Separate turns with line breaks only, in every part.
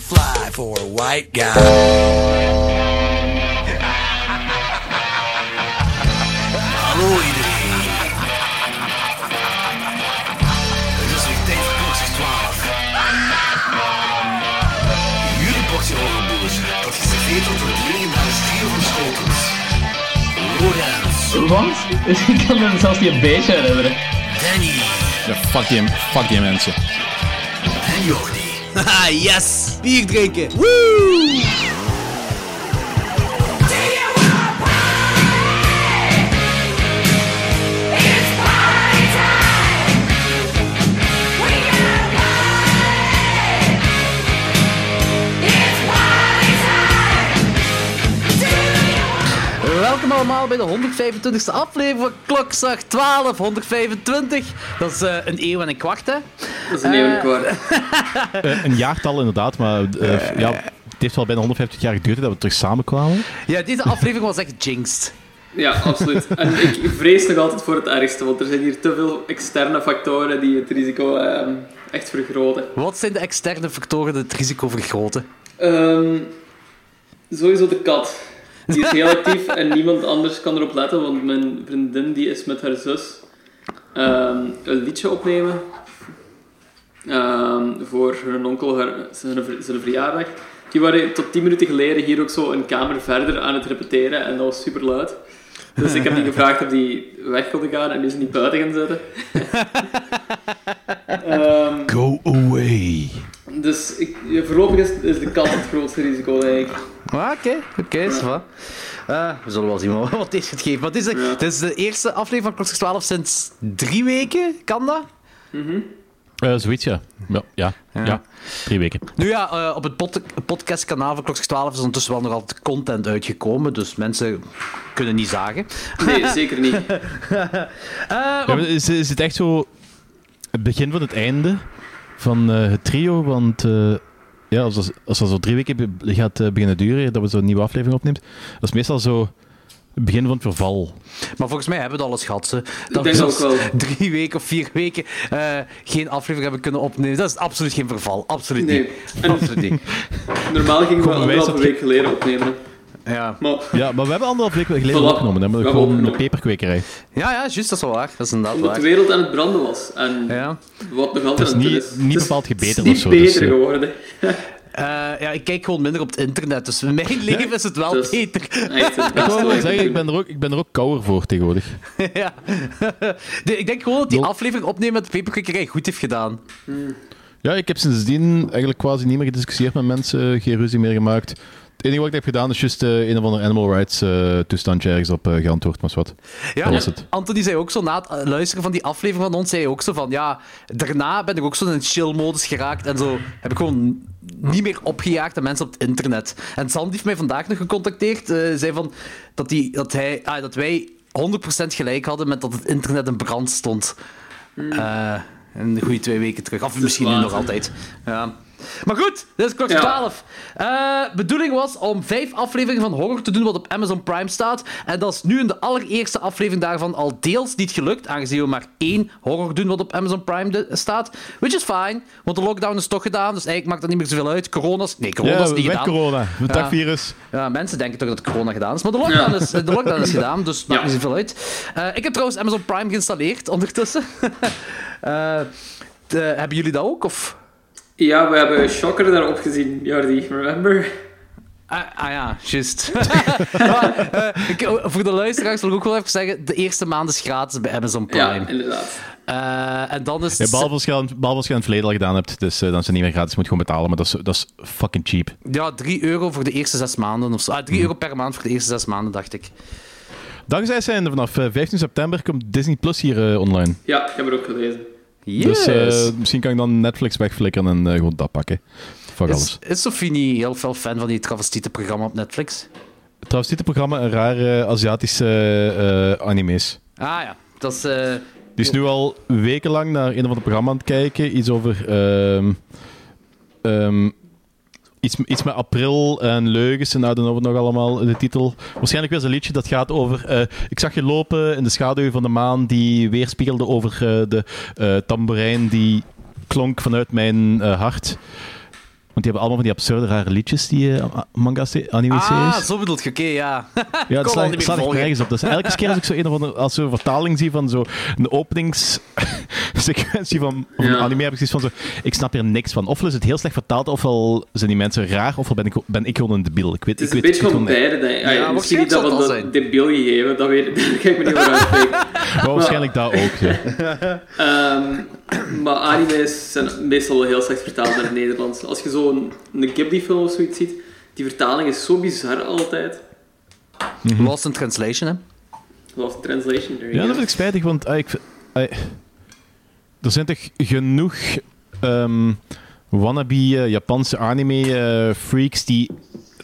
for a white guy.
Hallo iedereen. Het is weer tijd voor Boxers 12. Jullie boxen horenboers, dat geserveerd wordt door het legendarische trio van Schotens. Lorenz,
Wat? Ik kan me zelfs niet een beetje herinneren.
Danny
Ja, fuck, die, fuck die mensen.
en Jordi.
Haha, yes! Bier drinken! Woo!
Welkom allemaal bij de 125e aflevering van Klokslag 12, 125. Dat is eh, een eeuw en een kwart, hè?
Dat is een eeuw en een kwart.
Eh, een jaartal inderdaad, maar eh, ja, het heeft wel bijna 150 jaar geduurd dat we terug samenkwamen.
Ja, deze aflevering was echt jinxed.
Ja, absoluut. En ik vrees nog altijd voor het ergste, want er zijn hier te veel externe factoren die het risico ehm, echt vergroten.
Wat zijn de externe factoren die het risico vergroten?
Ehm, sowieso de kat. Die is heel actief en niemand anders kan erop letten, want mijn vriendin die is met haar zus ehm, een liedje opnemen ehm, voor hun onkel haar, zijn, ver- zijn verjaardag. Die waren tot 10 minuten geleden hier ook zo een kamer verder aan het repeteren en dat was super luid. Dus ik heb die gevraagd of die weg wilde gaan en die is niet buiten gaan zitten. Ehm,
Go away.
dus ik, voorlopig is, is de kat het grootste risico, denk ik.
Ah, Oké, oké, is wat. Eh, we zullen wel zien wat- wat deze gaat geven. Maar dit is, de, dit is de eerste aflevering van Klokslag 12 sinds drie weken, kan dat?
Eh zoiets, ja. Ja, ja, ja. Drie weken.
Nu ja, eh, op het pod- podcastkanaal van Klokslag 12 is ondertussen wel nog altijd content uitgekomen, dus mensen kunnen niet zagen.
Nee, zeker niet.
Ja, maar is, is het echt zo het begin van het einde van eh, het trio? Want eh, ja, als, dat- als dat zo drie weken be- gaat eh, beginnen duren, dat we zo'n nieuwe aflevering opneemt, dat is meestal zo het begin van het verval.
Maar volgens mij hebben we het alles gehad. Ze. Dat
denk
we
ook
zelfs
wel.
drie weken of vier weken eh, geen aflevering hebben kunnen opnemen. Dat is absoluut geen verval. Absoluut
Nee.
niet.
En-
Absoluut niet.
Normaal gingen we
Gewoon bewijs
anderhalve
dat je-
week geleden opnemen.
Ja,
Maar
Ja, maar we hebben anderhalf week geleden
Voilà.
opgenomen. Hè, maar
We hebben
gewoon een
opgenomen.
peperkwekerij.
ja, ja juist, dat is wel waar. Dat is inderdaad
omdat de
waar.
wereld aan het branden was. En
Ja.
wat nog altijd
Het is
aan doen
niet- niet
Het is-
bepaald gebeterd
Het is niet
of zo,
beter
dus, eh.
geworden.
Eh, ja, ik kijk gewoon minder op het internet, dus in mijn leven is het wel
Dus-
beter.
Echt het
Ik
beste
wou
wat
wel
je
zeggen, ik
kunt
ben, er ook, ik ben er ook kouder voor tegenwoordig.
ja. De- ik denk gewoon dat die
Wel-
aflevering opnemen met de paperkikkerij goed heeft gedaan.
Ja, ik heb sindsdien eigenlijk quasi niet meer gediscussieerd met mensen, geen ruzie meer gemaakt. Het enige wat ik heb gedaan is juist eh, een of ander animal rights eh, toestandje ergens op eh, geantwoord, maar is wat.
Ja,
Dat was
en
het.
Anthony zei ook zo na het eh, luisteren van die aflevering van ons, zei hij ook zo van, ja, daarna ben ik ook zo in een chill-modus geraakt en zo heb ik gewoon niet meer opgejaagd aan mensen op het internet. En Sam heeft mij vandaag nog gecontacteerd, eh, zei van dat, die, dat, hij, ah, dat wij 100% gelijk hadden met dat het internet in brand stond. Eh, een goede twee weken terug. Of misschien nu
laat,
nog
hè.
altijd. Ja. Maar goed, dit is klok
Ja.
12. Eh, bedoeling was om vijf afleveringen van horror te doen wat op Amazon Prime staat. En dat is nu in de allereerste aflevering daarvan al deels niet gelukt, aangezien we maar één horror doen wat op Amazon Prime de- staat. Which is fine, want de lockdown is toch gedaan, dus eigenlijk maakt dat niet meer zoveel uit. Corona's... Nee, corona is
Ja,
niet
weg
gedaan.
corona. Het
Ja.
dagvirus.
Ja, mensen denken toch dat corona gedaan is. Maar de lockdown,
Ja.
is, de lockdown is gedaan, dus het maakt
Ja.
niet zoveel uit. Eh, ik heb trouwens Amazon Prime geïnstalleerd ondertussen. Eh, de- hebben jullie dat ook? Of?
doen. Ja, we hebben Shocker daarop gezien, Jordi. Remember?
Ah, ah ja, juist. Maar, eh, ik- voor de luisteraars wil ik ook wel even zeggen: de eerste maand is gratis bij Amazon
Ja,
Prime.
inderdaad.
Eh, en dan is
Ja,
het.
behalve als je aan- behalve als je aan het verleden al gedaan hebt, dus eh, dan is het niet meer gratis, je moet gewoon betalen, maar dat is, dat is fucking cheap.
Ja, 3 euro voor de eerste zes maanden of zo. Ah, 3 euro per maand voor de eerste zes maanden, dacht ik.
Dankzij zijn vanaf eh, 15 september komt Disney Plus hier eh, online.
Ja, ik heb het ook gelezen.
Yes.
Dus eh, misschien kan ik dan Netflix wegflikkeren en eh, gewoon dat pakken. Fuck alles.
is, is Sophie niet heel veel fan van die travestietenprogramma op Netflix?
Trouwens, dit programma een rare Aziatische eh, anime's.
Ah ja, dat is. eh,
Die is nu al wekenlang naar een of ander programma aan het kijken. Iets over. ehm, ehm, iets, iets met april en leugens en nou dan nog allemaal de titel. Waarschijnlijk weer zo'n liedje dat gaat over. eh, ik zag je lopen in de schaduw van de maan die weerspiegelde over eh, de eh tamboerijn die klonk vanuit mijn eh, hart. Want die hebben allemaal van die absurde rare liedjes, die eh, a- manga's, eh, anime-series.
Ah, zo bedoelt je, oké, ja.
Ja,
kon
het
al niet
slaat, het
meer
slaat echt
volgen.
nergens op. Dus elke keer als ik zo een of andere, als zo een vertaling zie van zo'n openingssequentie van, van
Ja.
een anime, heb ik zoiets van zo, ik snap hier niks van. Ofwel is het heel slecht vertaald, ofwel zijn die mensen raar, ofwel ben ik, ben ik gewoon een debiel. Ik weet,
Het is
ik
een
weet,
beetje
ik
van
weet gewoon-
beide, denk ik. Ah,
Ja,
misschien
waarschijnlijk
niet dat
zal het
we
al
dat
zijn.
debiel gegeven, dat weet daar kan ik me niet over uitspreken.
Maar waarschijnlijk dat ook. Ja.
Ehm, maar anime's zijn meestal wel heel slecht vertaald naar het Nederlands. Als je zo'n een Ghibli-film of zoiets ziet, die vertaling is zo bizar altijd.
Lost in Translation, hè.
Lost in Translation. there you
Ja,
go.
dat vind ik spijtig, want ah, ik, vind- ah, er zijn toch genoeg ehm, wannabe eh, Japanse anime-freaks die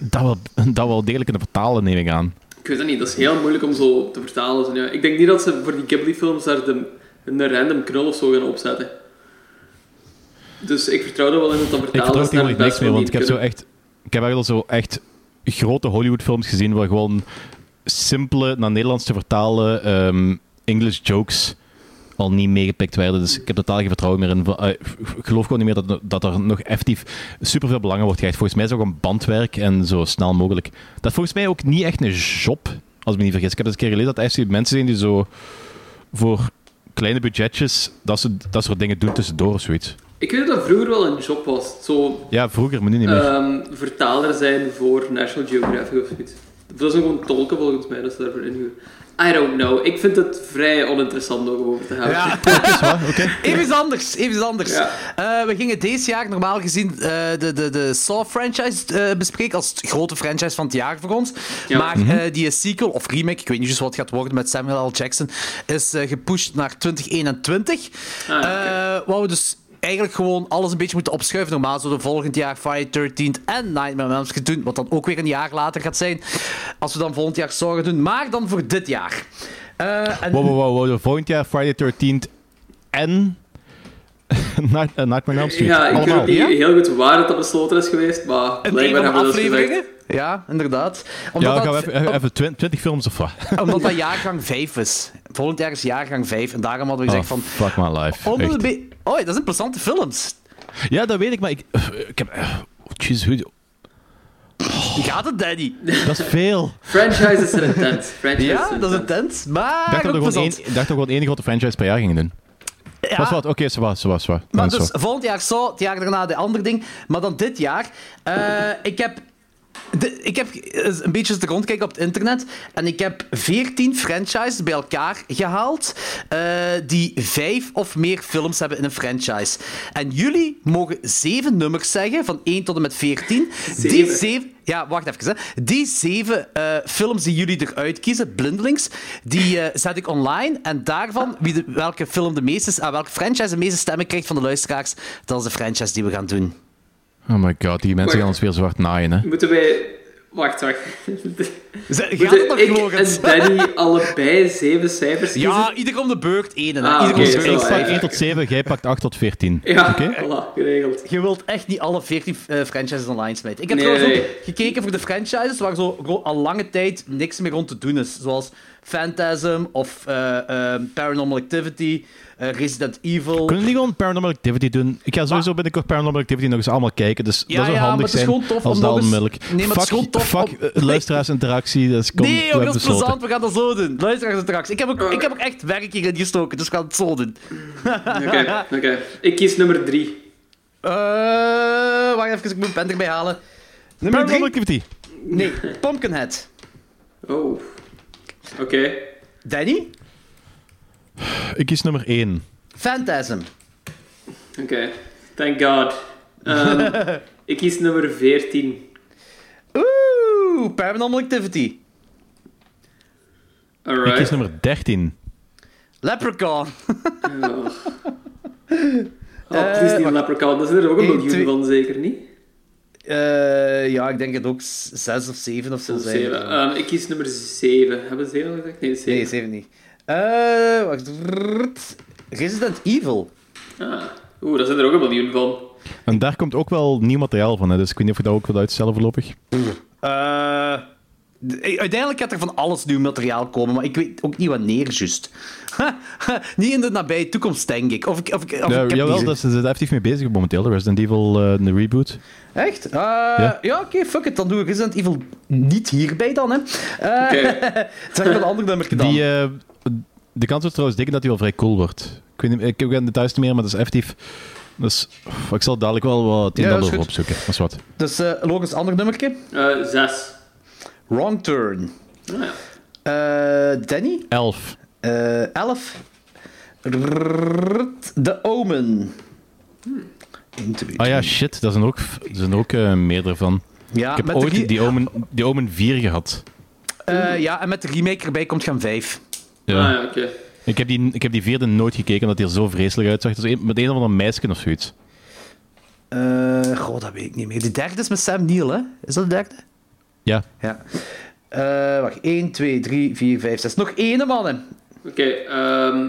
dat wel, dat wel degelijk kunnen vertalen, neem ik aan.
Ik weet dat niet, dat is heel moeilijk om zo te vertalen. Zo, ja. Ik denk niet dat ze voor die Ghibli-films daar de, een random knul of zo gaan opzetten. Dus ik vertrouw er wel in dat dat
Ik
vertalen naar
vertrouw er
het
eigenlijk niks
beste
meer, want ik
wat
heb
die
zo
kunnen.
echt... Ik heb echt al zo echt grote Hollywood-films gezien waar gewoon simpele, naar Nederlands te vertalen ehm, English jokes al niet meegepikt werden. Dus ik heb totaal geen vertrouwen meer in. van- eh, Ik geloof gewoon niet meer dat, dat er nog effectief superveel belangen wordt gehecht. Volgens mij is het ook een bandwerk en zo snel mogelijk. Dat is volgens mij ook niet echt een job, als ik me niet vergis. Ik heb eens een keer gelezen dat er echt mensen zijn die zo voor kleine budgetjes dat, ze, dat soort dingen doen tussendoor of zoiets.
Ik weet dat dat vroeger wel een job was. Zo
Ja, vroeger, maar nu niet meer.
ehm, vertaler zijn voor National Geographic of zoiets. Dat is ook gewoon tolken volgens mij, dat ze daarvoor inhuren. I don't know. Ik vind het vrij oninteressant om over te hebben.
Ja. Even iets anders, even iets anders.
Ja.
Eh, we gingen deze jaar normaal gezien eh, de, de, de Saw-franchise eh, bespreken als het grote franchise van het jaar voor ons.
Ja.
Maar eh, die sequel, of remake, ik weet niet juist wat het gaat worden met Samuel L. Jackson, is eh, gepusht naar 2021.
Ah,
Eh, Waar we dus eigenlijk gewoon alles een beetje moeten opschuiven. Normaal zouden we volgend jaar Friday 13 en Nightmare on Elm Street doen, wat dan ook weer een jaar later gaat zijn. Als we dan volgend jaar zorgen doen, maar dan voor dit jaar. Eh, en
Wow, wow, wow, wow. Volgend jaar Friday 13th en Night, eh, Nightmare on Elm Street.
Ja, ik weet
Allemaal.
ook niet
Ja?
heel goed waar dat dat besloten is geweest, maar
Een van
blijkbaar
de
hebben we dat gezegd.
afleveringen? Ja, inderdaad. Omdat,
Ja, dan gaan we
dat,
even, even 20 films of wat?
omdat dat jaargang 5 is. Volgend jaar is jaargang 5. En daarom hadden we
Oh,
gezegd van...
fuck my life.
Onder de
Echt.
be- oh, dat is interessante films.
Ja, dat weet ik, maar ik, ik heb... eh, oh, Jezus, hoe-
Gaat het, Danny?
dat is veel.
Franchises zijn intens. Franchises
Ja,
zijn
dat is
intens.
intens,
Ik
maar
dacht dat we
ook
gewoon één-
plezant.
ik dacht dat we gewoon één grote franchise per jaar gingen doen.
Ja,
Was wat? Ah, Oké, ze was, ze was, ze was. Dan
maar
is het
dus
zo.
volgend jaar zo, het jaar daarna de andere ding. Maar dan dit jaar... eh, ik heb... de- ik heb eens een beetje zitten rondkijken op het internet en ik heb 14 franchises bij elkaar gehaald eh, die vijf of meer films hebben in een franchise. En jullie mogen zeven nummers zeggen, van 1 tot en met 14. Die
Zeven?
zeven... Ja, wacht even. Hè. Die zeven eh, films die jullie eruit kiezen, blindelings, die eh, zet ik online. En daarvan, wie de- welke film de meeste... ah, welke franchise de meeste stemmen krijgt van de luisteraars, dat is de franchise die we gaan doen.
Oh my god, die mensen
Maar-
gaan ons weer zwart naaien, hè.
Moeten wij... Wacht, wacht.
Ze- Gaat
Moeten
het nog,
ik
Logans?
en Danny allebei zeven cijfers
Ja,
kiezen?
ieder om de beurt één. hè.
Ah,
ieder om
oké,
de
zo,
beurt
Ik pak
één.
ja.
1 tot 7, jij pakt 8 tot 14.
Ja,
Oké.
voilà, geregeld.
Je wilt echt niet alle 14 eh, franchises online smijten. Ik heb
Nee,
trouwens ook
nee.
gekeken voor de franchises waar zo ro- al lange tijd niks meer rond te doen is. Zoals Phantasm of eh, eh, Paranormal Activity, eh, Resident Evil.
Kunnen we niet gewoon Paranormal Activity doen? Ik ga sowieso binnenkort Paranormal Activity nog eens allemaal kijken, dus
Ja,
dat zou
ja, maar
handig
het is
zijn
gewoon tof
als
om
dat
nog
al
eens-
melk.
Nee, maar het is
fuck,
gewoon tof
fuck
om-
eh, luisteraarsinteractie, dat is kom,
Nee,
we
joh,
hebben
dat is
besloten.
plezant. We gaan dat zo doen. Luister eens straks. Ik heb ook, ik heb ook echt werk hierin gestoken, dus we gaan het zo doen.
Oké, oké. Ik kies nummer drie.
Eh wacht even, ik moet mijn pen erbij halen. Nummer
Paranormal
drie?
Activity.
Nee, Pumpkinhead.
Oh. Oké.
Danny?
Ik kies nummer 1.
Phantasm.
Oké. Thank God. Ehm, ik kies nummer 14.
Oeh, Paranormal Activity.
Ik kies
Alright.
nummer 13.
Leprechaun.
Oh. Oh, het is die leprechaun. Dat is er ook een
één,
miljoen
Eh, twee-
van, zeker niet?
Eh, ja, ik denk het ook s- zes of zeven ah. of zo
Dat is
zijn.
zeven. Ehm, ik kies nummer 7. Hebben we 7 gezegd? Nee, 7.
Nee, zeven niet. Eh, wacht. Rrrt. Resident Evil.
Ah. Oeh, daar zijn er ook een miljoen van.
En daar komt ook wel nieuw materiaal van, hè, dus ik weet niet of ik dat ook wil uitstellen voorlopig.
Eh, d- Uiteindelijk gaat er van alles nieuw materiaal komen, maar ik weet ook niet wanneer, juist. niet in de nabije toekomst, denk ik. Of ik, of ik, of
Ja,
ik heb
Nou, jawel,
niet-
daar zijn ze effectief mee bezig momenteel. De Resident Evil, eh, de reboot.
Echt? Eh, ja, oké, fuck it. Dan doe ik Resident Evil niet hierbij dan, hè. Eh het is echt een ander nummer dan.
Die, eh, de kans is trouwens dik dat hij wel vrij cool wordt. Ik weet niet, ik heb geen details niet meer, maar dat is effectief... Dat is, ik zal dadelijk wel wat
Ja, dat
tientallen
is
over
goed.
opzoeken. Dat is wat.
Dus eh Logan's ander nummerke.
Eh, zes.
Wrong Turn.
Nou ja.
Eh, Danny?
Elf.
Eh, 11. Rrrt, De Omen. 1, 2,
Ah ja, shit, daar zijn ook, er zijn ook eh, meerdere van.
ja,
Ik heb
Ah, met
ooit
de re-
die, Omen, die Omen 4 gehad.
eh, ja, en met de remake erbij komt gaan 5.
Ah, ja, oké.
Ik, heb die, ik heb die vierde nooit gekeken, omdat die er zo vreselijk uitzag. Dat is een, met een of ander meisje of zoiets.
Eh goh, dat weet ik niet meer. De derde is met Sam Neill, hè? Is dat de derde?
Ja.
Ja. Eh, wacht, 1, 2, 3, 4, 5, 6. Nog één, mannen.
Oké, ehm,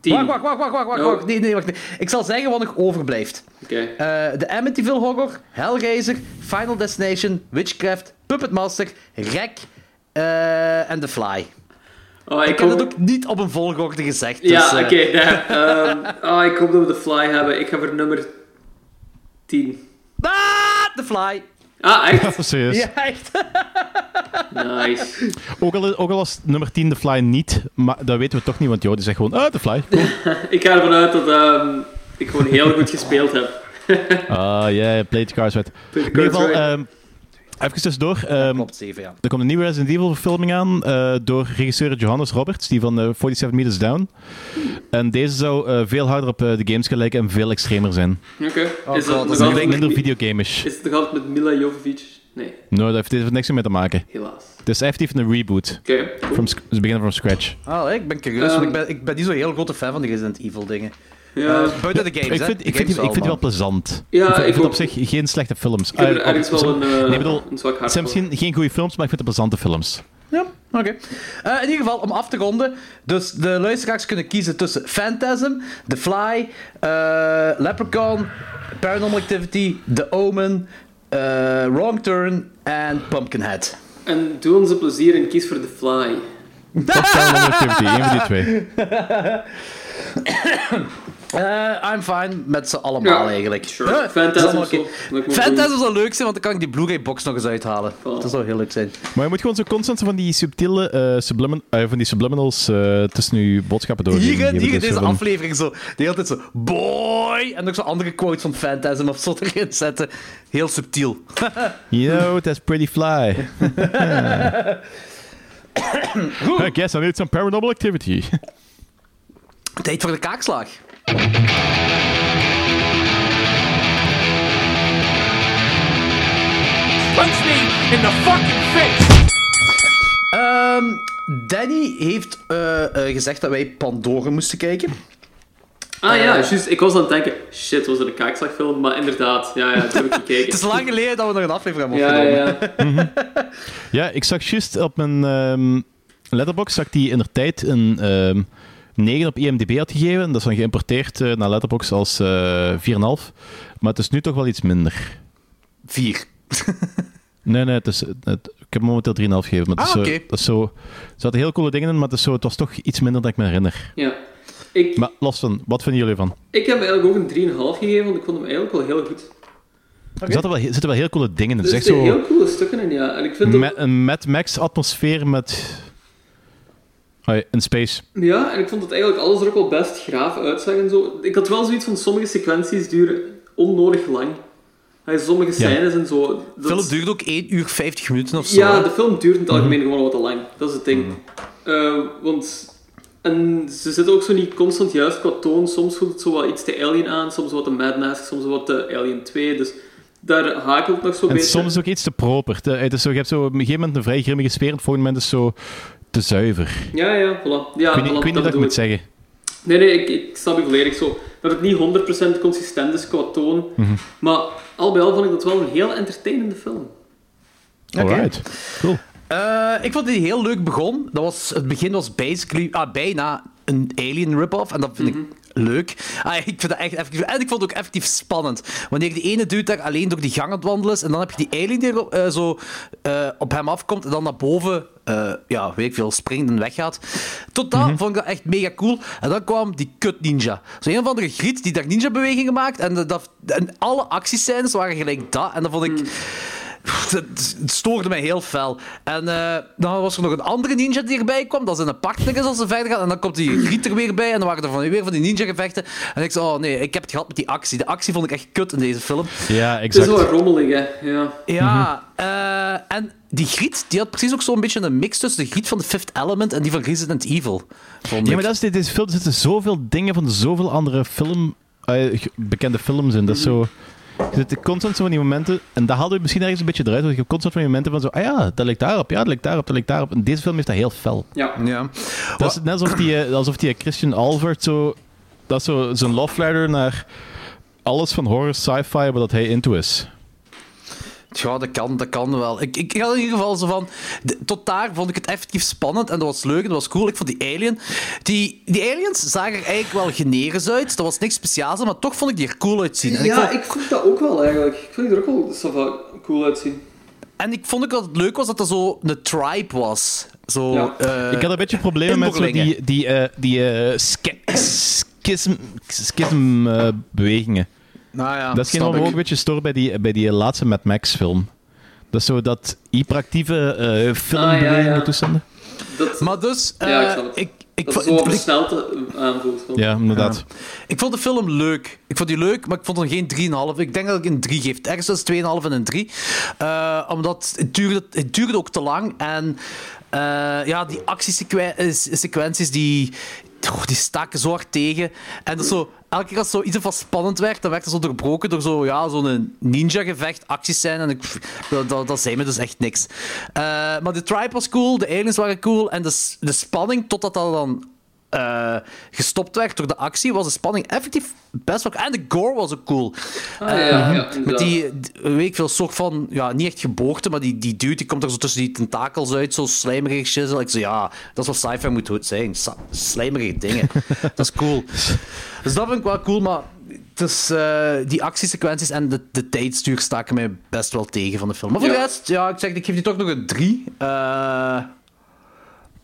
tien.
Wacht, wacht, wacht, wacht, wacht, wacht.
Oh.
wacht. Nee, nee, wacht. nee. Ik zal zeggen wat nog overblijft.
Oké.
Eh, de Amityville Horror, Hellraiser, Final Destination, Witchcraft, Puppet Master, Rek eh, en The Fly.
Oh,
Ik heb
hoop-
dat ook niet op een volgorde gezegd. Dus,
Ja,
eh,
oké. damn. Ehm, oh, ik hoop dat we de fly hebben. Ik ga voor nummer 10.
ah, The Fly.
Ah, echt?
Serieus.
Ja, echt.
Nice.
Ook, al, ook al was nummer 10 de Fly niet, maar dat weten we toch niet, want joh, die zegt gewoon, ah, de Fly. Cool.
Ik ga ervan uit dat ehm, ik gewoon heel goed gespeeld heb.
Ah, yeah, play the cards right.
Play the
In ieder
cards
geval,
right.
ehm, even tussendoor. ehm,
Klopt, 7, ja.
er komt een nieuwe Resident Evil verfilming aan eh, door regisseur Johannes Roberts, die van eh, 47 Meters Down. En deze zou eh, veel harder op eh, de games gaan lijken en veel extremer zijn.
Oké.
Oh
is,
god,
het
dat
nog
is
altijd
Minder,
met-
minder videogamish.
is het nog altijd met Mila Jovovic? Nee,
Nou, dat heeft, dit heeft niks meer te maken.
helaas.
Het is effectief een reboot.
Oké, cool.
From, sc- ze beginnen from scratch.
Ah, ik ben curieus, want
Ehm.
ik ben, ik ben niet zo'n heel grote fan van de Resident Evil dingen.
ja,
Eh, buiten de games,
Ik
hè.
vind,
De
ik, vind die,
games
ik vind die wel
allemaal.
plezant.
Ja,
ik vind,
ik
vind op
ook.
zich geen slechte films. Ah,
ik heb er ergens wel een, eh,
nee, ik bedoel,
een zwak
het
hart
zijn
voor.
misschien geen goede films, maar ik vind het plezante films.
Ja, oké. Eh, in ieder geval, om af te ronden. Dus de luisteraars kunnen kiezen tussen Phantasm, The Fly, eh, Leprechaun, Paranormal Activity, The Omen, eh, Wrong Turn en Pumpkinhead.
En doe ons een plezier en kies voor The Fly.
Of Paranormal Activity, één van die twee.
Eh, I'm fine met ze allemaal
Ja,
eigenlijk.
sure.
Huh?
Phantasm
Dat is allemaal
is wel-
oké.
dat moet ik wel
Phantasm
doen.
zou leuk zijn, want dan kan ik die Blu-ray box nog eens uithalen.
Oh.
Dat zou heel leuk zijn.
Maar je moet gewoon zo constant van die subtiele eh, sublimin- eh, van die subliminals eh, tussen je boodschappen door.
Hier, in- hier in deze
aflevering.
aflevering zo. De hele tijd zo. Boy! En ook zo andere quotes van Phantasm of zo erin zetten. Heel subtiel.
You know, that's pretty fly. I guess I need some paranormal activity.
Tijd voor de kaakslag.
Punch me in the fucking face!
Ehm, Danny heeft eh, eh, gezegd dat wij Pandora moesten kijken.
Ah ja,
Eh.
juist. Ik was aan het denken, shit, was dat een kaakslagfilm? Maar inderdaad, ja, ja, dat heb ik gekeken.
Het is lang geleden dat we nog een aflevering hebben
ja,
opgenomen.
ja.
ja, ik zag juist op mijn ehm letterbox zag die in de tijd een ehm 9 op IMDb had gegeven. Dat is dan geïmporteerd eh, naar letterbox als eh 4,5. Maar het is nu toch wel iets minder.
Vier.
Nee, nee, het is, het- ik heb momenteel 3,5 gegeven. Maar het is
Ah,
zo,
oké.
dat is zo, er zaten heel coole dingen in, maar het, is zo, het was toch iets minder dan ik me herinner.
ja. Ik,
Maar los van, wat vinden jullie ervan?
ik heb hem eigenlijk ook een 3,5 gegeven, want ik vond hem eigenlijk wel heel goed.
Er zaten wel, he- zitten wel heel coole dingen in. Het
Er
is echt
zitten
zo...
Dus heel coole stukken in, ja. En ik vind dat-
Met een Mad Max-atmosfeer met... Hoi, een space.
Ja, en ik vond dat eigenlijk alles er ook wel best graaf uitzag en zo. Ik had wel zoiets van sommige sequenties duren onnodig lang. Hij, sommige scènes en zo.
De
dat-
film duurt ook 1 uur 50 minuten of zo.
Ja, de film duurt in
Mhm.
het algemeen gewoon wat te lang. Dat is het ding. Eh, want... En ze zitten ook zo niet constant juist qua toon. Soms voelt het zo wat iets te Alien aan, soms wat te Mad Max, soms wat te Alien 2. Dus daar hakelt het nog zo'n
En
beetje.
soms ook iets te proper. Te- het is zo, je hebt zo op een gegeven moment een vrij grimmige sfeer, en op een volgende moment is het zo te zuiver. Ik
Ja, ja, voilà. Ja,
weet niet,
voilà,
ik weet niet
dat
wat ik
bedoel
moet zeggen.
Nee, nee, ik, ik snap je volledig zo. Dat het niet 100% consistent is qua toon.
Mhm.
Maar al bij al vond ik dat wel een heel entertainende film.
Alright. Cool.
Eh, ik vond die heel leuk begon. Dat was, het begin was basically, ah, bijna een Alien rip-off. En dat vind ik leuk. Ah, ik vind dat echt effectief. En ik vond het ook effectief spannend. Wanneer die ene dude daar alleen door die gang aan het wandelen is. En dan heb je die alien die er op- eh, zo eh, op hem afkomt. En dan naar boven, eh, ja, weet ik veel, springt en weggaat. Tot dan vond ik dat echt mega cool. En dan kwam die kut ninja. Zo een of andere griet die daar ninja-bewegingen maakt. En, dat- dat, en alle actiescènes waren gelijk dat. En dan vond ik... Het het stoorde mij heel fel. En eh, dan was er nog een andere ninja die erbij kwam. Dat is een partner is als ze verder gaan. En dan komt die Griet er weer bij. En dan waren er van, weer van die ninja-gevechten. En ik zei, oh nee, ik heb het gehad met die actie. De actie vond ik echt kut in deze film.
Ja,
Het is
exact.
wel rommelig, hè. Ja.
Ja, eh, en die Griet, die had precies ook zo'n beetje een mix tussen de Griet van The Fifth Element en die van Resident Evil. Vond
Ja,
ik.
maar dat is, dit is film, er zitten zoveel dingen van zoveel andere film, eh, ge- bekende films in. Dat is zo... Je zit constant zo van die momenten, en dat haalde je misschien ergens een beetje eruit, want je hebt constant van die momenten van zo, ah ja, dat lijkt daarop, ja, dat lijkt daarop, dat lijkt daarop. En deze film heeft dat heel fel.
ja.
Ja.
Dat is net alsof die, eh, alsof die Christian Albert zo... Dat is zo zijn love letter naar alles van horror sci-fi waar dat hij into is.
Ja, dat kan, dat kan wel. Ik, ik had in ieder geval zo van... d- tot daar vond ik het effectief spannend en dat was leuk en dat was cool. Ik vond die alien... Die, die aliens zagen er eigenlijk wel generisch uit. Dat was niks speciaals, aan, maar toch vond ik die er cool uitzien. En, ik
Ja,
vond,
ik vond dat ook wel eigenlijk. Ik vond die er ook wel zo van cool uitzien.
en ik vond ook dat het leuk was dat dat zo een tribe was. Zo...
Ja.
eh,
Ik had een beetje problemen met zo die,
inboorlingen.
die, eh, die eh ske- schism, schism eh, bewegingen.
nou
Ah,
ja,
dat is geen
snap
wat me
ik.
ook een beetje stoor bij die, bij die laatste Mad Max film. Dat is zo dat hyperactieve eh filmbewegingen
Ah, ja, ja.
toestanden.
Dat,
Maar dus... eh,
Ja, ik snap het.
ik, ik,
dat
vond-
zo
ik-
versneld eh, aanvoelt. gewoon.
Ja, inderdaad.
Ik vond de film leuk. Ik vond die leuk, maar ik vond hem geen 3,5. Ik denk dat ik een 3 geef. Ergens tussen 2,5 en een 3. Eh, omdat het duurde, het duurde ook te lang. En eh, ja, die actiesequenties die, oh, die staken zo hard tegen. En dat is zo, elke keer als zo iets wat spannend werd, dan werd het zo doorbroken door zo'n ja, zo'n ninja-gevecht, acties zijn. En ik, dat, dat, dat zei me dus echt niks. Eh, maar de tribe was cool, de aliens waren cool. En de, s- de spanning totdat dat dan eh, gestopt werd door de actie, was de spanning effectief best wel. En de gore was ook cool. Ehm,
Ah, ja, ja,
Met
inderdaad.
die, d- weet ik veel, soort van, ja, niet echt geboorte, maar die, die dude die komt er zo tussen die tentakels uit, zo slijmerig shizzle. Ik zei, ja, dat is wat sci-fi moet goed zijn. sa- slijmerige dingen. dat is cool. Dus dat vind ik wel cool, maar het is, eh, die actiesequenties en de, de tijdstuur staken mij best wel tegen van de film. Maar voor
Ja.
de rest, ja, ik zeg, ik geef die toch nog een 3. Eh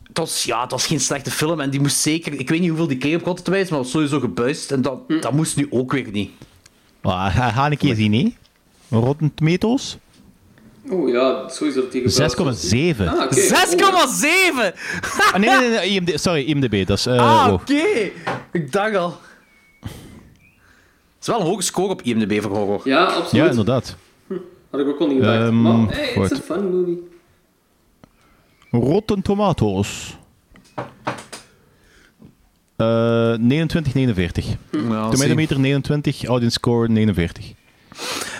het was, ja, het was geen slechte film en die moest zeker... Ik weet niet hoeveel die kreeg op Rotterdam, maar was sowieso gebuist. En dat, dat moest nu ook weer niet.
Maar Ah, ga, ga een keer zien, hè. Rotten Tomatoes? 6,7.
Oh ja, sowieso dat die gebruikt wordt. Ah, oké.
6,7!
Ah, nee, nee, nee, IMD sorry, IMDB. Dat is... eh,
Ah,
oh.
oké. Ik dacht al. Het is wel een hoge score op IMDb voor horror.
Ja, absoluut.
Ja, inderdaad.
Had ik ook al niet gedacht.
Ehm,
maar hey,
goed.
it's a fun movie.
Rotten Tomatoes. Eh 29, 49.
Ja, zie,
Tomatometer 29, audience score 49.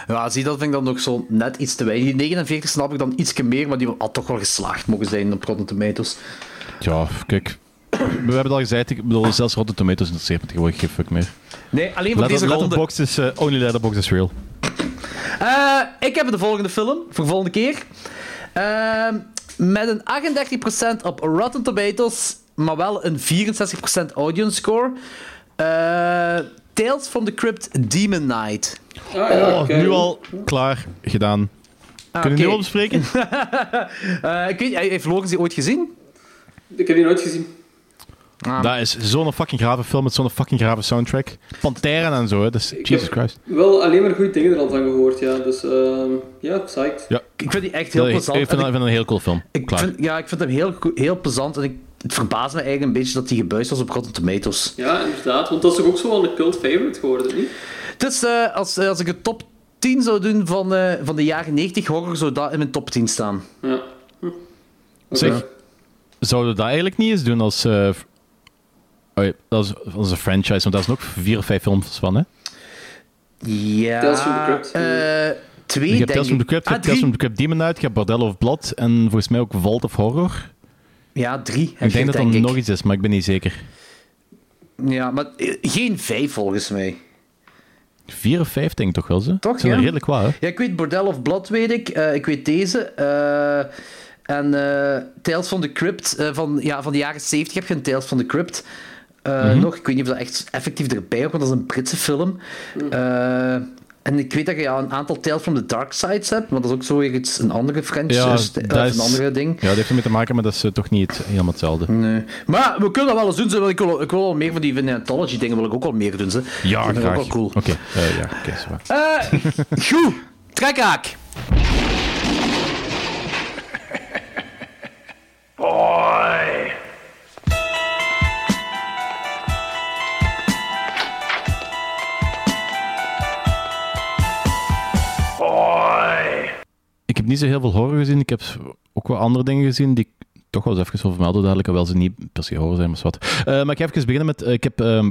ja, zie, dat vind ik dan nog zo net iets te weinig. Die 49 snap ik dan ietsje meer, maar die had toch wel geslaagd mogen zijn op Rotten Tomatoes.
Ja, kijk. We hebben het al gezegd, ik bedoel, zelfs Rotten Tomatoes interesseert me tegenwoordig geen fuck meer.
Nee, alleen voor
Letter,
deze ronde.
letterbox is, eh, only Letterbox is real.
Eh, ik heb de volgende film voor de volgende keer. Ehm, met een 38% op Rotten Tomatoes, maar wel een 64% audience score. Eh, Tales from the Crypt Demon Knight.
Ah, ja,
Oh,
oké.
nu al klaar, gedaan. Kunnen we
Ah,
nu
oké.
al bespreken?
Eh, ik weet, niet, heeft Lorenz die ooit gezien?
Ik heb die nooit gezien.
Ah.
Dat is zo'n fucking grave film met zo'n fucking grave soundtrack. Pantera en zo, hè. Dat is Jesus
heb-
Christ.
Wel alleen maar goede dingen er al van gehoord, ja. Dus ehm, ja, psyched.
Ja,
Ik vind die echt heel
ik,
plezant.
ik, vind, dat-
En
ik vind dat een heel cool film.
ik, ik
klaar.
vind, ja, ik vind hem heel, goe- heel plezant. En ik, het verbaast me eigenlijk een beetje dat hij gebuist was op Rotten Tomatoes.
Ja, inderdaad. Want dat is toch ook zo wel een cult favorite geworden, niet?
Het is, eh, als, eh, als ik een top 10 zou doen van, eh, van de jaren 90 horror, zou dat in mijn top 10 staan.
Ja. Hm. Oké.
Zeg. Zouden we dat eigenlijk niet eens doen als... eh, f- oh ja, dat is onze franchise, want daar zijn ook vier of vijf films van, hè.
Ja.
Tales from the Crypt.
eh, twee,
Je hebt
denk
Tales from the
ik.
Crypt, je
Ah,
hebt Tales
drie.
from the Crypt Demon Night, je hebt Bordello of Blood en volgens mij ook Vault of Horror.
Ja, drie. heb
Ik
je,
denk dat er
denk ik.
nog iets is, maar ik ben niet zeker.
Ja, maar eh, geen vijf volgens mij.
Vier of vijf denk ik toch wel, ze?
Toch,
Dat zijn er
ja.
redelijk wat, hè?
Ja, ik weet Bordel of Blood, weet ik. Eh, ik weet deze. Eh, en eh, Tales from the Crypt, eh, van, ja, van de jaren 70 heb je een Tales from the Crypt. Eh, eh,
Mhm.
nog. Ik weet niet of dat echt effectief erbij hoort, want dat is een Britse film.
Mhm.
Eh, en ik weet dat je ja, een aantal Tales from the Dark Sides hebt, maar dat is ook zo weer iets, een andere franchise, eh,
dat
of een andere ding. Hm.
Ja, dat heeft ermee te maken, maar dat is eh, toch niet het- helemaal hetzelfde.
Nee. Eh, Maar ja, we kunnen dat wel eens doen. ze, want Ik wil, ik wil al meer van die Vinantology dingen wil ik ook al meer doen. Ze.
Ja,
dat vind ik
graag.
ook wel cool.
Oké, eh, ja, oké, zo waar.
Eh, goed, trekhaak.
Ik heb niet zo heel veel horror gezien. Ik heb ook wel andere dingen gezien die ik toch wel eens even wil vermelden, dadelijk, hoewel ze niet per se horror zijn, maar wat. maar ik ga even beginnen met... eh, ik heb ehm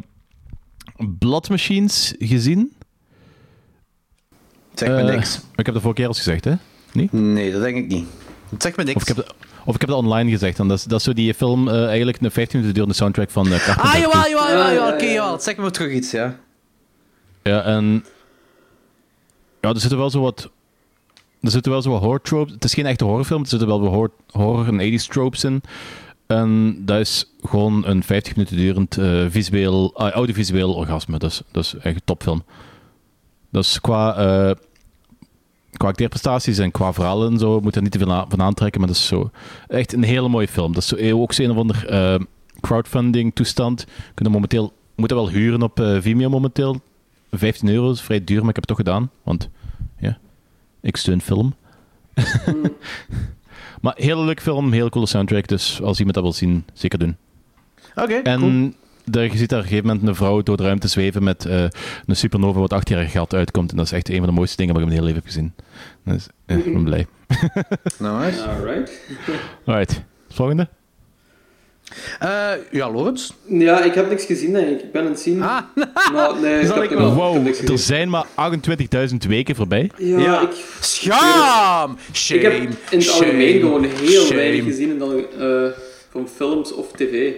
Blood Machines gezien.
Zeg me
Eh,
niks.
maar Ik heb dat vorige keer al eens gezegd, hè? Niet?
Nee, dat denk ik niet. Zeg me niks.
Of ik heb dat, of ik heb dat online gezegd. Dan. Dat, is, dat is zo die film, eh, eigenlijk een 15 minuten durende soundtrack van eh Carpenter.
Ah, jawel, jawel, jawel.
Ja,
jawel.
ja,
Oké,
ja.
jawel. eh, Zeg me terug iets, ja.
Ja, en... Ja, er zitten wel zo wat... Er zitten wel zo wat horror tropes... Het is geen echte horrorfilm, er zitten wel wat horror, horror en 80s tropes in. En dat is gewoon een 50 minuten durend eh, visueel, ah, audiovisueel orgasme. Dat is, dat is echt een topfilm. Dat is qua... eh, Qua acteerprestaties en qua verhalen en zo moet er niet te veel na- van aantrekken, maar dat is zo echt een hele mooie film. Dat is zo, ook zo een of ander eh, crowdfunding toestand. Kunnen momenteel moeten wel huren op eh, Vimeo momenteel. 15 euro is vrij duur, maar ik heb het toch gedaan. Want ja, ik steun film. maar hele leuk film, hele coole soundtrack. Dus als iemand dat wil zien, zeker doen.
Oké,
En
cool.
daar, je ziet daar op een gegeven moment een vrouw door de ruimte zweven met eh, een supernova wat acht jaar gat uitkomt. En dat is echt een van de mooiste dingen wat ik in mijn hele leven heb gezien. Dus eh, ik ben blij.
Nice.
Alright.
Alright, volgende.
Eh, ja, Lorenz.
Ja, ik heb niks gezien, denk ik. Ik ben aan het zien.
Ah,
Maar nee,
Zal
ik
ik
heb
wel-
wel. ik heb
Wow,
niks
er
gezien.
zijn maar 28.000 weken voorbij.
Ja,
Ja.
ik...
schaam!
Ik
Shame.
heb in het
shame,
algemeen gewoon heel
shame.
weinig gezien in het alge- eh, van films of tv.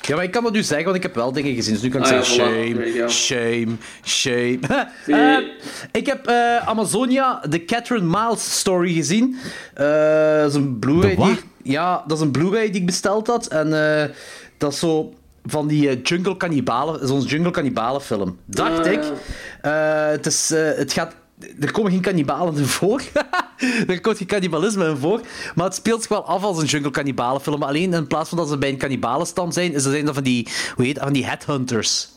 Ja, maar ik kan dat nu zeggen, want ik heb wel dingen gezien. Dus nu kan ik
Ah, ja,
zeggen,
voilà. There you
shame,
go.
shame, shame,
Nee.
Eh, ik heb eh, Amazonia, de Catherine Miles story gezien. Eh, dat is een Blu-ray
De wat?
die... Ja, dat is een Blu-ray die ik besteld had. En eh, dat is zo van die eh, jungle kannibalen... Zo'n jungle kannibalen film. Dacht
Ah,
ik. Eh, het is... eh, het gaat... Er komen geen kannibalen in voor. er komt geen kannibalisme in voor. Maar het speelt zich wel af als een jungle kannibalen film. Alleen in plaats van dat ze bij een kannibalenstam zijn, is er zijn dat van die... Hoe heet dat? Van die headhunters.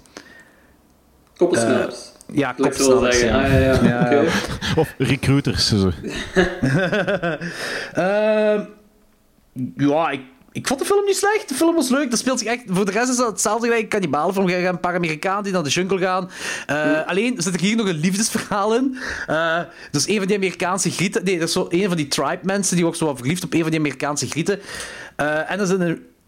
Koppelsnaps.
Eh, Ja,
wil ik zo
kopsnappers.
zeggen.
ja.
Ah, ja, ja.
Ja,
Oké.
Of recruiters. zo.
Ehm, ja, ik, ik vond de film niet slecht. De film was leuk. Dat speelt zich echt... Voor de rest is dat hetzelfde gelijk. Een kannibalenfilm. Je gaat een paar Amerikanen die naar de jungle gaan. Eh, Alleen zit er hier nog een liefdesverhaal in. Eh, dus een van die Amerikaanse grieten... Nee, dat is zo een van die tribe mensen. Die wordt zo wat verliefd op een van die Amerikaanse grieten. Eh, en dat is een,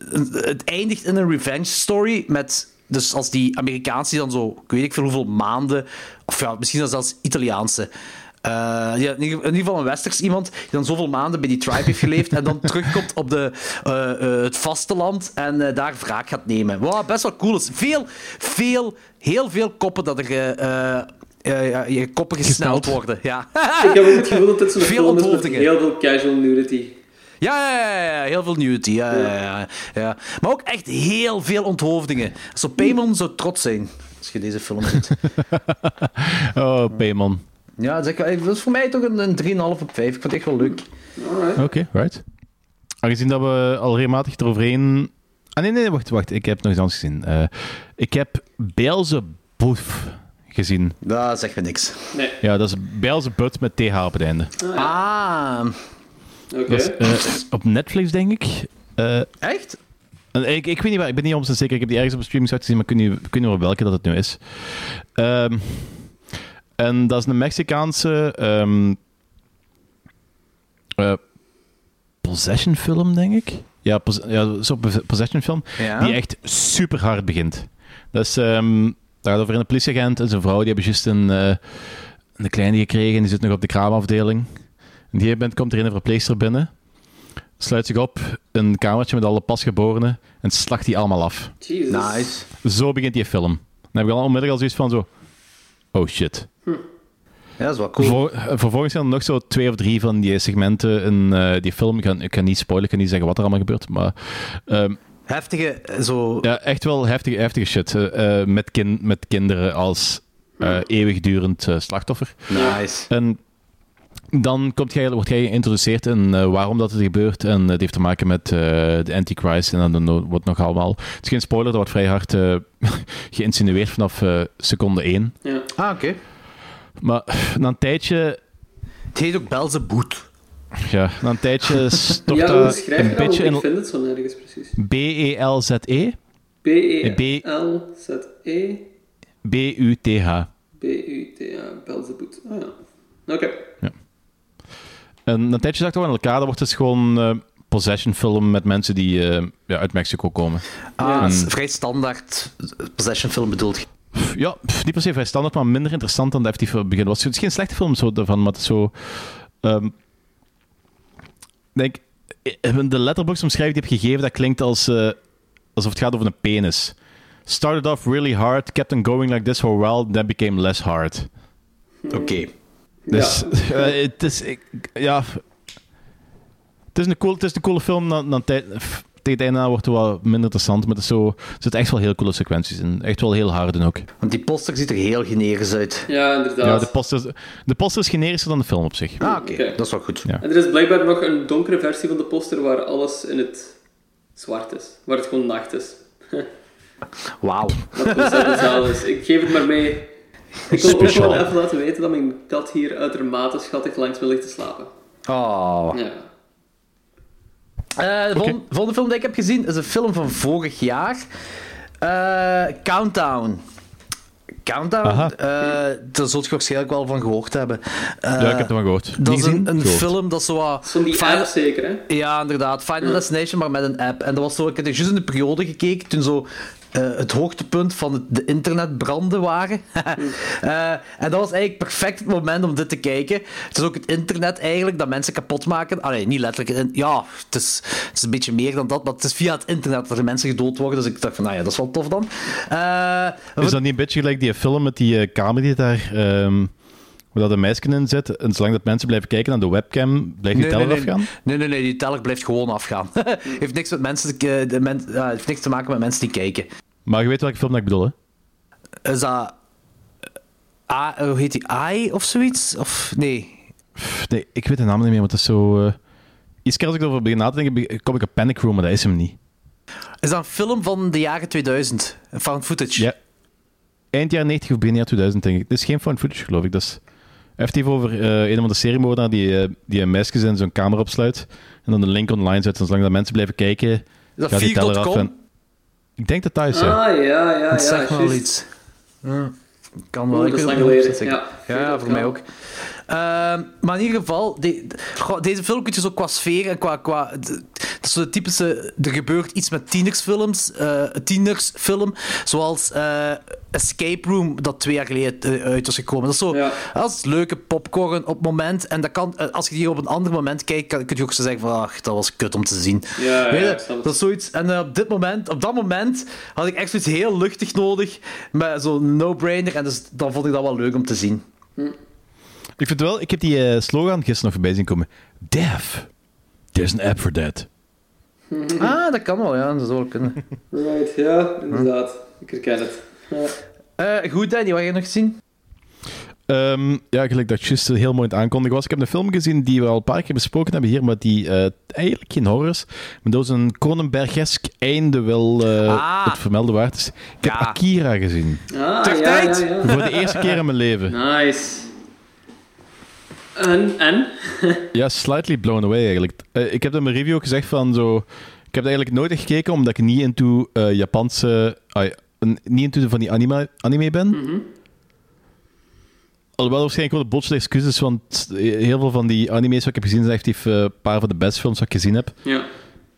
een- het eindigt in een revenge story met... Dus als die Amerikaanse die dan zo, ik weet ik veel hoeveel maanden, of ja, misschien dan zelfs Italiaanse, eh, ja, in ieder- in ieder geval een westers iemand die dan zoveel maanden bij die tribe heeft geleefd en dan terugkomt op de, eh, eh, het vasteland en eh, daar wraak gaat nemen. Wat best wel cool is. Veel, veel, heel veel koppen dat er eh, eh, eh, ja, je koppen gesneld
Gesneld.
worden. Ja.
Ik heb ook het gevoel dat dit zo'n
Ah. Veel
film is met
onthoofdingen.
heel veel casual nudity.
Ja, ja, ja, ja, heel veel nudity. Ja, ja, ja, ja. Maar ook echt heel veel onthoofdingen. Zo Paymon zou trots zijn als je deze film ziet.
Oh, P-man.
Ja, dat is, echt- dat is voor mij toch een, een 3,5 op 5. Ik vond het echt wel leuk.
Alright.
Oké, right. Aangezien dat we al regelmatig eroverheen... Ah, nee, nee, wacht, wacht. Ik heb nog iets anders gezien. Eh, ik heb Beelzebuf gezien.
Dat zegt me niks.
Nee.
Ja, dat is Beelzebut met TH op het einde.
Ah,
Oké.
Dat is, eh, op Netflix, denk ik. Eh,
echt?
en ik. Ik weet niet waar, ik ben niet op zeker. Ik heb die ergens op een streaming gezien, maar ik weet niet- ik weet niet wel welke dat het nu is. Ehm, en dat is een Mexicaanse... ehm, eh, possession film, denk ik. Ja, pos- ja zo'n pos- possession film.
Ja.
Die echt super hard begint. Dat is ehm, daar gaat over een politieagent en zijn vrouw. Die hebben juist een, eh, een kleine gekregen. Die zit nog op de kraamafdeling. En die moment komt er een verpleegster binnen. Sluit zich op in een kamertje met alle pasgeborenen. En slacht die allemaal af.
Jesus.
Nice.
Zo begint die film. Dan heb ik al onmiddellijk al zoiets van zo... Oh shit.
Ja, dat is wel cool.
Vervol- eh, vervolgens zijn er nog zo twee of drie van die segmenten in eh, die film. Ik kan, ik kan niet spoilen, ik kan niet zeggen wat er allemaal gebeurt. Maar ehm,
heftige, eh, zo...
Ja, echt wel heftige, heftige shit. eh, eh, met, kin met kinderen als eh, eeuwigdurend eh, slachtoffer.
Nice.
En dan komt jij, wordt jij geïntroduceerd in eh, waarom dat het gebeurt. En het heeft te maken met eh, de Antichrist en dan no- wordt nog allemaal... Het is geen spoiler, dat wordt vrij hard eh, geïnsinueerd vanaf eh, seconde 1.
Ja.
Ah, oké.
Maar na een tijdje...
Het heet ook Belzeboet.
Ja, na een tijdje stort
ja, hoe
dat
schrijf je
een
dat? Want
beetje
ik
in... E
vind het zo nergens precies.
B-E-L-Z-E? B-
B-E-L-Z-E...
B-U-T-H.
B-U-T-A, Belzeboet. Ah ja. Oké.
En een tijdje zag ik wel aan elkaar. Dat wordt dus gewoon eh possession film met mensen die eh, ja, uit Mexico komen.
Ah,
Mm.
Ja.
dat is vrij standaard eh, possession film bedoeld.
Pff, ja, pff, niet per se vrij standaard, maar minder interessant dan de FT film begin was. Het is geen slechte film zo daarvan, maar het is zo... ehm, ik denk, eh, de letterbox omschrijving die ik heb gegeven, dat klinkt als, eh, alsof het gaat over een penis. Started off really hard, kept on going like this for a while, then became less hard.
Oké.
Dus,
Ja.
eh, het is... Ik, ja... Het is een, cool, het is een coole film. Dan, dan tijd, f- tegen het einde aan wordt het wel minder interessant. Maar het is zo, er zitten echt wel heel coole sequenties in. Echt wel heel harde ook.
Want die poster ziet er heel generisch uit.
Ja,
Ja,
inderdaad.
de, poster, de poster is generischer dan de film op zich.
Ah, oké.
Oké.
Dat is wel goed.
Ja.
En er is blijkbaar nog een donkere versie van de poster waar alles in het zwart is. Waar het gewoon nacht is.
Wauw.
Wat ontzettend hetzelfde is. Ik geef het maar mee. Ik wil ook
Speciaal.
gewoon even laten weten dat mijn kat hier uitermate schattig langs me ligt te slapen.
Oh.
Ja.
Eh, de volgende, volgende film die ik heb gezien is een film van vorig jaar. Eh, Countdown.
Aha.
Countdown, eh daar zult je waarschijnlijk wel van gehoord hebben. Eh,
ja, ik heb het wel gehoord.
dat
Niet
is
gezien?
een, een
Gehoord.
film dat zo wat...
Van die
Final-
app zeker, hè?
Ja, inderdaad. Final Destination, maar met een app. En dat was zo, ik had juist in de periode gekeken toen zo eh, het hoogtepunt van het- de internetbranden waren. Eh, en dat was eigenlijk perfect het moment om dit te kijken. Het is ook het internet eigenlijk dat mensen kapot maken. Allee, niet letterlijk. in- Ja, het is, het is een beetje meer dan dat, maar het is via het internet dat er mensen gedood worden. Dus ik dacht van, nou ja, dat is wel tof dan. Eh,
Is dat niet een beetje gelijk die film met die eh, kamer die daar... ehm waar dat een meisje in zit. En zolang dat mensen blijven kijken naar de webcam, blijft die teller
nee,
afgaan?
Nee, nee, nee, die teller blijft gewoon afgaan. heeft, niks met mensen, te- eh, de men- ja, heeft niks te maken met mensen die kijken.
Maar je weet welke film dat ik bedoel, hè?
Is dat. eh, A, hoe heet die? AI of zoiets? Of nee?
Pff, Nee, ik weet de naam niet meer, want dat is zo... eh Iedere keer als ik erover begin na te denken, be- kom ik op Panic Room, maar dat is hem niet.
Is dat een film van de jaren 2000? Een Found footage?
Ja. Eind jaar 90 of begin jaar 2000, denk ik. Het is geen found footage, geloof ik. Dat is... Hij heeft het even over eh een van de seriemoordenaar die, eh, die een meisjes in zo'n kamer opsluit en dan de link online zet. En zolang dat mensen blijven kijken,
dat
gaat die teller af.
Vier.com?
En... Ik denk dat thuis, ja.
Ah, ja, ja, ja.
Dat zegt me wel
juist.
iets. Ja, Kan wel.
Oeh,
ik
dat is
weet
lang
het
geleden.
niet
Ja,
precies. Ja,
dat
voor
kan.
mij ook. Ehm, maar in ieder geval, de- goh, deze film kun je zo qua sfeer en qua... qua d- het is zo de typische... Er gebeurt iets met tienersfilms. eh tienersfilm. Zoals eh, Escape Room, dat twee jaar geleden eh, uit was gekomen. Dat is zo...
Ja.
Dat is leuke popcorn op het moment. En dat kan, eh, als je die op een ander moment kijkt, kan, kun je ook zo zeggen van... Ach, dat was kut om te zien.
Ja, ja,
Weet je,
ik snap het.
dat is zoiets. En eh, op dit moment, op dat moment, had ik echt zoiets heel luchtig nodig. Met zo'n no-brainer. En dus, dan vond ik dat wel leuk om te zien.
Ik vind wel, ik heb die eh, slogan gisteren nog voorbij zien komen. Deaf. There's an app for that.
Mhm.
Ah, dat kan wel, ja. Dat zou wel kunnen.
Right, ja, inderdaad. Ik herken het. Ja.
Eh, goed, Danny, wat heb je nog gezien?
Ehm, ja, gelijk dat juist heel mooi aan het aankondigen was. Ik heb een film gezien die we al een paar keer besproken hebben hier, maar die eh, eigenlijk geen horror is. Maar dat is een Cronenbergesk einde wel eh,
Ah.
het vermelden waard is. Ik
Ja.
heb Akira gezien.
Ah,
Ter
ja,
tijd?
ja, ja.
Voor de eerste keer in mijn leven.
Nice. En, en?
Ja, slightly blown away eigenlijk. Eh, ik heb in mijn review ook gezegd van zo... Ik heb het eigenlijk nooit echt gekeken, omdat ik niet into eh, Japanse... ai, n- niet into van die anime, anime ben. Alhoewel waarschijnlijk wel de botste excuses, want heel veel van die anime's wat ik heb gezien zijn echt eh, een paar van de beste films wat ik gezien heb.
Ja.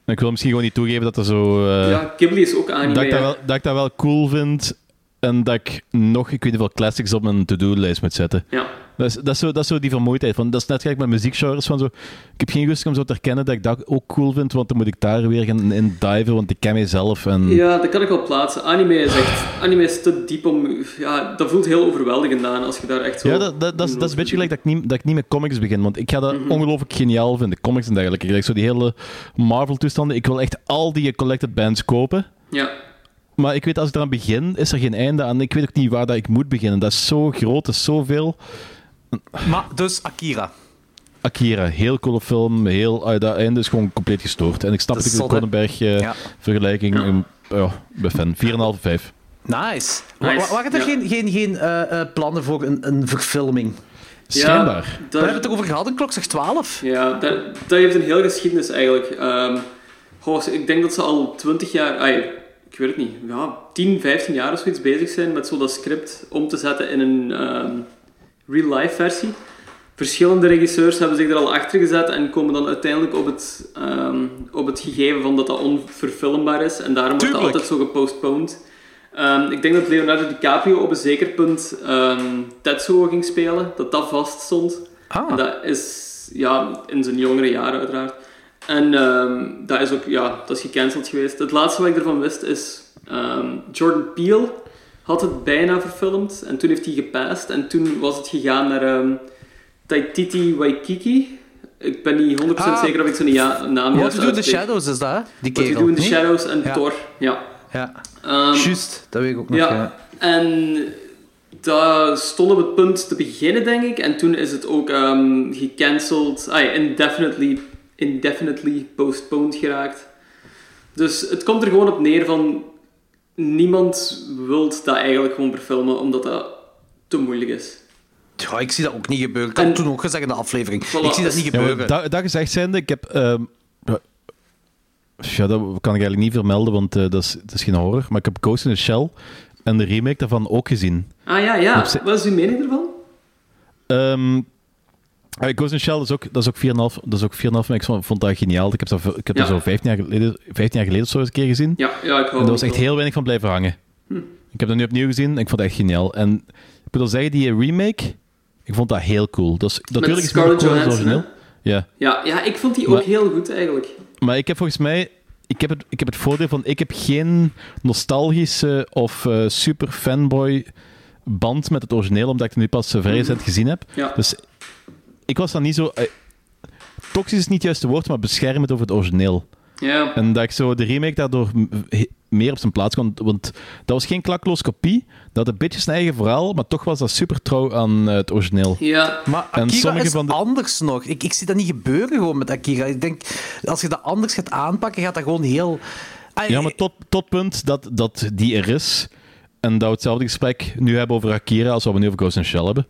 En ik wil misschien gewoon niet toegeven dat er zo... eh,
ja, Ghibli is ook anime.
dat, ik dat,
hè.
wel, dat ik dat wel cool vind en dat ik nog, ik weet niet veel classics op mijn to-do-lijst moet zetten.
Ja.
Dat is, dat, is zo, dat is zo die vermoeidheid. Van, dat is net gelijk met muziekgenres. Van zo, ik heb geen rust om zo te herkennen dat ik dat ook cool vind, want dan moet ik daar weer gaan in diven, want ik ken mijzelf. En...
Ja, dat kan ik wel plaatsen. Anime is echt... Anime is te diep om... Ja, dat voelt heel overweldigend aan als je daar echt zo...
Ja, dat, dat, dat, is, dat is een beetje gelijk dat ik, niet, dat ik niet met comics begin. Want ik ga dat ongelooflijk geniaal vinden, comics en dergelijke. Gelijk zo die hele Marvel-toestanden. Ik wil echt al die collected bands kopen.
Ja.
Maar ik weet, als ik eraan begin, is er geen einde aan. Ik weet ook niet waar dat ik moet beginnen. Dat is zo groot, dat is zoveel.
Maar dus Akira.
Akira, heel coole film. Heel, ah, dat einde is gewoon compleet gestoord. En ik snap
Dat
dat
is
ik de
zonde. Ja.
Cronenberg-vergelijking... ja, ik ben fan. 4,5, 5.
Nice.
Nice,
Wa- wa- Waren er
ja. Eh.
geen, geen, geen eh, eh, plannen voor een, een verfilming?
Schijnbaar.
Ja,
We
daar-
hebben het erover gehad in klok zegt 12.
Ja, dat, dat heeft een hele geschiedenis eigenlijk. Ehm, goh, ik denk dat ze al 20 jaar, ai, ik weet het niet, ja, 10, 15 jaar of zoiets bezig zijn met zo dat script om te zetten in een ehm, real-life versie. Verschillende regisseurs hebben zich er al achter gezet en komen dan uiteindelijk op het, ehm, op het gegeven van dat dat onverfilmbaar is. En daarom wordt dat
Tuurlijk.
altijd zo gepostponed. Ehm, ik denk dat Leonardo DiCaprio op een zeker punt ehm Tetsuo ging spelen, dat dat vast stond. En
Ah,
Dat is ja, in zijn jongere jaren uiteraard. En ehm, dat is ook, ja, dat is gecanceld geweest. Het laatste wat ik ervan wist is, ehm, Jordan Peele had het bijna verfilmd en toen heeft hij gepast en toen was het gegaan naar ehm, Taititi Waikiki. Ik ben niet 100%
Ah,
zeker of ik zijn ja, naam
What
juist
We Do in the
uitspreek.
Shadows is dat, hè? Die
What
kerel.
We Do in the
Nee?
Shadows en
Ja.
Thor, ja.
Ja,
Ehm,
juist. Dat weet ik ook nog.
ja,
Ja.
en dat stond op het punt te beginnen, denk ik. En toen is het ook ehm, gecanceld, ah, ja, indefinitely, indefinitely postponed geraakt. Dus het komt er gewoon op neer van... Niemand wil dat eigenlijk gewoon verfilmen, omdat dat te moeilijk is.
Ja, ik zie dat ook niet gebeuren. Ik had
En-
het toen ook gezegd in de aflevering.
Voilà.
Ik zie dat niet
Ja,
gebeuren.
maar dat, dat gezegd zijnde, ik heb... ehm, ja, ja, dat kan ik eigenlijk niet vermelden, want eh, dat, is, dat is geen horror. Maar ik heb Ghost in the Shell en de remake daarvan ook gezien.
Ah ja, ja.
Op zich-
Wat is uw mening ervan?
Ehm, ah, Ghost in the Shell dat is ook, dat is ook 4,5. Dat is ook 4,5, maar ik vond vond dat geniaal. Ik heb dat, ik heb dat
Ja.
zo 15 jaar geleden, 15 jaar geleden of zo eens een keer gezien.
Ja, ja ik hou
En
er
daar was echt heel weinig van blijven hangen.
Hm.
Ik heb dat nu opnieuw gezien en ik vond het echt geniaal. En ik moet al zeggen, die remake, ik vond dat heel cool. Dat is, natuurlijk is het
Scarlett
minder cool dan
Johansson,
het origineel. Ja.
Ja, ja, ik vond die ook
Maar-
heel goed, eigenlijk.
Maar ik heb volgens mij... Ik heb, het, ik heb het voordeel van, ik heb geen nostalgische of eh, super fanboy band met het origineel, omdat ik het nu pas eh, vrij recent gezien heb.
Mhm. Ja.
Dus ik was dan niet zo... eh, toxisch is niet het juiste woord, maar beschermend over het origineel.
Ja,
En dat ik zo de remake daardoor m- he- meer op zijn plaats kwam. Want dat was geen klakloos kopie. Dat had een beetje zijn eigen verhaal, maar toch was dat super trouw aan eh, het origineel.
ja.
Maar
En
Akira
sommige
is
van de-
anders nog. Ik, ik zie dat niet gebeuren gewoon met Akira. Ik denk, als je dat anders gaat aanpakken, gaat dat gewoon heel... Ah,
Ja, maar tot, tot punt dat, dat die er is. En dat we hetzelfde gesprek nu hebben over Akira als wat we nu over Ghost in the Shell hebben.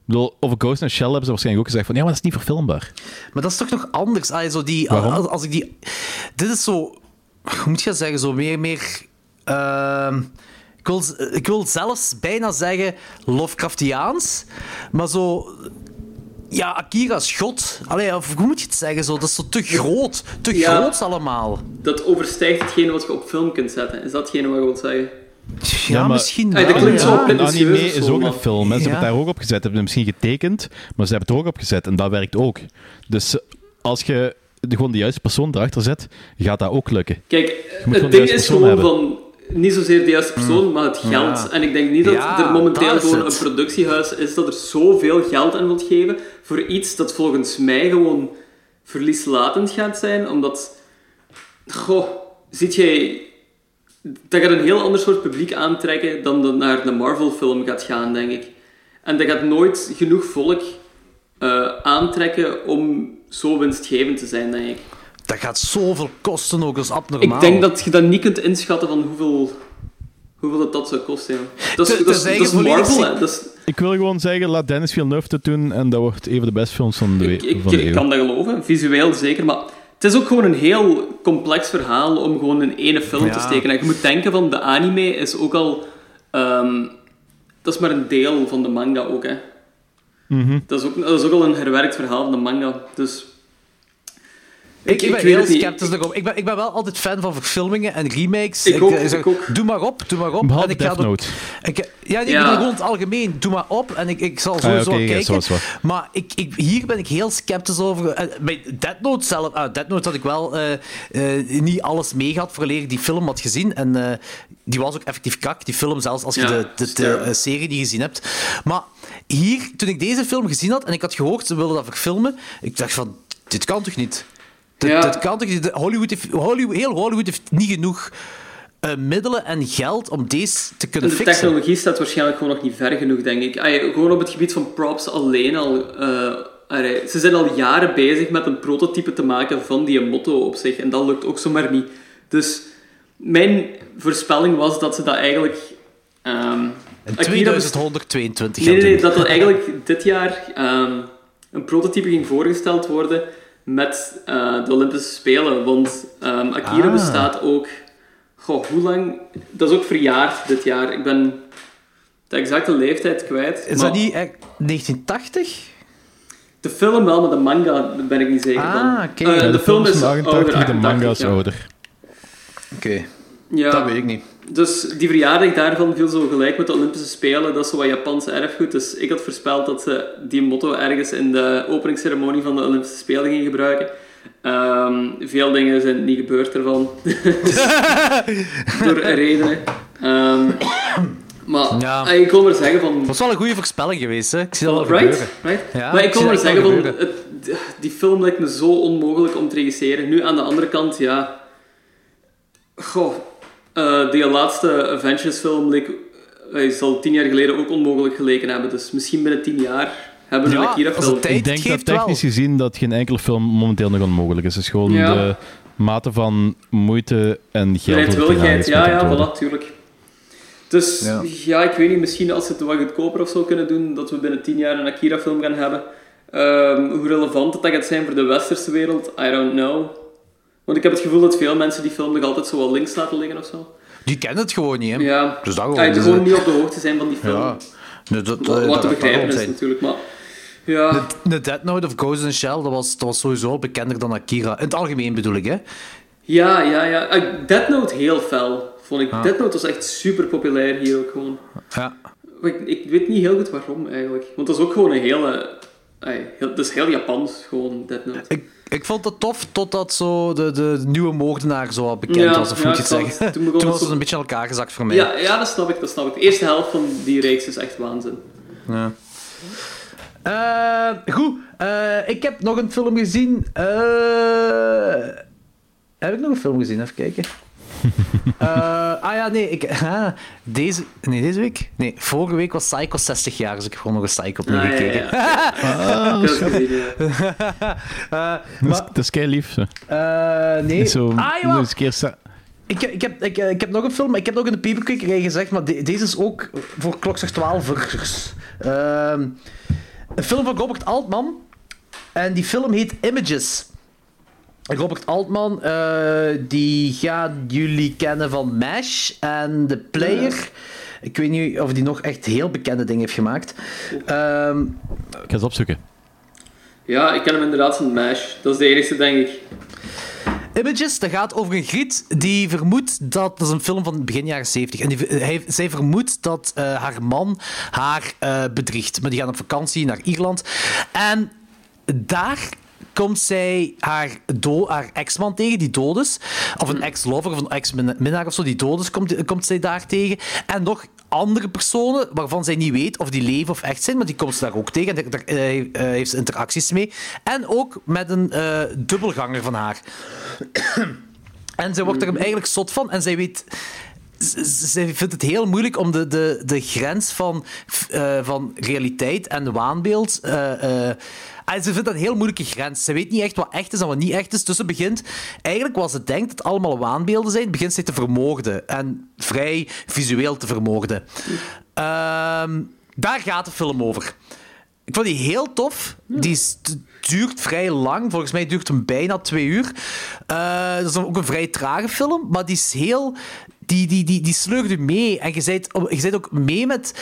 Ik bedoel, over Ghost in the Shell hebben ze waarschijnlijk ook gezegd van ja, maar dat is niet verfilmbaar.
Maar dat is toch nog anders? Ah, zo die,
Waarom?
Als, als ik die, dit is zo... Hoe moet je dat zeggen? Zo meer... meer ehm, ik, wil, ik wil zelfs bijna zeggen Lovecraftiaans. Maar zo... Ja, Akira is god. Allee, of hoe moet je het zeggen? Zo, dat is zo te groot. Te
Ja.
groot allemaal.
Dat overstijgt hetgene wat je op film kunt zetten. Is datgene wat je wilt zeggen?
Ja,
maar-
misschien
Hey, dat
wel,
klinkt
ja.
zo op-
Een
Pretentieus
anime
of zo,
is ook een
man.
film. Hè. Ze hebben
Ja.
het daar ook op gezet. Ze hebben het misschien getekend, maar ze hebben het er ook op gezet. En dat werkt ook. Dus eh, als je de- gewoon de juiste persoon erachter zet, gaat dat ook lukken.
Kijk,
moet gewoon
het
de
ding
juiste
is
persoon
gewoon
hebben. Mm.
van niet zozeer de juiste persoon, maar het geld.
Ja.
En ik denk niet dat
Ja,
er momenteel
dat is
gewoon
het.
een productiehuis is dat er zoveel geld aan wilt geven voor iets dat volgens mij gewoon verlieslatend gaat zijn, omdat goh, ziet jij dat gaat een heel ander soort publiek aantrekken dan dat naar de Marvel-film gaat gaan, denk ik. En dat gaat nooit genoeg volk eh, aantrekken om zo winstgevend te zijn, denk ik.
Dat gaat zoveel kosten ook, dat is abnormaal.
Ik denk dat je dat niet kunt inschatten van hoeveel, hoeveel dat, dat zou kosten. ja. Dat is,
Te-
dat is,
tenzij
dat is
je volledig
Marvel,
ziek-
hè. Dat is,
Ik wil gewoon zeggen, laat Dennis Villeneuve het doen en dat wordt even de beste films van de, we-
ik, ik,
van de
ik
eeuw.
kan dat geloven, visueel zeker, maar het is ook gewoon een heel complex verhaal om gewoon in ene film
Ja.
te steken. En je moet denken van, de anime is ook al... ehm, dat is maar een deel van de manga ook, hè.
Mhm.
Dat, is ook, dat is ook al een herwerkt verhaal van de manga, dus...
Ik, ik ben
ik weet
heel
het niet.
sceptisch daarop. Ik ben, ik ben wel altijd fan van verfilmingen en remakes. eh,
Ik ook,
zeg,
ik ook.
Doe maar op, doe maar op.
Behalve
en ik
Death
dat-
Note.
Ik, eh, ja, nee,
Ja.
ik bedoel gewoon het algemeen. Doe maar op en ik, ik zal sowieso
Ah,
wel
oké, ja,
kijken.
zo is waar.
Maar ik, ik, hier ben ik heel sceptisch over. Eh, Bij Dead Note zelf... Ah, Dead Note had ik wel eh, eh, niet alles mee gehad vooraleer ik die film had gezien. En eh, die was ook effectief kak, die film zelfs, als je
Ja,
de, de, de,
sterk.
eh, serie die je gezien hebt. Maar hier, toen ik deze film gezien had en ik had gehoord ze wilden dat verfilmen, ik dacht van, dit kan toch niet? Dit,
Ja.
dit kan toch niet? De- Hollywood heeft, Hollywood, heel Hollywood heeft niet genoeg eh, middelen en geld om deze te kunnen
De
fixen.
technologie staat waarschijnlijk gewoon nog niet ver genoeg, denk ik. Ai, gewoon op het gebied van props alleen al. eh, allee, ze zijn al jaren bezig met een prototype te maken van die motto op zich. En dat lukt ook zomaar niet. Dus mijn voorspelling was dat ze dat eigenlijk... ehm,
In
Akira-
2122
Nee,
gaan
nee, nee,
doen.
dat er eigenlijk dit jaar ehm, een prototype ging voorgesteld worden met eh, de Olympische Spelen. Want ehm, Akira
Ah.
bestaat ook... Goh, hoe lang... Dat is ook verjaard dit jaar. Ik ben de exacte leeftijd kwijt.
Is
maar
dat niet eh, 1980?
De film wel, maar de manga ben ik niet zeker
Ah,
van.
oké.
Eh,
Ja,
de, film is
van
88,
de manga is
ja.
ouder.
Oké,
Ja,
niet.
Dus die verjaardag daarvan viel zo gelijk met de Olympische Spelen. Dat is zo wat Japanse erfgoed. Dus ik had voorspeld dat ze die motto ergens in de openingsceremonie van de Olympische Spelen gingen gebruiken. Ehm, veel dingen zijn niet gebeurd ervan. Dus Door redenen. Ehm, maar
Ja.
eh, ik wil maar zeggen van...
Dat is wel een goede voorspelling geweest, hè? Ik zie dat wel
Right?
gebeuren.
right?
Ja,
maar
ik
ik wil
zie
maar
dat
zeggen,
wel
van,
gebeuren.
het- d- die film lijkt me zo onmogelijk om te regisseren. Nu aan de andere kant, ja... Goh, eh, die laatste Avengers-film leek, eh, zal tien jaar geleden ook onmogelijk geleken hebben. Dus misschien binnen tien jaar hebben we
Ja,
een
als het
Akira-film.
tijd-
Ik denk dat
geeft wel.
technisch gezien dat geen enkele film momenteel nog onmogelijk is. Het is gewoon
Ja.
de mate van moeite en geld. dat eraan
Bereidwilligheid, ja,
gesmetterd
ja,
wordt.
voilà, tuurlijk. Dus ja.
Ja.
ik weet niet, misschien als ze het wat goedkoper of zo kunnen doen, dat we binnen tien jaar een Akira-film gaan hebben. Ehm, hoe relevant dat gaat zijn voor de westerse wereld, I don't know. Want ik heb het gevoel dat veel mensen die film nog altijd zo wat links laten liggen of zo.
Die kennen het gewoon niet, hè?
Ja,
Dus dat gewoon,
Ah, die
dus,
gewoon
eh,
niet op de hoogte zijn van die film.
Ja. Nee, dat, eh, dat
wat te
gaat
begrijpen
wel
is
zijn.
natuurlijk, maar... Ja,
De Dead Note of Ghost in the Shell, dat was, dat was sowieso bekender dan Akira. In het algemeen bedoel ik, hè?
ja, ja. ja. Ah, Death Note heel fel, vond
Ah.
ik. Death Note was echt super populair hier ook gewoon.
Ja.
Maar Ik, ik weet niet heel goed waarom eigenlijk. Want dat is ook gewoon een hele. Ai, heel, dat is heel Japans, gewoon Death Note.
Ik, ik vond het tof totdat zo de, de nieuwe moordenaar zo wat bekend
Ja,
was, of
ja,
moet je
ik
het
zal-
zeggen.
toen
Toen,
begon het
was
zo-
het een beetje aan elkaar gezakt voor mij.
Ja, ja, dat snap ik, dat snap ik. De eerste helft van die reeks is echt waanzin.
Eh, goed, Eh, ik heb nog een film gezien. Eh, heb ik nog een film gezien? Even kijken. Eh, ah ja, nee, ik, ah, deze, nee, deze week? Nee, vorige week was Psycho 60 jaar, dus ik heb gewoon nog een Psycho opnieuw
Ah, ja,
gekeken.
ja, ja.
Ah,
Ik heb het gezien, ja.
Eh,
Dat is,
maar,
dat is kei lief. Zo.
eh, nee.
Zo, dus
ah,
nog
jawel.
eens een keer sa-
Ik, ik, heb, ik, eh, ik heb nog een film, maar ik heb ook in de paperkwekerij gezegd, maar de- deze is ook voor klokslag 12ers. Ehm een film van Robert Altman. En die film heet Images. Robert Altman, eh, die gaan jullie kennen van MASH en The Player. Ik weet niet of hij nog echt heel bekende dingen heeft gemaakt. Ehm,
Ik ga eens opzoeken.
Ja, ik ken hem inderdaad van MASH. Dat is de enige, denk ik.
Images, dat gaat over een griet die vermoedt dat... Dat is een film van begin jaren 70. En die, eh, hij, zij vermoedt dat eh, haar man haar eh, bedriegt. Maar die gaan op vakantie naar Ierland. En daar komt zij haar, do- haar ex-man tegen, die dood is. Of een ex-lover of een ex-minnaar of zo, die dood is, komt, eh, komt zij daar tegen. En nog andere personen waarvan zij niet weet of die leven of echt zijn, maar die komt ze daar ook tegen. En daar, daar, eh, eh, heeft ze interacties mee. En ook met een eh, dubbelganger van haar. En zij wordt er hem eigenlijk zot van. En zij weet. z- z- Zij vindt het heel moeilijk om de, de, de grens van, f- eh, van realiteit en waanbeeld. eh, eh, en ze vindt dat een heel moeilijke grens. Ze weet niet echt wat echt is en wat niet echt is. Dus ze begint, eigenlijk wat ze denkt dat het allemaal waanbeelden zijn, begint ze te vermoorden. En vrij visueel te vermoorden. Ehm, daar gaat de film over. Ik vond die heel tof. Die is- d- duurt vrij lang. Volgens mij duurt hem bijna twee uur. Eh, dat is dan ook een vrij trage film. Maar die is heel... Die, die, die, die sleurt u mee. En je bent, je bent ook mee met...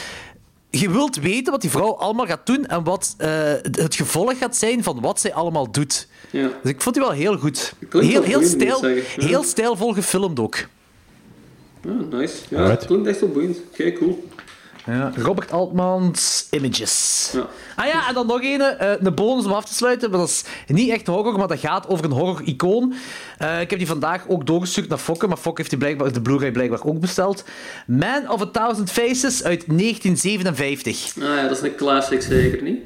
je wilt weten wat die vrouw allemaal gaat doen en wat eh, het gevolg gaat zijn van wat zij allemaal doet.
Ja.
Dus ik vond die wel heel goed.
wel
Heel,
goed,
heel,
moet ik
stijl,
zeggen. Ja.
heel stijlvol gefilmd ook.
Ah, nice. Ja,
Alright.
het klinkt echt wel boeiend. Oké, cool.
Ja, Robert Altmans Images.
Ja.
Ah ja, en dan nog een, eh, een bonus om af te sluiten. Maar dat is niet echt horror, maar dat gaat over een horror-icoon. Eh, ik heb die vandaag ook doorgestuurd naar Fokke, maar Fokke heeft die blijkbaar, de Blu-ray blijkbaar ook besteld. Man of a Thousand Faces uit 1957.
Ah ja, dat is een classic zeker, niet?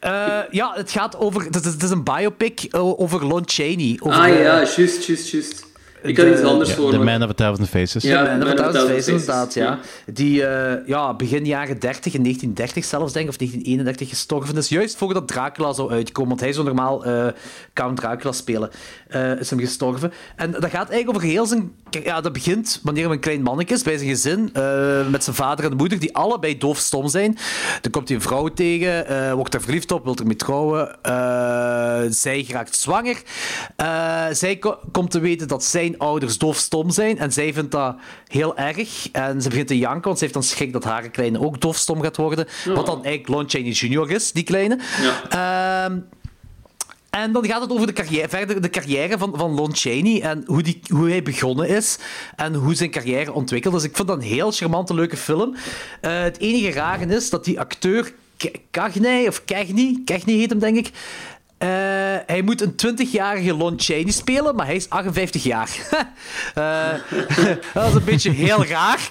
Eh, ja, het gaat over... Het is, het is een biopic eh, over Lon Chaney. Over,
Ah
eh,
ja, juist, juist, juist. Ik had
de-
iets anders
Ja,
voor
The
me.
Man of a Thousand Faces.
Man
Ja.
of a
Man of a
Thousand Faces,
Thousand
inderdaad,
Faces,
ja. Die eh, ja, begin jaren 30, in 1930 zelfs, denk ik, of 1931 gestorven is. Juist voordat Dracula zou uitkomen, want hij zou normaal eh, Count Dracula spelen. eh, is hem gestorven. En dat gaat eigenlijk over heel zijn... Ja, dat begint wanneer hij een klein manneke is, bij zijn gezin, eh, met zijn vader en moeder, die allebei doofstom zijn. Dan komt hij een vrouw tegen, eh, wordt daar verliefd op, wil ermee trouwen. Eh, zij geraakt zwanger. Eh, zij ko- komt te weten dat zijn ouders doofstom zijn. En zij vindt dat heel erg. En ze begint te janken, want ze heeft dan schrik dat haar kleine ook doofstom gaat worden. Wat dan eigenlijk Lon Chaney Jr. is, die kleine. Ehm, en dan gaat het over de carrière, verder de carrière van, van Lon Chaney en hoe, die, hoe hij begonnen is en hoe zijn carrière ontwikkeld is. Ik vond dat een heel charmante, leuke film. Eh, het enige rare is dat die acteur Ke- Cagney, of Cagney, Cagney heet hem denk ik, eh, hij moet een 20-jarige Lon Chaney spelen, maar hij is 58 jaar. Eh, dat is een beetje heel raar.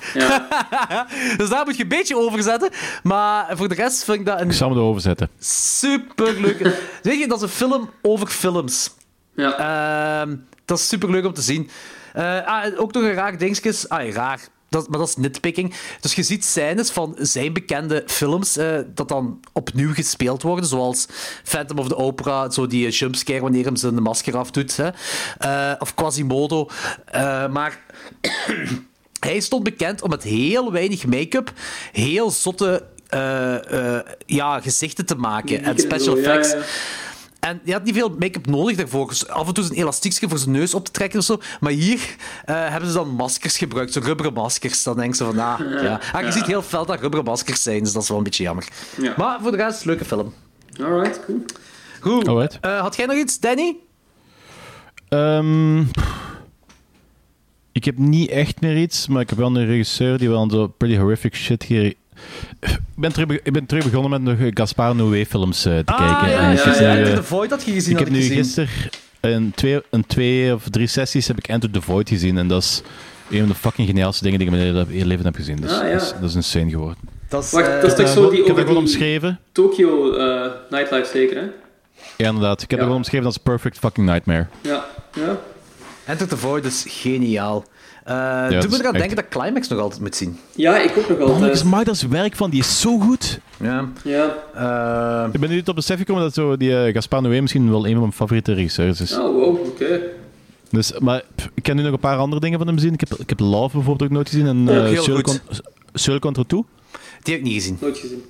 dus daar moet je een beetje over zetten. Maar voor de rest vind ik dat een
Ik zal hem erover zetten.
superleuke... Weet je, dat is een film over films.
Ja.
Ehm, dat is superleuk om te zien. Eh, ah, en ook nog een raar dingetje. Ah, raar. Dat, maar dat is nitpicking. Dus je ziet scènes van zijn bekende films eh, dat dan opnieuw gespeeld worden. Zoals Phantom of the Opera, zo die eh, jumpscare wanneer hem zijn masker afdoet. Hè. Eh, of Quasimodo. Eh, maar hij stond bekend om met heel weinig make-up heel zotte eh, eh, ja, gezichten te maken. En special
Ja, ja,
effects.
ja.
En je had niet veel make-up nodig daarvoor. Dus af en toe is een elastiekje voor zijn neus op te trekken of zo. Maar hier eh, hebben ze dan maskers gebruikt, zo rubberen maskers. Dan denk ze van, ah, ja. Ah, je ziet heel fel dat rubberen maskers zijn, dus dat is wel een beetje jammer.
Ja.
Maar voor de rest, leuke film.
Alright, cool.
Goed.
Alright.
Eh, had jij nog iets, Danny?
Ehm, ik heb niet echt meer iets, maar ik heb wel een regisseur die wel zo pretty horrific shit hier. Ik ben terug, be- ik ben terug begonnen met nog eh, Gaspar Noé-films eh, te kijken. En
Ah, ja,
ik
Ah, ja,
heb
ja,
nu,
Enter
eh,
the Void had je gezien,
ik
had
heb
ik
nu
gezien.
gisteren een twee, een twee of drie sessies heb ik Enter the Void gezien. En dat is een van de fucking geniaalste dingen die ik in mijn hele- hele leven heb gezien. Dus
Ah, ja.
dat, is, dat is insane geworden.
Dat is,
Wacht,
eh,
dat is toch
Eh,
zo die
ik heb dat
over
gewoon
die
omschreven.
Tokyo eh, nightlife zeker, hè?
Ja, inderdaad. Ik heb
Ja.
dat gewoon omschreven als Perfect Fucking Nightmare.
Ja. Ja.
Enter the Void is geniaal. Eh
dat
doe me
is
eraan
echt-
denken dat Climax nog altijd moet zien.
Ja, ik ook nog
Oh,
altijd.
dat is werk van, die is zo goed.
Ja.
Ja.
Eh,
Ik ben nu tot besef gekomen dat zo die eh, Gaspar Noé misschien wel een van mijn favoriete regisseurs is.
Oh, wow, oké.
Dus, maar pff, ik ken nu nog een paar andere dingen van hem zien. Ik heb, ik heb Love bijvoorbeeld ook nooit gezien. En
Ook
eh
heel
Seul
goed.
Con- Seul Contra Two.
die heb ik niet gezien.
Nooit gezien.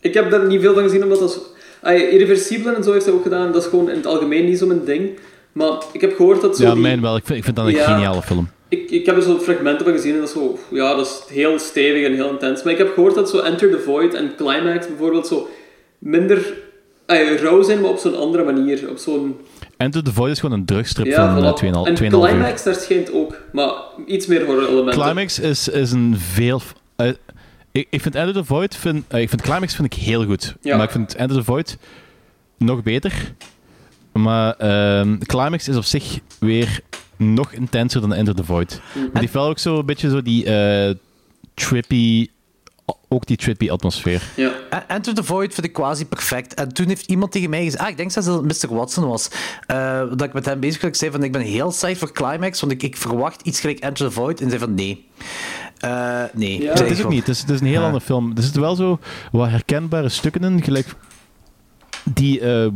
Ik heb daar niet veel van gezien, omdat dat... is- Ah, irreversibel en zo heeft hij ook gedaan. Dat is gewoon in het algemeen niet zo mijn ding. Maar ik heb gehoord dat zo
Ja,
die-
mijn wel. Ik vind, ik vind dat een
Ja.
geniale film.
Ik, ik heb er zo fragmenten van gezien en dat is zo... Ja, dat is heel stevig en heel intens. Maar ik heb gehoord dat zo Enter the Void en Climax bijvoorbeeld zo minder ah, rauw zijn, maar op zo'n andere manier. Op zo'n...
Enter the Void is gewoon een drugstrip
Ja,
van
voilà.
eh, 2,5
En
2,5 uur.
Climax, daar schijnt ook. Maar iets meer horror-elementen.
Climax is, is een veel. eh, ik, ik vind Enter the Void. Vind, eh, ik vind Climax vind ik heel goed.
Ja.
Maar ik vind Enter the Void nog beter. Maar ehm, Climax is op zich weer nog intenser dan Enter the Void. Want Die heeft wel ook zo een beetje zo die eh, trippy. Ook die trippy atmosfeer.
Ja.
En- Enter the Void vind ik quasi perfect. En toen heeft iemand tegen mij gezegd... Ah, ik denk zelfs dat het Mr. Watson was. eh, dat ik met hem bezig was. Ik zei van, ik ben heel saai voor Climax, want ik, ik verwacht iets gelijk Enter the Void. En hij zei van, nee. Eh, nee.
Ja.
Zei
Het is ook
gewoon.
niet. Het is, het is een heel
Ja.
ander film. Er zitten wel zo wat herkenbare stukken in, gelijk die, eh,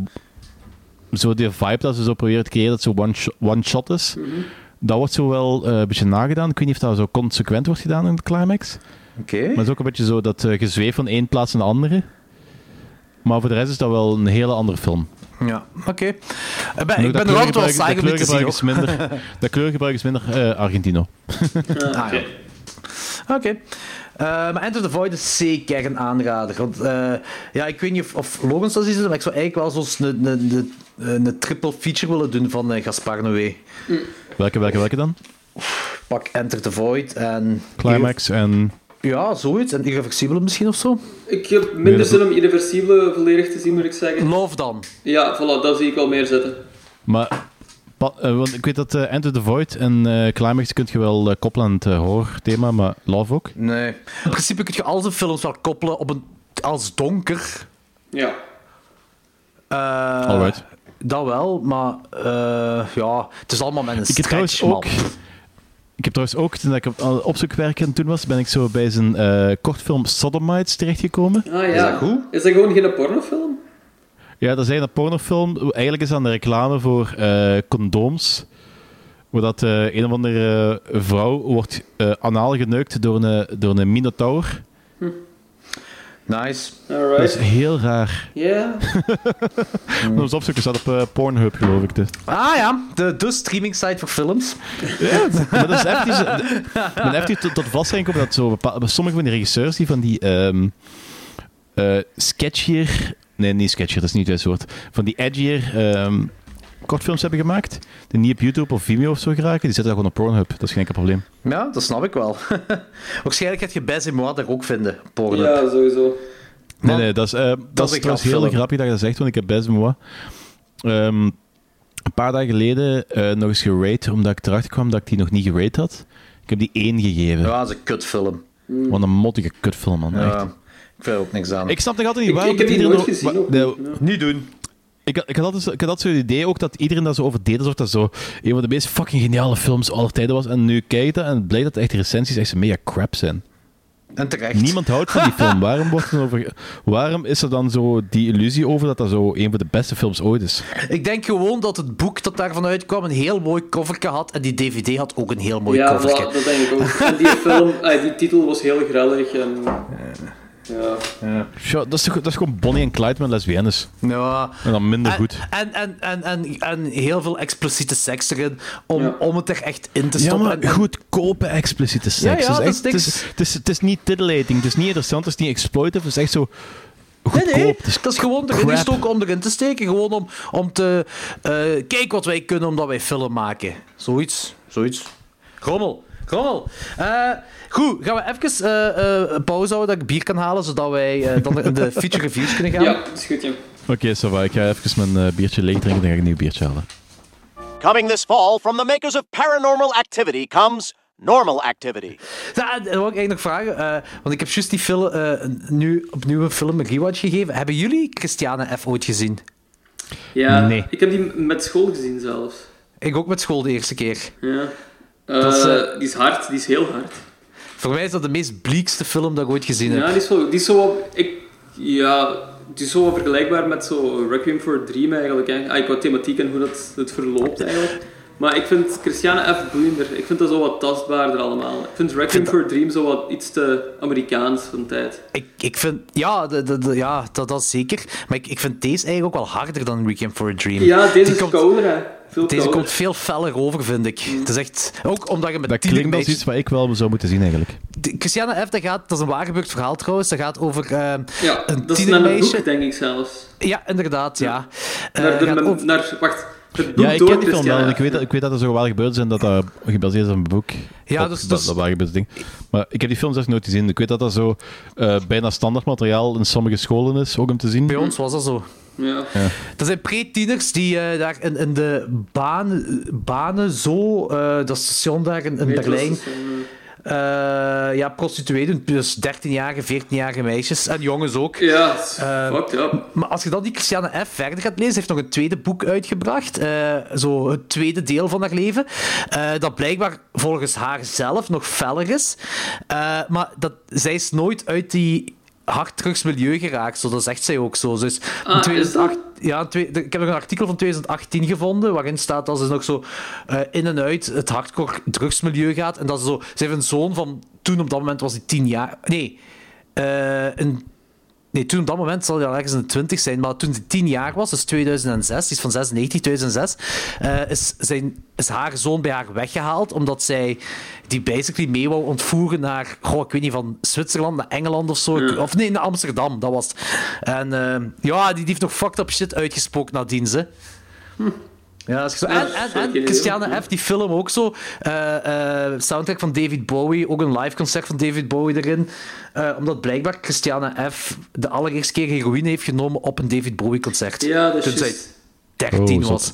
zo die vibe dat ze zo proberen te creëren, dat zo one-shot one shot is.
Mhm.
Dat wordt zo wel eh, een beetje nagedaan. Ik weet niet of dat zo consequent wordt gedaan in de climax.
Oké.
Maar het is ook een beetje zo dat eh, gezweef van één plaats naar de andere. Maar voor de rest is dat wel een hele andere film.
Ja, oké. Ik ben,
En ook
ik
dat
ben er altijd wel
kleurgebruik-
saai
dat
om dit te zien.
kleurgebruik
hoor.
is minder, Dat kleurgebruik is minder eh, Argentino.
Ah, ja. Oké. Eh, maar Enter the Void is zeker een aanrader. Want eh, ja, ik weet niet of, of Lorenz dat is, maar ik zou eigenlijk wel zoals een, een, een, een triple feature willen doen van eh, Gaspar Noé.
Welke, welke, welke dan?
Pak Enter the Void en...
Climax en...
Ja, zoiets. En Irreversibel misschien of zo.
Ik heb
Meer
minder
dan-
zin om irreversibele volledig te zien, moet ik zeggen.
Love dan.
Ja, voilà, dat zie ik wel meer zitten.
Maar... pa- eh, want ik weet dat eh, Enter the Void en eh, Climax kun je wel eh, koppelen aan het eh, horror-thema, maar Love ook.
Nee. In principe kun je al zijn films wel koppelen op een, als donker.
Ja.
Eh,
Alright.
Dat wel, maar eh, ja, het is allemaal met een
Ik heb
stretch,
trouwens
man.
ook... Ik heb trouwens ook, toen ik op, aan het opzoekwerken toen was, ben ik zo bij zijn eh, kortfilm Sodomites terechtgekomen.
Ah, ja.
Is dat goed?
Is dat gewoon geen pornofilm?
Ja, dat is eigenlijk een pornofilm. Eigenlijk is dat een reclame voor eh, condooms. Waar dat eh, een of andere eh, vrouw wordt eh, anaal geneukt door een, door een minotaur.
Nice.
Dat is
Alright.
heel raar.
Ja.
Mm.
Moet eens opzoeken, staat op eh, Pornhub geloof ik. dus. Dit.
Ah ja, de, de streaming site voor films.
Maar dat is effectief, men heeft hier tot, tot vaststelling gekomen dat zo bepaal- sommige van die regisseurs die van die ehm eh, sketchier... Nee, niet sketchier, dat is niet het juiste woord. Van die edgier ehm, kortfilms hebben gemaakt. Die niet op YouTube of Vimeo of zo geraken. Die zetten dat gewoon op Pornhub. Dat is geen enkel probleem.
Ja, dat snap ik wel. Waarschijnlijk gaat je Bess en Moi daar ook vinden, porno.
Ja, sowieso.
Nee,
Want-
nee, dat is, eh, dat
dat is
is
een
trouwens
grapfilm.
heel grappig dat je dat zegt, want ik heb best moe. Ehm, een paar dagen geleden eh, nog eens gerate, omdat ik erachter kwam dat ik die nog niet gerate had. Ik heb die één gegeven.
Ja, dat is een kutfilm.
Wat een mottige kutfilm, man.
Ja,
Echt.
ik vind er ook niks aan.
Ik snap nog altijd
Ik,
niet waarom...
ik heb
dat
die nooit
iedereen
gezien.
wa-
ook
nee,
niet. Ja.
Niet doen.
ik, had- ik had altijd zo- ik had altijd zo'n idee ook dat iedereen daar zo over deed, alsof dat zo een van de meest fucking geniale films aller tijden was. En nu kijk je dat en blijkt dat echt de recensies echt zo mega crap zijn.
En terecht.
Niemand houdt van die film. Waarom, wordt er over, waarom is er dan zo die illusie over dat dat zo een van de beste films ooit is?
Ik denk gewoon dat het boek dat daarvan uitkwam een heel mooi covertje had. En die DVD had ook een heel mooi
Ja,
covertje.
voilà, dat denk ik ook. En die film, ah, die titel was heel grellig en... Ja.
Ja, dat, is toch- dat is gewoon Bonnie en Clyde met lesbiennes.
Ja.
En dan minder
En,
goed.
Nou, eh, en, en, en, en, en heel veel expliciete seks erin. Om,
Ja.
om het er echt in te stoppen. En- en-
goedkope expliciete seks.
ja,
Het is
dat
echt-
is
het,
niks.
is, het, is, het is niet titillating, het is niet interessant, het is niet exploitive, het is echt zo goedkoop.
Nee, nee,
Het is
dat is gewoon erin
crap.
gestoken om erin te steken. Gewoon om, om te... eh kijk wat wij kunnen omdat wij film maken. Zoiets. Zoiets. Rommel. Rommel. Eh, goed, gaan we even eh, eh, pauze houden dat ik bier kan halen, zodat wij eh, dan in de feature reviews kunnen gaan.
Ja, is goed, ja.
Oké, ça va, ik ga even mijn eh, biertje leeg drinken en dan ga ik een nieuw biertje halen.
Coming this fall from the makers of Paranormal Activity comes Normal Activity.
Ja, en dan wil Nou, ik eigenlijk nog vragen, eh, want ik heb juist die film, eh, nu opnieuw een film een rewatch gegeven. Hebben jullie Christiane F. ooit gezien?
Ja,
Nee.
ik heb die met school gezien zelfs.
Ik ook met school de eerste keer.
Ja.
is,
Eh,
eh,
Die is hard, die is heel hard.
Voor mij is dat de meest bleekste film dat ik ooit gezien heb.
Ja, die is wel... Die is zo wat- ik, ja, die is zo wat vergelijkbaar met zo Requiem for a Dream eigenlijk. Hè. Ah, qua thematiek en hoe dat, het verloopt eigenlijk. Maar ik vind Christiane F. boeiender. Ik vind dat zo wat tastbaarder allemaal. Ik vind Requiem for a Dream zo wat iets te Amerikaans van tijd.
Ik, ik vind, ja, de, de, de- ja dat, dat zeker. Maar ik, ik vind deze eigenlijk ook wel harder dan Weekend for a Dream.
Ja,
Die
deze is Mm.
komt-
kouder, hè. Veel
Deze
kouder.
komt veel feller over, vind ik. Het is echt... Ook omdat je met
Dat
tien
klinkt als
meisjes-
iets wat ik wel zou moeten zien eigenlijk.
De- Christiane F., dat, gaat, dat is een waargebeurd verhaal trouwens. Dat gaat over eh,
Ja,
een
dat is naar een
tienermeisje...
boek, denk ik zelfs.
ja, inderdaad, ja. Eh,
Naar, de,
gaat
mem-
over-
naar, wacht, het dus, boek
Ja, ik
door
ken die film wel,
Christiane
want ik
F.
weet, dat- ik weet dat er zo wel gebeurd zijn dat dat gebaseerd is op een boek.
Ja,
Op
dus-
dat,
dus-
dat waar gebeurde ding. Maar ik heb die film zelfs nooit gezien. Ik weet dat dat zo eh, bijna standaard materiaal in sommige scholen is, ook om te zien.
Bij ons was dat zo.
Ja.
Dat zijn pre-tieners die eh, daar in, in de baan, banen zo, eh, dat station daar in, in
Weet je wat
Berlijn,
ze zeggen?
eh, ja, prostituee doen. Dus 13-jarige, 14-jarige meisjes en jongens ook.
Ja, s- fucked up.
Maar als je dan die Christiane F. verder gaat lezen, ze heeft nog een tweede boek uitgebracht. eh, zo het tweede deel van haar leven. eh, dat blijkbaar volgens haar zelf nog feller is. Eh, maar dat, zij is nooit uit die harddrugsmilieu geraakt. Zo, dat zegt zij ook zo. Ze is in
Ah,
2008
is
ja, in twee- ik heb nog een artikel van 2018 gevonden waarin staat dat ze nog zo eh, in en uit het hardcore drugsmilieu gaat. En dat ze zo... Ze heeft een zoon van... Toen op dat moment was hij tien jaar... Nee. eh, een Nee, toen op dat moment zal hij al ergens in de 20 zijn. Maar toen hij 10 jaar was, dus 2006, die is van 96, 2006, eh, is, zijn, is haar zoon bij haar weggehaald. Omdat zij die basically mee wou ontvoeren naar, goh, ik weet niet, van Zwitserland naar Engeland of zo. Ik- Of nee, naar Amsterdam, dat was het. En eh, ja, die, die heeft nog fucked up shit uitgesproken nadien, ze. Ja, dat is zo.
Ja,
En, en,
dat
en
is ook
Christiane
heel
F., die film ook zo. Eh, eh, soundtrack van David Bowie, ook een live concert van David Bowie erin. Eh, omdat blijkbaar Christiane F. de allereerste keer heroïne heeft genomen op een David Bowie concert.
Ja, dat is
Toen zij
juist.
13
Oh, zot.
was.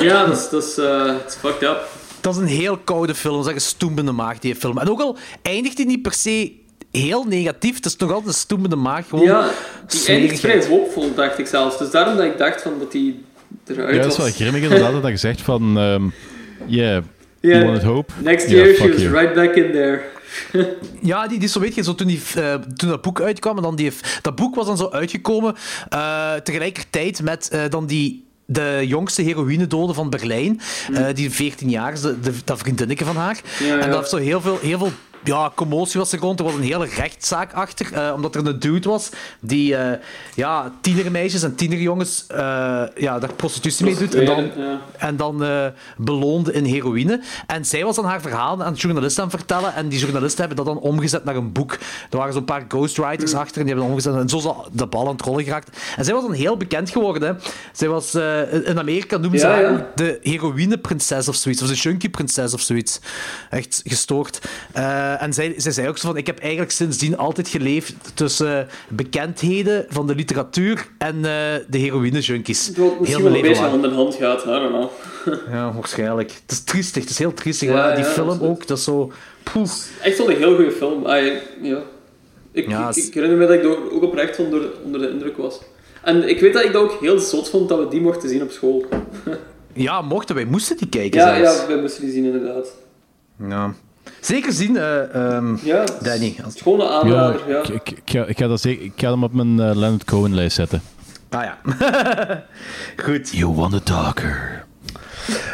Ja, dat is, dat is eh, it's fucked up.
Dat is een heel koude film, zeg een stoembende maag die film. En ook al eindigt hij niet per se heel negatief, het is nog altijd een stoembende maag. Gewoon
Ja, die eindigt
smerigheid.
vrij hoopvol, dacht ik zelfs. Dus daarom dat ik dacht van dat die eruit
Ja,
was.
dat is wel grimmig inderdaad dat je zegt van... ehm yeah,
Ja.
you wanted hope?
Next
Ja,
year she
fuck
was
you.
right back in there.
Ja, die, die is zo weet je, zo toen, die, eh, toen dat boek uitkwam, en dan die, dat boek was dan zo uitgekomen eh, tegelijkertijd met eh, dan die, de jongste heroïnedode van Berlijn, eh, die 14 jaar, de, de, dat vriendinnetje van haar.
Mhm. Ja,
En
ja.
dat heeft zo heel veel, heel veel ja, commotie was er rond. Er was een hele rechtszaak achter, eh, omdat er een dude was die eh, ja, tienermeisjes en tienerjongens eh, ja, daar prostitutie mee doet. En dan,
Ja.
en dan eh, beloonde in heroïne. En zij was dan haar verhaal aan journalisten aan het vertellen. En die journalisten hebben dat dan omgezet naar een boek. Er waren zo'n paar ghostwriters achter en die hebben dat omgezet. En zo is al de bal aan het rollen geraakt. En zij was dan heel bekend geworden. Hè. Zij was, eh, in Amerika noemen ze
Ja,
haar
ja.
ook de heroïneprinses of zoiets. Of de junkie-prinses of zoiets. Echt gestoord. Eh, en zij, zij zei ook zo van... Ik heb eigenlijk sindsdien altijd geleefd tussen eh, bekendheden van de literatuur en eh, de heroïne-junkies.
Het wordt
Heel
misschien
mijn
wel
leven
een beetje
lang.
hand in hand gaat, I don't know.
Ja, waarschijnlijk. Het is triestig, het is heel triestig.
Ja,
maar ja, die
ja,
film
absoluut.
ook, dat is zo... Poeh.
Echt wel een heel goede film. I, ja. ik,
Ja,
ik,
is-
ik herinner me dat ik door, ook oprecht onder, onder de indruk was. En ik weet dat ik dat ook heel zot vond dat we die mochten zien op school.
Ja, mochten wij, moesten die kijken
Ja,
zelfs.
ja, we moesten die zien inderdaad.
Ja. Zeker zien, eh, ehm,
Ja, het is-
Danny.
het is gewoon een
Ja,
aanrader, ja.
ik, ik, ik ga, ik, ga dat zeker, ik ga hem op mijn eh, Leonard Cohen-lijst zetten.
Ah ja. Goed.
You want a talker.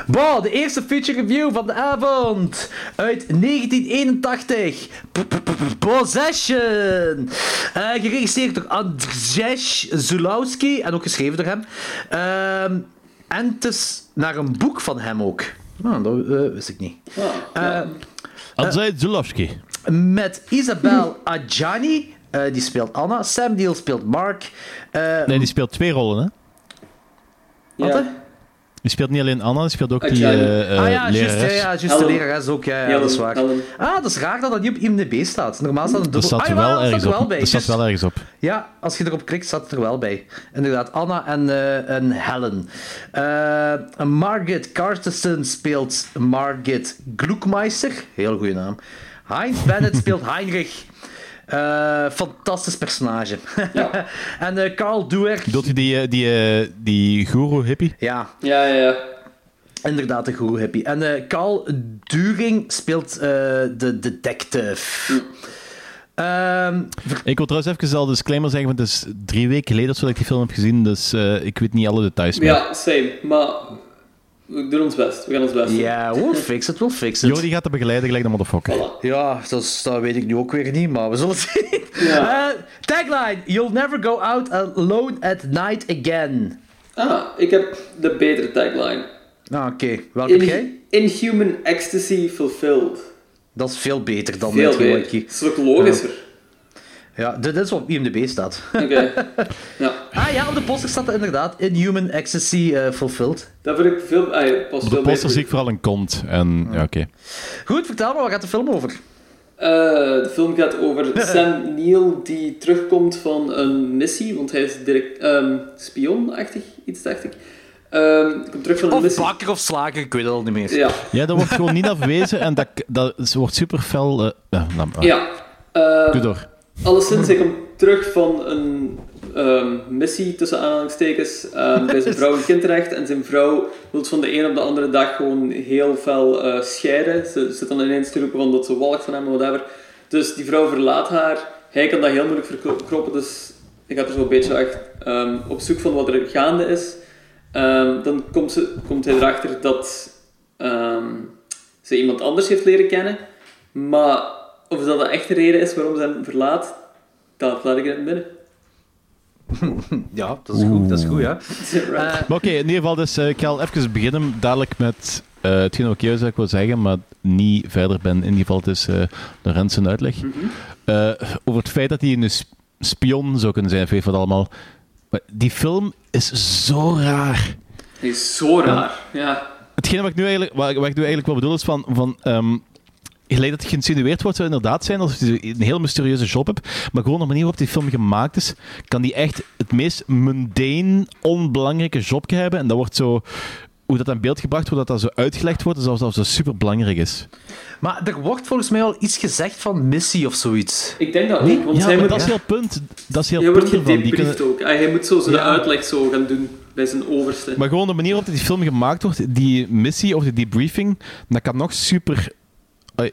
Wow, de eerste feature review van de avond. Uit 1981. P- p- p- Possession. Eh, geregisseerd door Andrzej Zulawski. En ook geschreven door hem. Ehm, en het is naar een boek van hem ook. Nou, dat eh, wist ik niet.
Ah,
Eh,
Andrzej Zulowski.
Met Isabel Adjani. eh, die speelt Anna. Sam Deal speelt Mark. Eh,
Nee, die speelt twee rollen, hè?
wat, hè?
ja.
Die speelt niet alleen Anna, die speelt ook die
Adjani.
eh eh,
ah ja, juist, ja,
lerares.
ja, juist de
Helen.
lerares ook. Ja, ja,
Helen,
dat is waar.
Helen.
Ah, dat is raar dat dat niet op IMDb staat. Normaal staat het
Dus Dat
dubbel... ah,
staat er
jawel,
wel
dat
ergens
staat er wel
op.
bij.
Dat staat
juist.
wel ergens op.
Ja, als je erop klikt, staat het er wel bij. Inderdaad, Anna en, eh, en Helen. Eh, Margit Carstensen speelt Margit Gloekmeister. Heel goede naam. Heinz Bennett speelt Heinrich. Eh, fantastisch personage. en eh, Carl Duer.
Bedoelt u die, eh, die, eh, die guru-hippie?
Ja,
Ja, ja, ja.
Inderdaad, een goede hippie. En eh, Carl During speelt eh, de detective. Ehm,
Ik wil trouwens even al een disclaimer zeggen, want het is drie weken geleden of zo dat ik die film heb gezien, dus eh, ik weet niet alle details meer.
Ja, same. Maar we doen ons best. We gaan ons best doen.
Ja, we'll fix it, we'll fix it.
Jordi gaat de begeleider gelijk de motherfucker.
Ja, dat, is- dat weet ik nu ook weer niet, maar we zullen het zien.
Ja.
Eh, tagline: You'll never go out alone at night again.
Ah, ik heb de betere tagline.
Ah, Oké, welke heb jij?
In, inhuman ecstasy fulfilled.
Dat is veel beter dan
Veel
dit
beter.
gewoontje.
Het is ook logischer.
Ja, dit is wat op IMDb staat.
Oké. Ja,
ah ja, op de poster staat er inderdaad Inhuman Ecstasy eh, Fulfilled.
dat vind ik veel... Ah, pas
Op de
veel
poster
beter.
zie ik vooral een kont. En, ja, oké.
Goed, vertel me, waar gaat de film over?
Eh, de film gaat over Sam Neill die terugkomt van een missie, want hij is direct, ehm spionachtig, iets dacht ik. Ehm, komt terug
Oh,
van een
Of
missie.
bakker of slager, ik weet het al niet meer.
Ja,
Ja, dat wordt gewoon niet afwezen en dat, dat is- wordt super fel. eh, eh, nou, ah,
ja. Eh,
Doe door.
Alleszins, hij komt terug van een ehm, missie, tussen aanhalingstekens, ehm, bij zijn vrouw en kind terecht. En zijn vrouw wil van de een op de andere dag gewoon heel fel eh, scheiden. Ze zit dan ineens te roepen van dat ze walgt van hem, whatever. Dus die vrouw verlaat haar. Hij kan dat heel moeilijk verkroppen, dus hij gaat er zo'n beetje echt, ehm, op zoek van wat er gaande is. Ehm, dan komt, ze, komt hij erachter dat ehm, ze iemand anders heeft leren kennen. Maar of dat de echte reden is waarom ze hem verlaat, Dat laat ik in het midden.
Ja, dat is goed, dat is goed, ja.
Right.
Maar oké, in ieder geval, dus, eh, ik ga al even beginnen dadelijk met eh hetgeen wat ik juist eigenlijk wil zeggen, maar niet verder ben. In ieder geval, het is eh Lorenz zijn uitleg. Eh, over het feit dat hij een sp- spion zou kunnen zijn, of weet wat allemaal. Maar die film is zo raar.
Die is zo raar. Ja.
Hetgeen wat ik nu eigenlijk, wat, ik- wat ik nu eigenlijk wel bedoel is van... van ehm, gelijk dat het geïnsinueerd wordt, zou inderdaad zijn alsof je een heel mysterieuze job hebt. Maar gewoon de manier waarop die film gemaakt is, kan die echt het meest mundane, onbelangrijke jobje hebben. En dat wordt zo... Hoe dat in beeld gebracht wordt, dat dat zo uitgelegd wordt, is alsof dat super belangrijk is.
Maar er wordt volgens mij al iets gezegd van missie of zoiets.
Ik denk dat ook, want
Ja,
hij,
maar
moet,
dat is heel punt. Dat is heel
hij wordt
punt ervan. Die
gedebriefd
kunnen-
ook. Hij hij moet zo zijn uitleg zo gaan doen bij zijn overste.
Maar gewoon de manier waarop die film gemaakt wordt, die missie of die debriefing, dat kan nog super eh,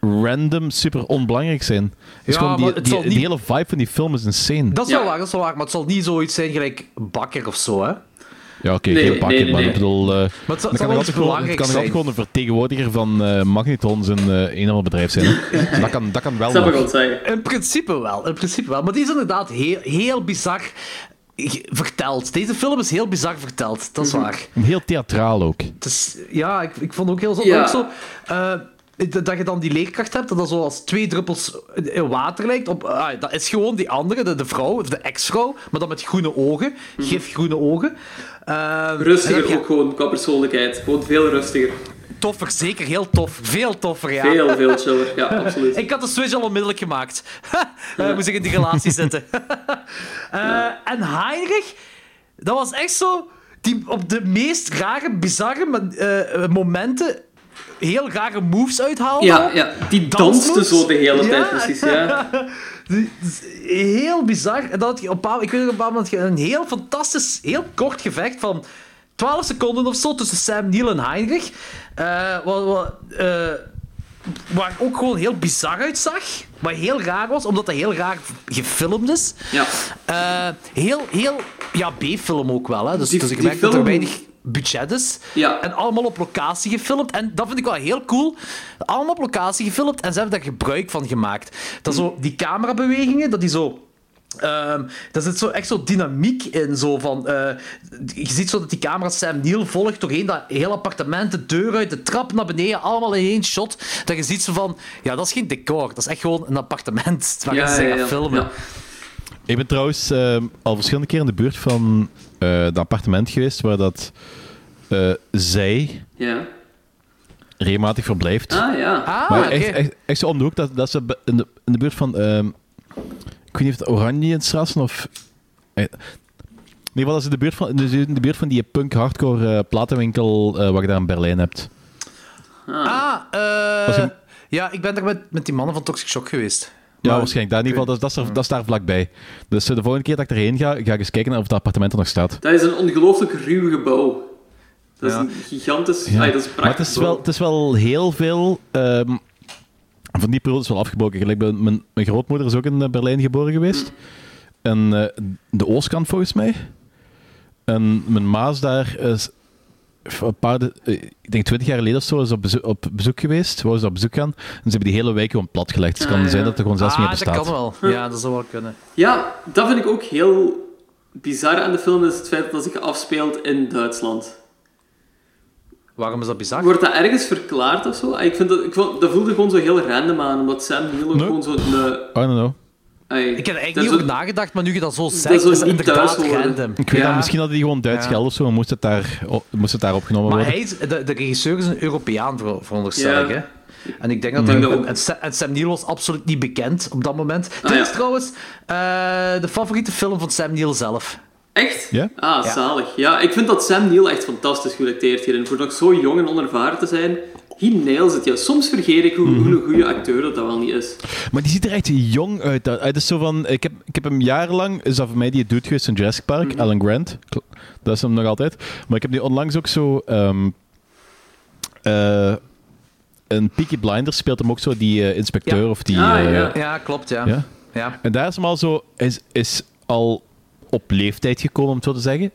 random, super onbelangrijk zijn. Dus
Ja,
gewoon die,
maar het
die,
zal niet-
die hele vibe van die film is insane.
Dat is
Ja.
wel waar, dat is wel waar. Maar het zal niet zoiets zijn gelijk bakker of zo, hè. Maar
Ja, oké,
Nee,
geen bakker,
nee, nee,
maar
nee.
ik bedoel... eh,
het zal,
dan
het
kan
zal
er
wel
altijd
iets
gewoon, het
belangrijk
kan er altijd
zijn.
gewoon een vertegenwoordiger van eh Magnetons en eh, een of ander bedrijf zijn. hè. dat, kan, dat kan wel
dat mag ik
nog.
wel zeggen.
In principe wel, in principe wel. Maar die is inderdaad heel, heel bizar ge- verteld. Deze film is heel bizar verteld, dat is waar.
Heel theatraal ook.
Het is, ja, ik, ik vond ook heel zo.
Ja.
Ook zo eh, dat dat je dan die leerkracht hebt, dat dat zo als twee druppels in water lijkt. Op, ah, dat is gewoon die andere, de, de vrouw, of de ex-vrouw, maar dan met groene ogen. Geef groene ogen. Ehm, en dan
Rustiger
heb je-
ook gewoon qua persoonlijkheid. Gewoon veel rustiger.
Toffer, zeker. Heel tof. Veel toffer, ja.
Veel, veel chiller. Ja, absoluut.
Ik had de switch al onmiddellijk gemaakt. Eh, Moest ik in die relatie zitten. Eh, En Heinrich, dat was echt zo... Die op de meest rare, bizarre mo- eh, eh, momenten heel rare moves uithaalde.
Ja, ja, die danste
Dansmoves?
zo de hele
Ja.
tijd precies, ja.
Die- Heel bizar. En dat had je op een bepaald- ik weet nog op een bepaald moment een heel fantastisch, heel kort gevecht van 12 seconden of zo tussen Sam Neill en Heinrich. Eh, wat, wat, eh, waar ook gewoon heel bizar uitzag. Wat heel raar was, omdat dat heel raar gefilmd is.
ja.
Eh, heel, heel... Ja, B-film ook wel. Hè. Dus,
Die-
dus ik
die
merk dat er
film-
weinig budget is.
Ja.
En allemaal op locatie gefilmd. En dat vind ik wel heel cool. Allemaal op locatie gefilmd en ze hebben daar gebruik van gemaakt. Dat zo, die camerabewegingen, dat die zo... ehm daar zit zo echt zo dynamiek in. Zo van, eh, je ziet zo dat die camera Sam Neill volgt doorheen dat hele appartement, de deur uit, de trap naar beneden, allemaal in één shot. Dat je ziet zo van, ja, dat is geen decor, dat is echt gewoon een appartement waar
Ja,
ze
ja,
gaan
ja.
filmen.
Ja.
Ik ben trouwens eh, al verschillende keren in de buurt van eh dat appartement geweest waar dat eh, zij
ja.
regelmatig verblijft.
Ah, ja.
Ah,
Maar
oké.
echt, echt, echt zo om de hoek, dat, dat ze be- in de, in de buurt van... ehm, ik weet niet of het Oranje in Strassen of... eh, in ieder geval, dat is in de buurt van, dus in de buurt van die punk-hardcore eh, platenwinkel eh, wat je daar in Berlijn hebt.
Ah, eh,
Als je-
ja, ik ben daar met, met die mannen van Toxic Shock geweest.
Ja, waarschijnlijk. Daar, in ieder geval, dat, is- dat, is er- dat is daar vlakbij. Dus eh, de volgende keer dat ik erheen ga, ga ik eens kijken of dat appartement er nog staat.
Dat is een ongelooflijk ruw gebouw. Dat is
Ja.
een gigantisch...
Ja.
Ai, dat is een
maar het
prachtig
is, wel, het is wel heel veel... ehm, van die periode is wel afgebroken. Gelijk, mijn, mijn, mijn grootmoeder is ook in eh, Berlijn geboren geweest.
Mm.
En eh, de oostkant volgens mij. En mijn maas daar is een paar, de- eh, ik denk twintig jaar geleden of zo, is op bezoek, op bezoek geweest. Wou ze op bezoek gaan. En ze hebben die hele wijk gewoon platgelegd. Dus het kan
Ah, ja.
zijn dat er gewoon zelfs meer
ah, dat
bestaat.
kan wel. Ja, dat zou wel kunnen.
Ja, dat vind ik ook heel bizar aan de film, is het feit dat het zich afspeelt in Duitsland.
Waarom is dat bizar?
Wordt dat ergens verklaard of zo? Ah, Ik vind dat, ik vond, dat voelde gewoon zo heel random aan, omdat Sam Neill ook
Nee.
gewoon zo'n... eh,
I don't know.
ai,
Ik heb er eigenlijk
dat is
niet over
ook-
nagedacht, maar nu je dat zo zegt,
zou
is het
niet
inderdaad
thuis horen.
random.
Ik weet
ja.
dat, misschien hadden die gewoon Duits
Ja.
geld of zo. en Moest het daar, op- moest het daar opgenomen
Maar
worden.
hij is, de, de regisseur is een Europeaan, ver- veronderstel ik.
Ja.
Hè? En ik denk dat
denk
hij-
dat ook. Ah,
en, Sa- en Sam Neill was absoluut niet bekend op dat moment. Dit
ja.
is trouwens eh, de favoriete film van Sam Neill zelf.
Echt?
Ja?
Ah, zalig. Ja, ik vind dat Sam Neill echt fantastisch geacteerd hierin. Voor nog zo jong en onervaren te zijn, he nails it. Ja, soms vergeet ik hoe,
Mhm.
hoe een goede acteur dat dat wel niet is.
Maar die ziet er echt jong uit. Dat- Het is zo van, ik, heb, ik heb hem jarenlang, is dat voor mij die dude geweest in Jurassic Park,
Mhm.
Alan Grant. Kl- Dat is hem nog altijd. Maar ik heb die onlangs ook zo. ehm eh, een Peaky Blinders speelt hem ook zo, die eh, inspecteur
Ja.
of die.
Ah,
eh,
ja.
Ja, klopt, ja.
Ja?
ja.
En daar is hem al zo, is, is al op leeftijd gekomen, om het zo te zeggen.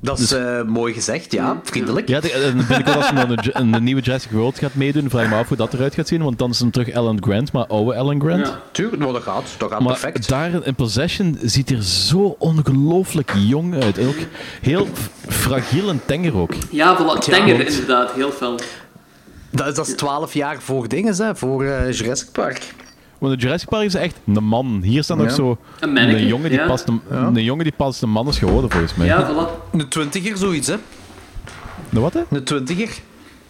Dat is eh, mooi gezegd, ja. Vriendelijk.
Dus- Ja, de- en binnenkort als hij dan een, ju- een nieuwe Jurassic World gaat meedoen, vraag ik me af hoe dat eruit gaat zien, want dan is hem terug Alan Grant, maar oude Alan Grant.
Ja.
Tuurlijk, nou, dat gaat. Dat gaat
Maar
perfect.
daar in Possession ziet hij er zo ongelooflijk jong uit. En Ook heel f- fragiel en tenger ook.
Ja, voilà, tenger
want-
inderdaad, heel fel.
Dat is, dat is 12 jaar voor dingen, hè, voor eh, Jurassic Park.
Want in Jurassic Park is echt een man. Hier staat nog
Ja.
zo
Een manneke,
jongen die
ja.
pas een, een jongen die pas een man is geworden volgens mij.
Ja, voilà.
Een twintiger, zoiets, hè?
De wat hè?
Een twintiger.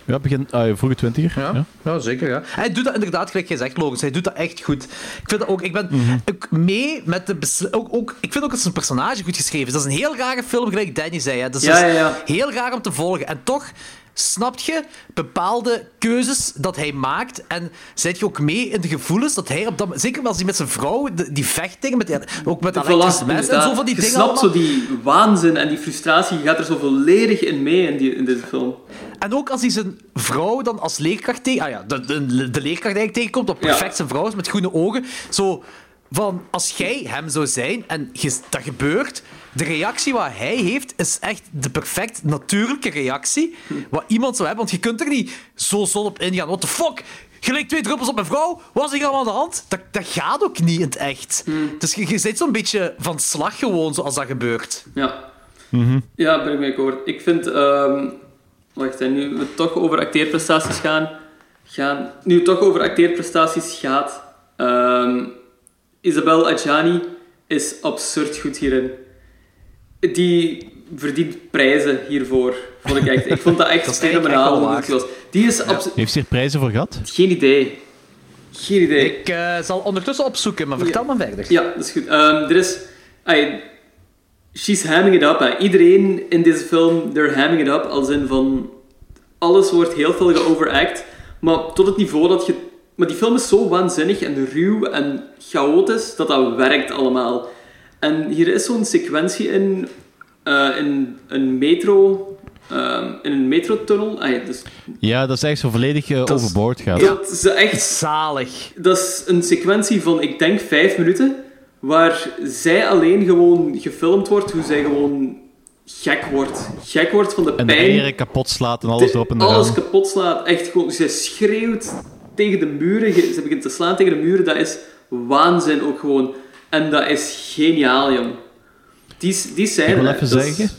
Ja, begin ah, vroege twintiger.
Ja, ja. zeker. Ja. Hij doet dat inderdaad, gelijk jij zegt, Logos. Hij doet dat echt goed. Ik vind dat ook. Ik ben
Mhm.
ook mee met de. besli- Ook, ook, ik vind ook dat zijn personage goed geschreven is. Dat is een heel rare film, gelijk Danny zei. Hè. Dus
Ja,
dat is
ja, ja.
heel raar om te volgen. En toch snap je bepaalde keuzes dat hij maakt. En zet je ook mee in de gevoelens dat hij op dat. Zeker als hij met zijn vrouw de- die vecht tegen. Met, die- ook met dat elektrische mes en
inderdaad.
zo van die
je
dingen.
snapt
allemaal.
zo die waanzin en die frustratie, je gaat er zo volledig in mee in, die, in deze film.
En ook als hij zijn vrouw dan als leerkracht tegen... Ah ja, de, de, de leerkracht eigenlijk tegenkomt, dat perfect
Ja.
zijn vrouw is, met groene ogen. Zo van, als jij hem zou zijn en je- dat gebeurt, de reactie wat hij heeft is echt de perfect natuurlijke reactie wat iemand zou hebben. Want je kunt er niet zo zon op ingaan. What the fuck? Gelijk twee druppels op mijn vrouw, was ik allemaal aan de hand? Dat, dat gaat ook niet in het echt.
Hmm.
Dus je, je zit zo'n beetje van slag gewoon, zoals dat gebeurt.
Ja. Ja, ben ik mee akkoord. Ik vind... ehm, wacht, hè, nu we toch over acteerprestaties gaan... gaan nu het toch over acteerprestaties gaat... ehm, Isabel Adjani is absurd goed hierin. Die verdient prijzen hiervoor. Vond ik, echt. ik vond dat echt
Dat is eigenlijk echt
fenomenaal
wel
hoe
waar.
goed die was. Die is absoluut...
Heeft ze hier prijzen voor gehad?
Geen idee. Geen idee.
Ik eh, zal ondertussen opzoeken, maar vertel maar verder.
Ja, dat is goed. Ehm, er is... ai, she's hamming it up. hè. Iedereen in deze film, they're hamming it up. Als in van... Alles wordt heel veel geoveract. Maar tot het niveau dat je... Maar die film is zo waanzinnig en ruw en chaotisch dat dat werkt allemaal. En hier is zo'n sequentie in... eh, in een metro... ehm, in een metrotunnel. Ai, dus,
Ja, dat is echt zo volledig eh,
is-
overboord gaat.
Dat is echt
Zalig.
dat is een sequentie van, ik denk, vijf minuten. Waar zij alleen gewoon gefilmd wordt, hoe zij gewoon gek wordt. Gek wordt van de
En
pijn.
de eieren kapot slaat en alles
De-
erop en
alles
eraan.
kapot slaat. Echt gewoon, zij schreeuwt tegen de muren. ge- Ze begint te slaan tegen de muren. Dat is waanzin ook gewoon. En dat is geniaal, jong. Die, s- die scène...
Ik wil even
dat is
zeggen-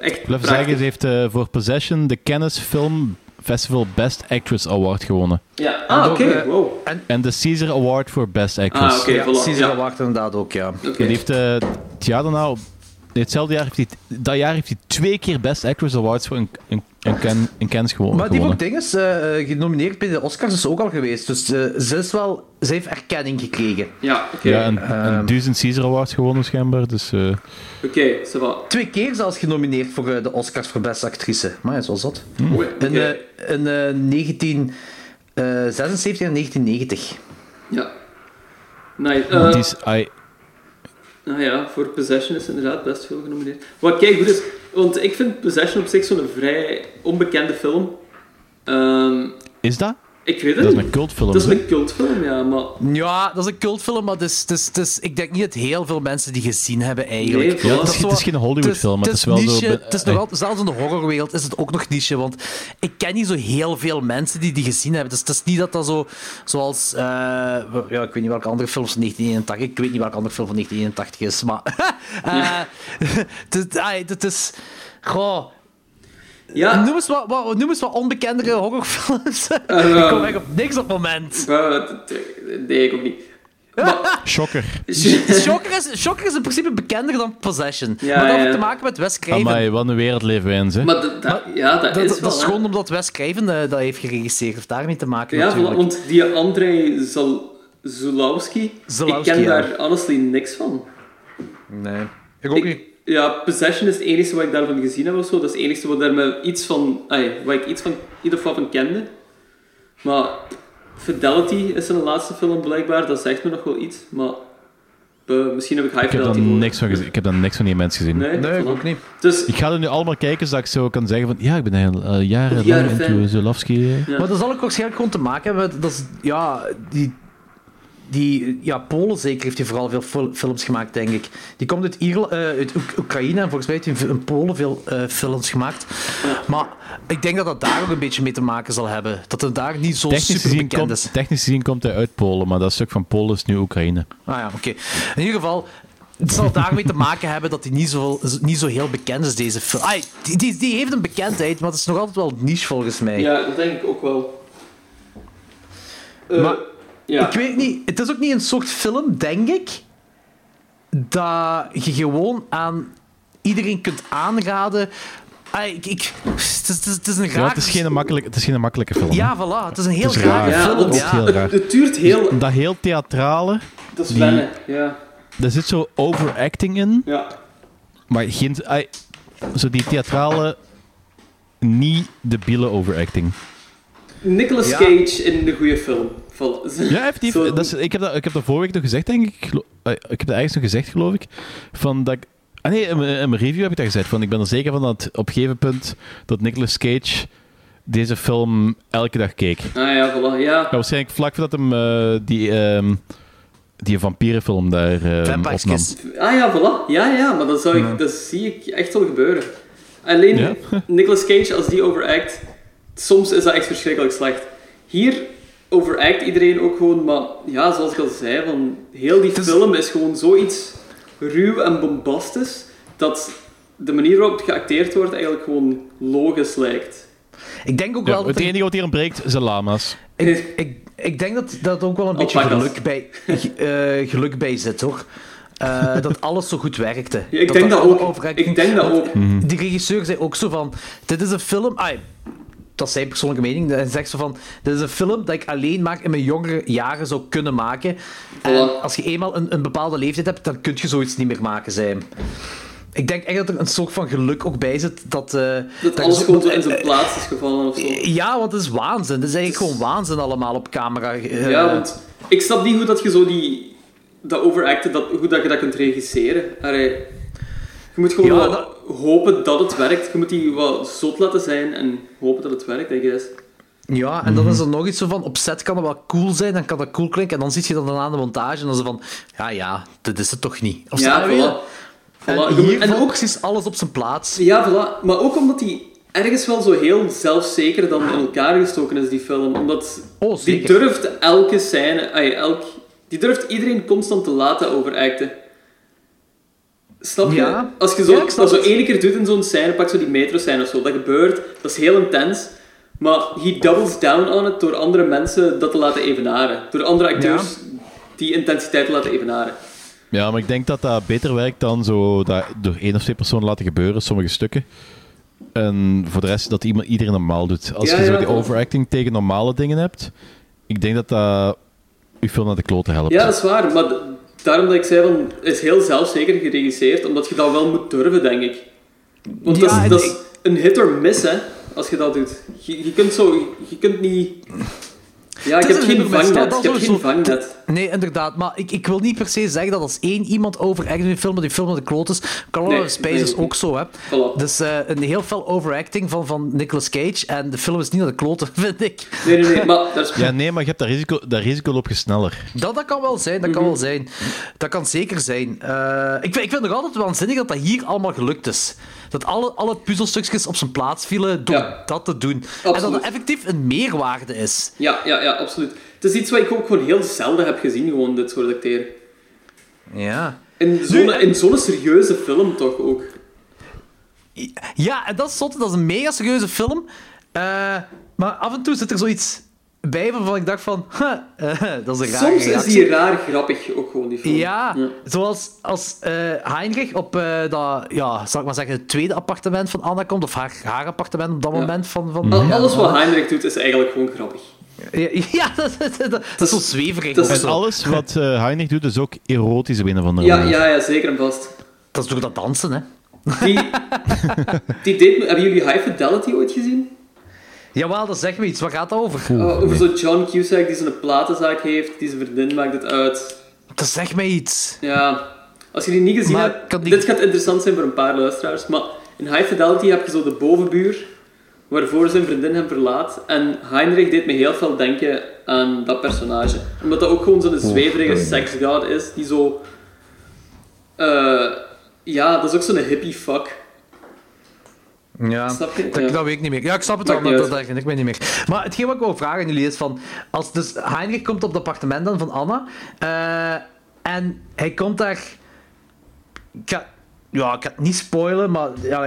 Echt
Ik wil even
prachtig.
zeggen, ze heeft eh, voor Possession de Cannes Film Festival Best Actress Award gewonnen.
Ja. Ah, oké.
door, eh,
Wow.
En de Caesar Award voor Best Actress.
Ah, oké.
Ja,
voilà.
precies,
Ja.
dat wacht inderdaad ook, ja.
Oké.
En die heeft eh, het jaar daarna, op- nee, hetzelfde jaar, heeft hij, dat jaar heeft hij twee keer Best Actress Awards voor een, een, een, Can- een Cannes gewo-
Maar die heeft
gewonnen.
ook dingen eh, genomineerd bij de Oscars is ze ook al geweest. Dus eh, ze, is wel, ze heeft erkenning gekregen.
Ja, oké.
ja, en,
ehm,
en duizend Caesar Awards gewonnen schijnbaar, dus... eh,
Oké, ça va.
Twee keer zelfs genomineerd voor eh, de Oscars voor beste actrice. Maar ja, zoals dat.
Oei,
In, eh,
oké.
in eh, 1976 en 1990.
Ja. Nee, eh,
die is, ai,
nou ja, voor Possession is inderdaad best veel genomineerd. Wat kijk goed is, want ik vind Possession op zich zo'n vrij onbekende film. Ehm,
is dat?
ik weet het
Dat is
niet.
een cultfilm.
Dat is
hè?
een cultfilm, ja, maar...
Ja, dat is een cultfilm, maar het is, het is, het is- ik denk niet dat heel veel mensen die gezien hebben eigenlijk.
Nee, Ja, het is-
zo-
het is geen Hollywoodfilm, maar het is wel zo-
niche, Het is nog
eh,
altijd, zelfs in de horrorwereld is het ook nog niche, want ik ken niet zo heel veel mensen die die gezien hebben. Dus het is niet dat dat zo, zoals, eh, ja, ik weet niet welke andere films van 1981, ik weet niet welke andere film van 1981 is, maar eh, het is, ai, het is, goh,
Ja,
noem eens wat, wat, noem eens wat onbekendere horrorfilms.
eh,
ik kom echt op niks op het moment.
eh, dat- dat deed ik ook niet. Maar,
Shocker.
Shocker is, Shocker is in principe bekender dan Possession.
Ja,
maar dat heeft
ja.
te maken met Wes Craven.
Amai, wat een wereld leven wij in, zeg.
maar dat- dat- ja, dat,
Dat,
is
dat,
wel...
dat is
hè.
gewoon omdat Wes Craven eh, dat heeft geregisseerd. Heeft daarmee te maken
Ja, voilà,
natuurlijk.
want die Andrei Zal... Zulawski, ik
Zulawski,
ken
ja.
daar honestly niks van.
Nee. Ik ook niet.
Ja, Possession is het enige wat ik daarvan gezien heb of zo. Dat is het enige wat, daar me iets van, ai, wat ik iets van, in ieder geval van kende. Maar Fidelity is een laatste film blijkbaar, dat zegt me nog wel iets. Maar eh, misschien heb ik High
ik heb daar
Fidelity
niks van gezien. Ik heb daar niks van die mensen gezien.
Nee,
Nee, ik
voilà.
ook niet.
Dus
Ik ga er nu allemaal kijken, zodat ik zo kan zeggen van... Ja, ik ben heel, eh, jarenlang
Jaren fan.
into Zulawski. eh.
Maar dat zal ook waarschijnlijk gewoon te maken hebben met... Dat is, ja, die... die ja, Polen zeker heeft hij vooral veel fil- films gemaakt, denk ik. Die komt uit, Ierla- eh, uit Oek- Oekraïne en volgens mij heeft hij in Polen veel eh, films gemaakt. Maar ik denk dat dat daar ook een beetje mee te maken zal hebben. Dat het daar niet zo
Technisch
super
gezien,
bekend is.
komt, technisch gezien komt hij uit Polen, maar dat stuk van Polen is nu Oekraïne.
Ah ja, oké. In ieder geval, het zal daarmee te maken hebben dat hij niet zo, niet zo heel bekend is, deze film. Ah, die, die, die heeft een bekendheid, maar het is nog altijd wel niche volgens mij.
Ja, dat denk ik ook wel.
Maar-
maar, ja.
Ik weet niet, het is ook niet een soort film, denk ik, dat je gewoon aan iedereen kunt aanraden. Ah, ik, ik, het, is, het is- het is een raar...
Ja, het, is geen makkelijk, het is geen makkelijke film.
Ja, voilà, het is een heel
Het is
rare
raar.
ja,
film.
want
is heel
Ja.
het,
raar.
het duurt heel...
hè. Dat heel theatrale,
Dat is
Die-
wennen, ja.
daar zit zo overacting in,
ja.
maar geen... ai, zo die theatrale, niet debiele overacting.
Nicolas
Ja.
Cage in de goede film. Voilà.
Ja, effectief.
Zo-
Dat is, ik, heb dat, ik heb dat vorige week nog gezegd, denk ik. Ik gelo- eh, Ik heb dat ergens nog gezegd, geloof ik. Van dat ik, ah nee, in mijn in mijn review heb ik dat gezegd. Van, ik ben er zeker van dat op een gegeven punt dat Nicolas Cage deze film elke dag keek.
Ah ja, voilà. Ja,
Ja, waarschijnlijk vlak voordat hem eh, die, ehm die vampierenfilm daar eh
Vampires
opnam.
Kiss.
ah, ja voilà. Ja, ja, maar dat, zou ik, dat zie ik echt wel gebeuren. Alleen
Ja.
Nicolas Cage, als die overact, soms is dat echt verschrikkelijk slecht. Hier overact iedereen ook gewoon, maar ja, zoals ik al zei, van heel die film is gewoon zoiets ruw en bombastisch, dat de manier waarop het geacteerd wordt eigenlijk gewoon logisch lijkt.
Ik denk ook
Ja,
wel dat
het
er-
enige wat hier ontbreekt zijn lama's.
ik,
Dus-
ik, ik denk dat dat ook wel
Oh,
een beetje
Alpaca's.
geluk bij, eh, geluk bij zit, hoor. Eh, dat alles zo goed werkte.
Ja, ik denk dat
alle
ook.
overrekkingen-
Ik denk dat
Want
ook.
Die regisseur zei ook zo van... Dit is een film... Ah, dat is zijn persoonlijke mening. Hij zegt zo van... Dit is een film dat ik alleen maar in mijn jongere jaren zou kunnen maken. En als je eenmaal een, een bepaalde leeftijd hebt, dan kun je zoiets niet meer maken, zei hij. Ik denk echt dat er een soort van geluk ook bij zit. Dat, eh,
Dat
er
alles
zo-
gewoon zo in zijn plaats is gevallen of zo.
Ja, want het is waanzin. Het is eigenlijk gewoon waanzin allemaal op camera. eh,
Ja, want ik snap niet hoe dat je zo die... Dat overacten, dat, hoe dat je dat kunt regisseren. Allee, je moet gewoon
Ja,
wel
dat-
hopen dat het werkt. Je moet die wat zot laten zijn en hopen dat het werkt, I guess.
Ja, en dan is er nog iets zo van, op set kan het wel cool zijn, dan kan dat cool klinken, en dan zit je dat dan aan de montage, en dan is het van, ja, ja, dit is het toch niet. Of
Ja,
zo, weet je?
voilà.
En,
Voilà, je
hier
moet- en
valt
ook-
precies alles op zijn plaats.
Dus Ja, voilà. Maar ook omdat die ergens wel zo heel zelfzeker dan in elkaar gestoken is, die film. Omdat
Oh,
die
zeker.
durft elke scène... ai, elk, die durft iedereen constant te laten overacten. Snap je?
Ja.
Als je zo,
Ja, ik snap
dat zo
het.
één keer doet in zo'n scène, pak zo die metro-scène of zo. Dat gebeurt, dat is heel intens. Maar he doubles down on it door andere mensen dat te laten evenaren. Door andere acteurs die intensiteit te laten evenaren.
Ja, maar ik denk dat dat beter werkt dan zo dat door één of twee personen laten gebeuren, sommige stukken. En voor de rest dat iemand, iedereen normaal doet. Als
Ja,
je zo
ja,
die
dat-
overacting tegen normale dingen hebt, ik denk dat dat je film naar de klote helpt.
Ja, dat is waar. Maar d- daarom dat ik zei, van, het is heel zelfzeker geregisseerd, omdat je dat wel moet durven, denk ik. Want dat,
Ja,
is,
en
dat
ik-
is een hit or miss, hè, als je dat doet. Je, je kunt zo... Je kunt niet... Ja, ik
is
heb
een
geen
hit or miss,
vangnet.
dat-
Ik heb
dat
geen
sowieso.
vangnet.
Nee, inderdaad, maar ik, ik wil niet per se zeggen dat als één iemand overacting in een film, dat die film naar de kloot is. Color
Nee,
of Space
nee.
is ook zo, hè.
Voilà.
Dus eh, een heel veel overacting van, van Nicolas Cage, en de film is niet naar de kloten, vind ik.
Nee, nee, nee. Maar daar is...
Ja, nee, maar je hebt dat risico, dat risico loop je sneller.
Dat, dat kan wel zijn, dat kan
Mhm.
wel zijn. Dat kan zeker zijn. Eh, ik, vind- ik vind nog altijd waanzinnig dat dat hier allemaal gelukt is. Dat alle, alle puzzelstukjes op zijn plaats vielen door
Ja.
dat te doen. En dat
Absoluut.
dat effectief een meerwaarde is.
ja, ja, ja, absoluut. Het is iets wat ik ook gewoon heel zelden heb gezien, gewoon, dit soort acteren.
Ja.
In zo'n in zo'n serieuze film toch ook.
Ja, en dat is zotte, dat is een mega serieuze film. Eh, maar af en toe zit er zoiets bij waarvan ik dacht van... huh, eh, dat is een rare
Soms is
reactie.
die raar grappig ook gewoon, die film.
Ja, zoals als eh, Heinrich op eh, dat, ja, zal ik maar zeggen, het tweede appartement van Anna komt, of haar, haar appartement op dat moment van... van
Al-
ja,
Alles
van-
wat Heinrich doet, is eigenlijk gewoon grappig.
Ja, ja, dat, dat, dat, dat is zo zweverig.
dat
of
is
En
zo.
alles wat eh Heinig doet, is ook erotisch binnen van de
Ja, ja, ja, zeker en vast.
Dat is door dat dansen, hè.
Die, die deed me- hebben jullie High Fidelity ooit gezien?
Jawel, dat zegt me iets. Waar gaat dat over?
Oh, over zo'n John Cusack die zo'n platenzaak heeft, die zijn vriendin maakt het uit.
Dat zegt mij iets.
Ja, als je die niet gezien
Maar
hebt,
kan die-
dit gaat interessant zijn voor een paar luisteraars, maar in High Fidelity heb je zo de bovenbuur, waarvoor zijn vriendin hem verlaat. En Heinrich deed me heel veel denken aan dat personage. Omdat dat ook gewoon zo'n zweverige seksgod is, die zo... eh, ja, dat is ook zo'n hippie fuck.
Ja,
Snap je?
Dat,
Ja.
dat weet ik niet meer. Ja, ik snap het wel,
Maakt
maar
niet
dat,
uit.
dat ik me niet meer. Maar hetgeen wat ik wil vragen aan jullie is van... Als, dus Heinrich komt op het appartement dan van Anna. eh, en hij komt daar... Ik ga, ja, ik ga het niet spoilen, maar... Ja,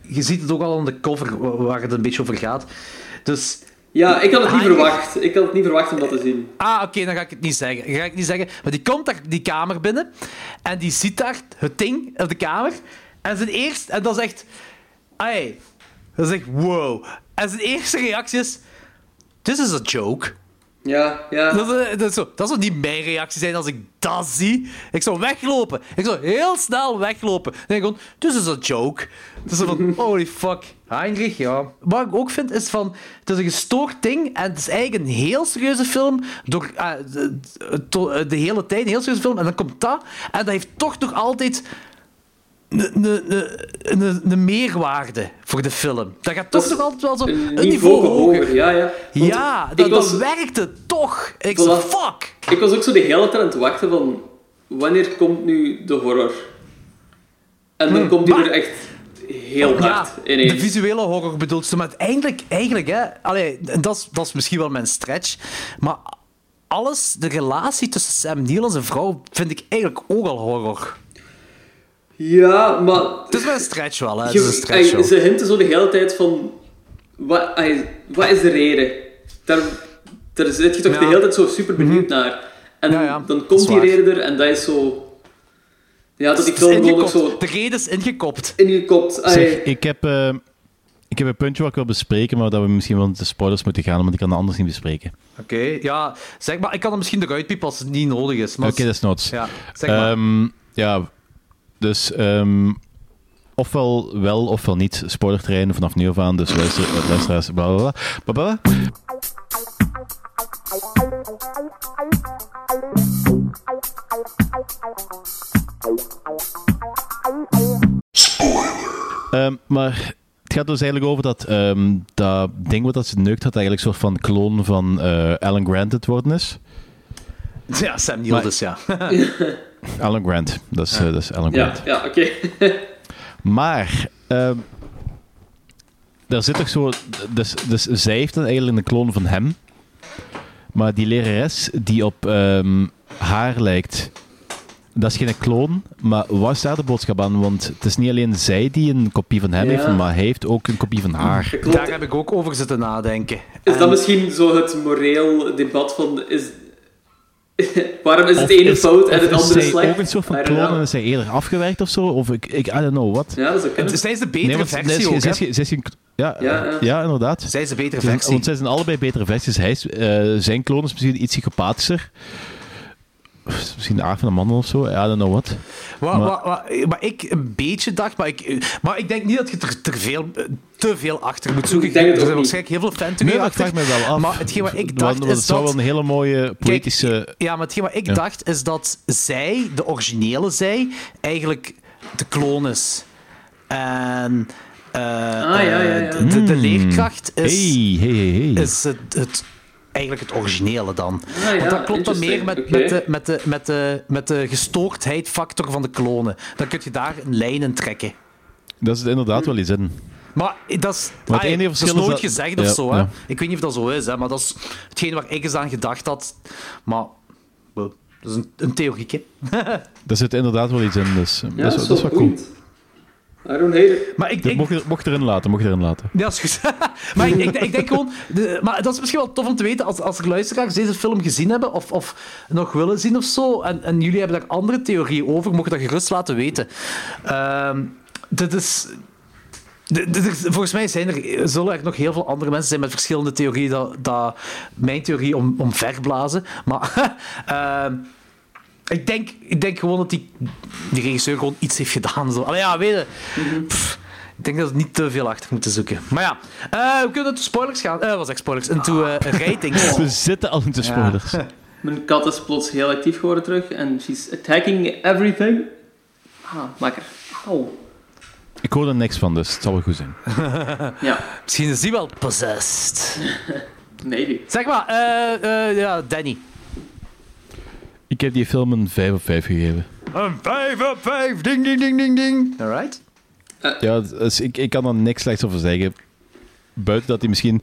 je ziet het ook al aan de cover wa- waar het een beetje over gaat. Dus...
Ja, ik had het niet
Heinrich-
verwacht. Ik had het niet verwacht om dat te zien.
Ah, oké, dan ga ik het niet zeggen. Dan ga ik niet zeggen. Maar die komt daar die kamer binnen en die ziet daar het ding op de kamer. En zijn eerst, en dat is echt. Ai, dat is echt wow. En zijn eerste reactie is: This is a joke.
Ja, ja.
Dat, is, dat, is zo, dat zou niet mijn reactie zijn als ik dat zie. Ik zou weglopen. Ik zou heel snel weglopen. Dan denk ik gewoon, this is a joke. Het is zo van, holy fuck. Heinrich, ja. Wat ik ook vind, is van... Het is een gestoord ding en het is eigenlijk een heel serieuze film. Door, eh, de, de- de hele tijd een heel serieuze film. En dan komt dat. En dat heeft toch nog altijd... Een- Een een- een- een meerwaarde voor de film. Dat gaat toch
is
nog altijd wel zo
Een
een niveau hoger.
Ja, ja. Want
Ja,
ik
dat, dat
was-
werkte toch. Ik zei,
Voilà.
fuck.
Ik was ook zo de hele tijd aan het wachten van... Wanneer komt nu de horror? En dan komt die
Hmm. maar-
er echt heel
Ja,
hard
de
ineens.
visuele horror bedoelt ze. Maar eigenlijk, eigenlijk hè, allee, dat, is, dat is misschien wel mijn stretch. Maar alles, de relatie tussen Sam Neill en zijn vrouw, vind ik eigenlijk ook al horror.
Ja, maar...
Het is wel een stretch wel, hè. Het is een
Je,
stretch
ey,
wel.
ze hinten zo de hele tijd van... Wat, ey, wat is de reden? Daar, daar zit je toch de hele tijd zo super benieuwd naar. En
Mhm. Ja, ja,
dan
dat is
komt die
waar. Dus
reden er en dat is zo... Ja, dat die
Het is
film gewoon ook
ingekopt.
zo
De reden is ingekopt.
ingekopt. ey.
Zeg, ik heb, eh, ik heb een puntje wat ik wil bespreken, maar dat we misschien wel de spoilers moeten gaan, want ik kan dat anders niet bespreken.
Oké, ja. Zeg maar, ik kan hem misschien eruit piepen als het niet nodig is. Maar
Oké, dat is noods.
Ja, zeg maar.
Ehm, ja, dus ehm, ofwel wel ofwel niet spoilerterrein vanaf nu af aan, dus luister, eh, luisteraars, bla bla bla. bla, bla. Ehm, maar het gaat dus eigenlijk over dat, ehm, dat ding wat dat ze neukt had eigenlijk een soort van kloon van eh, Alan Grant het worden is.
Ja, Sam Neill
maar-
dus, ja.
Alan Grant, dat is, eh, dat is Alan
Ja,
Grant.
ja oké.
Maar, ehm, daar zit toch zo. Dus, dus zij heeft dan eigenlijk een kloon van hem. Maar die lerares die op ehm, haar lijkt, dat is geen kloon. Maar waar staat de boodschap aan? Want het is niet alleen zij die een kopie van
Ja.
hem heeft, maar hij heeft ook een kopie van haar.
Klopt.
Daar heb ik ook over zitten nadenken.
Is
En-
dat misschien zo het moreel debat van... Is, waarom is het
Of
ene
is-
fout en
of
het
is
andere
zij
slecht?
ook een soort
I
van
don't
kloon en
know.
is zij eerder afgewerkt of zo? Of ik, ik I don't know, wat?
Ja, dat zou kunnen.
Zij is de betere
want zij is
versie
geen-
ook,
zij
hè.
is geen- zij is geen- Ja,
Ja, ja.
eh, ja, inderdaad.
Zij is de betere
Dus-
versie.
Want zij zijn allebei betere versies. Hij is, eh, zijn kloon is misschien iets psychopathischer. Of Misschien de aard van een man of zo. I don't know what.
Wat,
Maar-
wat, wat, wat ik een beetje dacht, maar ik, maar ik denk niet dat je er ter veel, te veel achter moet zoeken.
Ik denk het
er
ook
zijn
niet.
waarschijnlijk heel veel fan
Nee, maar ik
achter.
vraag me wel af.
Maar hetgeen wat ik
Want-
dacht
want
is
het zou
dat-
wel een hele mooie poëtische...
Ja, maar hetgeen wat ik
Ja.
dacht is dat zij, de originele zij, eigenlijk de kloon is. En eh,
Ah, ja, ja, ja.
eh, De, de leerkracht is,
Hmm. hey, hey, hey, hey.
is het, het, eigenlijk het originele dan.
ja,
Want dat klopt dan meer met,
interesting.
met, de,
Oké.
met, de, met, de, met de gestoordheidfactor van de klonen. Dan kun je daar een lijn in trekken.
Dat is inderdaad wel iets in.
Maar dat is,
Maar het
ah,
enige
dat is
verschil is
nooit
dat-
gezegd of
ja,
zo. Hè.
ja.
Ik weet niet of dat zo is, hè, maar dat is hetgeen waar ik eens aan gedacht had. Maar wow, dat is een, een theorieke.
Daar zit inderdaad wel iets in. Dus, eh,
Ja,
dat, is, wel- dat is wel cool.
boeiend. I don't hate it.
Maar ik,
Dat
ik,
mocht, je- mocht je erin laten, mocht je erin laten.
Ja, is goed. maar ik, ik, ik denk gewoon... de- maar dat is misschien wel tof om te weten, als, als er luisteraars deze film gezien hebben, of, of nog willen zien of zo, en, en jullie hebben daar andere theorieën over, mogen dat gerust laten weten. Ehm, dit is... dit- dit is- Volgens mij zijn er, zullen er nog heel veel andere mensen zijn met verschillende theorieën dat, dat mijn theorie om, omverblazen. Maar ehm, ik, denk, ik denk gewoon dat die, die regisseur gewoon iets heeft gedaan. Zo. Allee, ja, weet je. Pff, ik denk dat we niet te veel achter moeten zoeken. Maar ja, eh, we kunnen naar spoilers gaan. Eh was echt spoilers? Into eh ratings.
We zitten al in de spoilers.
Mijn kat is plots heel actief geworden terug en she's attacking everything. Ah, lekker. Auw.
Ik hoor er niks van, dus het zal wel goed zijn.
Ja,
Misschien is die wel possessed.
maybe.
Zeg maar, eh, eh, ja, Danny.
Ik heb die film een 5 op 5 gegeven.
Een 5 op 5, ding, ding, ding, ding, ding. Alright.
Ja, dus ik, ik kan er niks slechts over zeggen. Buiten dat hij misschien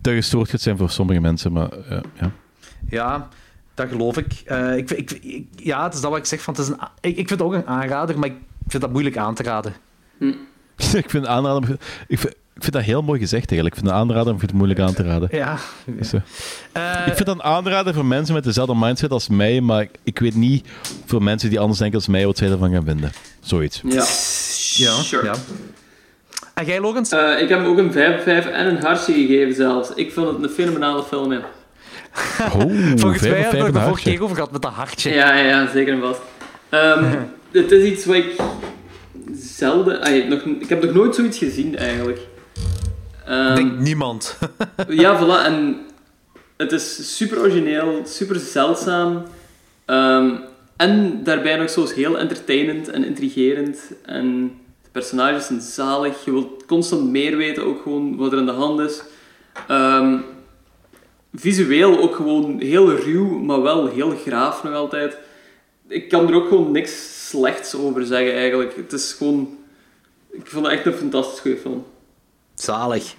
te gestoord gaat zijn voor sommige mensen, maar eh, ja.
Ja, dat geloof ik. Eh, ik, ik, ik- Ja, het is dat wat ik zeg. Van, het is een, a- ik, ik vind het ook een aanrader, maar ik vind dat moeilijk aan te raden.
ik vind aanraden... Ik vind, ik vind dat heel mooi gezegd eigenlijk. Ik vind een aanrader, maar ik vind het moeilijk aan te raden.
Ja.
Is zo.
Eh,
Ik vind dat een aanrader voor mensen met dezelfde mindset als mij, maar ik- ik weet niet voor mensen die anders denken als mij wat zij ervan gaan vinden. Zoiets.
Ja.
ja,
sure.
ja. En jij, Logans?
Eh, ik heb hem ook een 5 5 en een hartje gegeven zelfs. Ik vond het een fenomenale film, ja.
Oh,
Volgens mij hebben we het er
een
vorige
hartje.
keer over gehad met dat hartje.
Ja, ja, zeker en vast. Ehm, het is iets wat ik zelden... ai, nog, ik heb nog nooit zoiets gezien, eigenlijk. Ehm,
Denkt niemand.
Ja, voilà. En het is super origineel, super zeldzaam. Ehm, en daarbij nog zo heel entertainend en intrigerend. En de personages zijn zalig. Je wilt constant meer weten, ook gewoon wat er aan de hand is. Ehm, visueel ook gewoon heel ruw, maar wel heel graaf nog altijd. Ik kan er ook gewoon niks slechts over zeggen eigenlijk. Het is gewoon... Ik vond het echt een fantastisch goede film.
Zalig.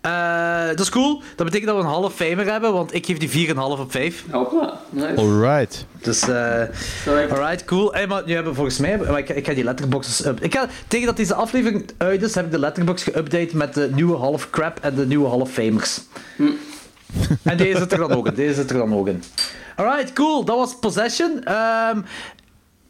Eh, dat is cool. Dat betekent dat we een half famer hebben, want ik geef die 4,5 op 5.
Hopla, nice.
Alright.
Dus, eh
Alright.
alright, cool. Hey, maar nu hebben we volgens mij... maar ik, ik ga die letterboxes... up- ik ga, tegen dat deze aflevering uit is, heb ik de letterbox geüpdate met de nieuwe half crap en de nieuwe half famers.
Hm.
En deze zit er dan ook in. Deze zit er dan ook in. Alright, cool. Dat was Possession. Ehm,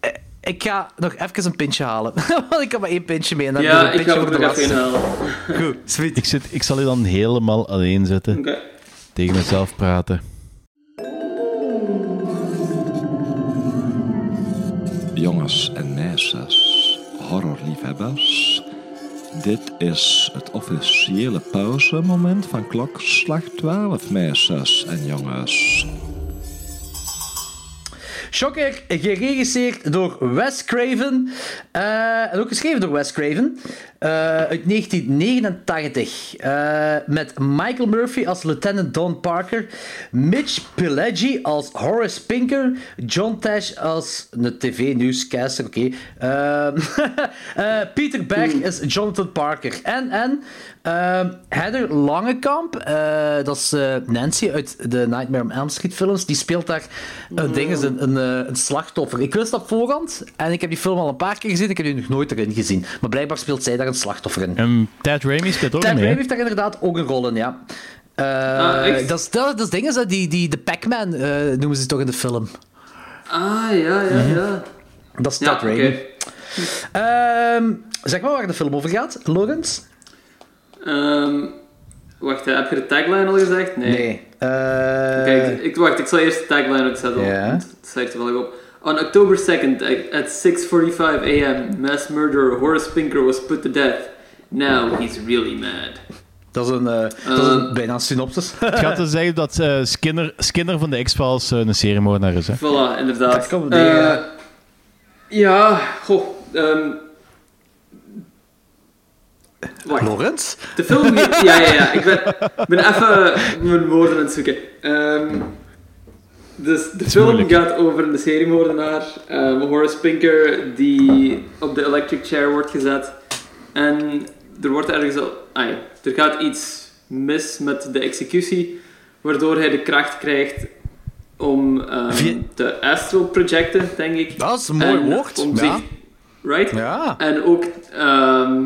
eh, ik ga nog even een pintje halen. Want ik heb maar één pintje mee. En dan doe
Ja,
een
ik
pintje
ga er
voor de
nog even
laatste.
inhalen.
Goed, sweet.
Ik, zit, ik zal je dan helemaal alleen zetten.
Oké.
Tegen mezelf praten.
Jongens en meisjes, horrorliefhebbers. Dit is het officiële pauzemoment van klokslag 12, meisjes en jongens.
Shocker, geregisseerd door Wes Craven. eh, en ook geschreven door Wes Craven. eh, uit 1989. eh, met Michael Murphy als Lieutenant Don Parker. Mitch Pileggi als Horace Pinker. John Tash als een tv-newscaster. Oké. Ehm, eh, Peter Berg is Jonathan Parker. En, en ehm, Heather Langekamp, eh, dat is eh, Nancy uit de Nightmare on Elm Street films, die speelt daar
Mm.
een, ding, is een, een, eh, een slachtoffer. Ik wist dat voorhand en ik heb die film al een paar keer gezien, ik heb die nog nooit erin gezien. Maar blijkbaar speelt zij daar een slachtoffer in.
En Ehm, Ted Raimi speelt ook
Ted
mee.
Raimi
hè?
heeft daar inderdaad ook een rol in, ja. Eh,
Ah, echt?
dat is dat, dat is ding, is dat die, die, de Pac-Man eh, noemen ze die toch in de film.
Ah, ja, ja, ja.
Dat Mhm. is
Ja,
Ted
oké.
Raimi. Ehm, zeg maar waar de film over gaat, Logans?
Ehm, wacht, hè, heb je de tagline al gezegd? Nee.
Nee. Eh,
Kijk, ik, wacht, ik zal eerst de tagline opzetten.
Ja.
want Het zegt er wel op. On October 2nd, at 6.45 a.m., mass murderer Horace Pinker was put to death. Now he's really mad.
dat is een, eh, dat is een- bijna een synopsis.
Het gaat dus zeggen dat eh, Skinner, Skinner van de X-Files eh, een seriemoordenaar is. Hè?
Voilà, inderdaad.
Dat kan wel,
Eh,
ja.
ja, goh. ehm, wacht.
Lorenz?
De film... Ja, ja, ja. Ik ben, ben even mijn woorden aan het zoeken. Ehm, dus de film
moeilijk.
gaat over een seriemoordenaar, ehm, Horace Pinker, die op de electric chair wordt gezet. En er wordt ergens... al- Ah, ja, er gaat iets mis met de executie, waardoor hij de kracht krijgt om ehm,
Via-
te astral projecten, denk ik.
Dat is een mooi
En
woord.
om
Ja.
zich- right?
Ja.
En ook, ehm,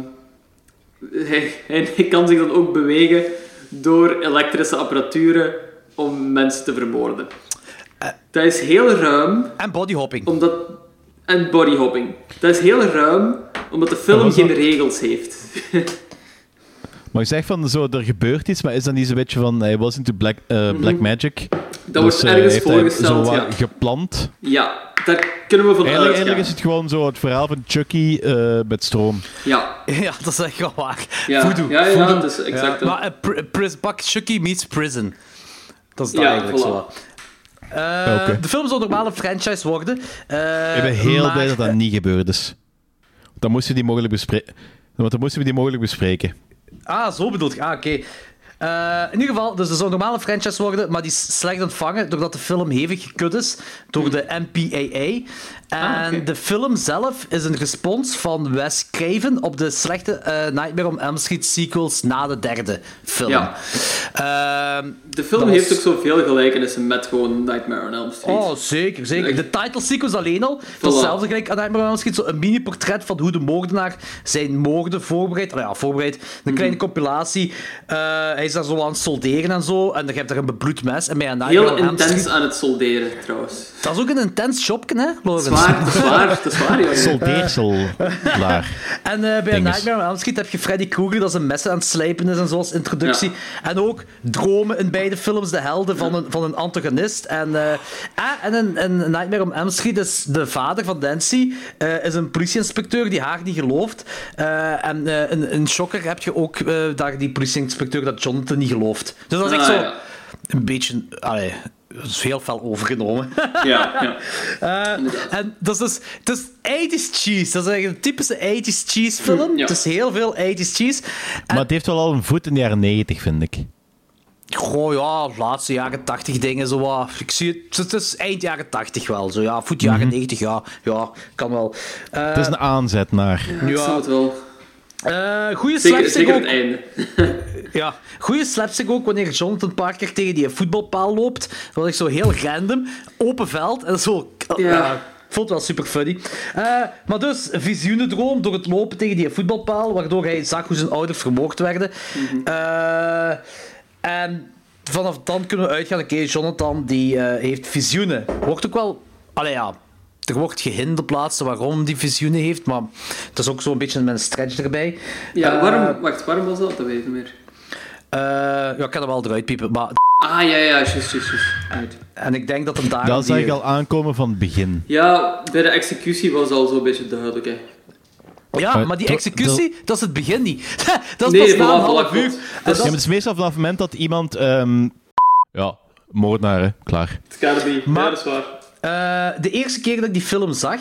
hij, hij, hij kan zich dan ook bewegen door elektrische apparaturen om mensen te vermoorden. Dat is heel ruim,
Eh. En bodyhopping.
omdat... En bodyhopping. Dat is heel ruim, omdat de film
was dat?
geen regels heeft.
Maar ik zeg van, zo, er gebeurt iets, maar is dat niet zo'n beetje van, hij was into black, eh, black magic?
Mhm.
Dus, eh,
Dat wordt ergens voorgesteld,
zo
ja.
wat gepland.
Ja, daar kunnen we van
Eigenlijk,
uitgaan.
eigenlijk is het gewoon zo het verhaal van Chucky eh, met stroom.
Ja,
Ja, dat is echt wel waar.
ja.
Voodoo.
ja, ja,
Voodoo.
dus exact
Ja,
dat.
maar eh, pri- pris, Bak Chucky meets Prison. Dat is dat
Ja,
eigenlijk
voilà.
zo. Eh,
Oké.
De film zou normaal een franchise worden. eh,
ik ben heel
maar-
blij dat dat niet gebeurd is. Dan moesten die mogelijk bespreken. Want dan moesten we die mogelijk bespreken.
Ah, zo bedoel ik. Ah, oké. Eh, in ieder geval, dus het zou een normale franchise worden, maar die is slecht ontvangen doordat de film hevig gekut is door de MPAA. En
Hmm. Ah, oké.
de film zelf is een respons van Wes Craven op de slechte eh, Nightmare on Elm Street sequels na de derde film.
Ja.
Ehm,
De film
Dat was-
heeft ook zoveel gelijkenissen met gewoon Nightmare on Elm Street.
Oh, zeker, zeker. De title sequence alleen al.
Voilà.
Hetzelfde gelijk aan Nightmare on Elm Street. Zo een mini-portret van hoe de moordenaar zijn moorden voorbereidt. Nou ja, voorbereidt. Een
Mhm.
kleine compilatie. Eh, hij is daar zo aan het solderen en zo. En dan heb je daar een bebloed mes. En bij een Nightmare
Heel
on Elm Street...
intens aan het solderen, trouwens.
Dat is ook een intens shopje, hè, Lorenz?
Zwaar, te zwaar, te zwaar, jongen.
Soldeersel. Klaar.
En eh, bij een
Dinges.
Nightmare on Elm Street heb je Freddy Krueger dat zijn messen aan het slijpen is en zoals introductie. En ook dromen in beide films, de helden van een, van een antagonist. En, eh, ah, en in, in Nightmare on Elm Street is de vader van Nancy eh, is een politieinspecteur die haar niet gelooft. Eh, en eh, in, in Shocker heb je ook eh, daar die politieinspecteur dat Jonathan niet gelooft. Dus dat is echt
Ah,
zo
ja.
een beetje... Allee, dat is heel fel overgenomen.
Ja, ja.
En dat is dus, het is 80s cheese. Dat is eigenlijk een typische 80s cheese film.
Hm, ja.
Het is heel veel 80s cheese. En,
Maar het heeft wel al een voet in de jaren 90, vind ik.
goh, ja, laatste jaren 80 dingen. Zo wat. Ik zie het, het is eind jaren 80 wel. Zo, ja, voet
Mhm.
jaren 90, ja, ja, kan wel. Eh
Het
Dus-
is een aanzet naar.
Ik snap het wel.
eh, goede
Zeker,
slapstick
zeker
ook.
het einde.
Ja, goede slapstick ook wanneer Jonathan Parker tegen die voetbalpaal loopt. Dat is zo heel random. Open veld en zo.
Ja.
Ja. ik vond het wel super funny. Eh, maar dus, visioenendroom door het lopen tegen die voetbalpaal, waardoor hij zag hoe zijn ouders vermoord werden.
Mhm.
Eh, en vanaf dan kunnen we uitgaan, oké, Jonathan die eh, heeft visioenen. Wordt ook wel... Allee ja, er wordt gehind op plaatsen waarom die visioenen heeft, maar het is ook zo'n beetje een stretch erbij.
Ja,
Eh,
waarom, wacht, waarom was dat? Dat weet ik niet meer.
eh, ja, ik kan er wel eruit piepen, maar...
Ah, ja, ja, juist, juist, juist. Uit.
En ik denk dat hem daar...
Dat zag ik al aankomen van het begin.
Ja, bij de executie was al zo'n beetje duidelijk, hè.
Ja,
Maar
maar die
to-
executie, dat is het begin niet. dat is
Nee,
pas na een
voilà,
half
voilà,
uur. En
klopt. Dat
Ja,
dat-
maar het is meestal vanaf het moment dat iemand... ehm, ja, moordenaar, hè. Klaar.
Het kan niet.
Maar-
Ja, dat is waar.
eh, de eerste keer dat ik die film zag,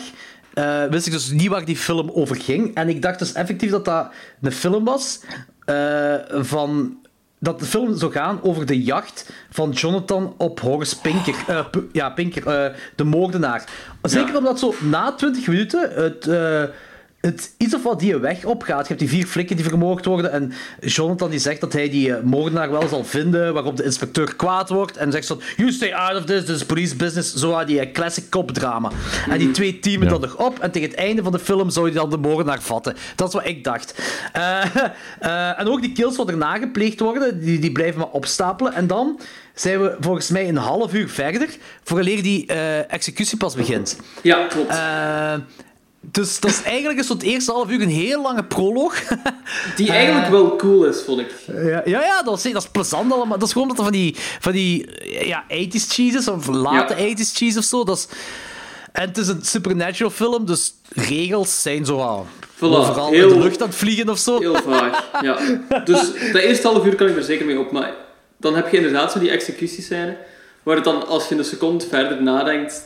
eh, wist ik dus niet waar die film over ging. En ik dacht dus effectief dat dat een film was eh, van... Dat de film zou gaan over de jacht van Jonathan op Horace Pinker. eh, P- ja, Pinker, eh, de moordenaar. Zeker omdat zo na 20 minuten het... eh, het is of wat die weg opgaat. Je hebt die vier flikken die vermoord worden. En Jonathan die zegt dat hij die eh, moordenaar wel zal vinden. Waarop de inspecteur kwaad wordt. En zegt van, you stay out of this, this is police business. Zo had die eh, classic cop drama. En die twee teamen
Ja.
dan nog op. En tegen het einde van de film zou hij dan de moordenaar vatten. Dat is wat ik dacht. Eh, eh, en ook die kills wat erna gepleegd worden. Die, die blijven maar opstapelen. En dan zijn we volgens mij een half uur verder. Vooraleer die eh, executie pas begint.
Ja, klopt.
Eh, dus dat is eigenlijk is tot het eerste half uur een heel lange proloog. Eh,
Die eigenlijk wel cool is, vond ik.
ja, ja, ja, dat, is, dat is plezant allemaal. Dat is gewoon dat er van die, van die ja, 80s cheeses of late
Ja.
80s cheese of zo. Dat is, en het is een supernatural film, dus regels zijn zo al
Voilà,
overal in
heel-
de lucht aan het vliegen of zo.
Heel vaag, ja. Dus dat eerste half uur kan ik er zeker mee op, maar dan heb je inderdaad zo die executiescène, waar het dan, als je een seconde verder nadenkt,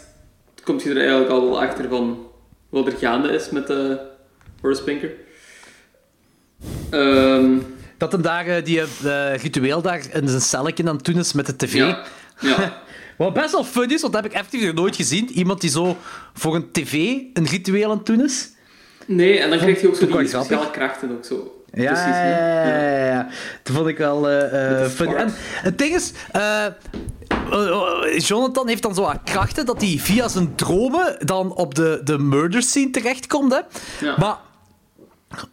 komt je er eigenlijk al wel achter van wat er gaande is met eh Horace Pinker. Ehm,
Dat hem daar eh, die eh, ritueel daar in zijn celletje aan het doen is met de tv.
ja. ja.
Wat best wel fun is, want dat heb ik effectief nog nooit gezien. Iemand die zo voor een tv een ritueel aan het doen is.
Nee, en dan krijgt hij ook zo
Vond ik
die
wel grappig.
speciale krachten ook zo.
Ja,
Precies,
ja,
hè?
ja, ja, ja. Dat vond ik wel eh, eh, funny.
fart.
En het ding is, eh, eh, eh, Jonathan heeft dan zo wat krachten dat hij via zijn dromen dan op de, de murder scene terechtkomt. Hè?
Ja.
Maar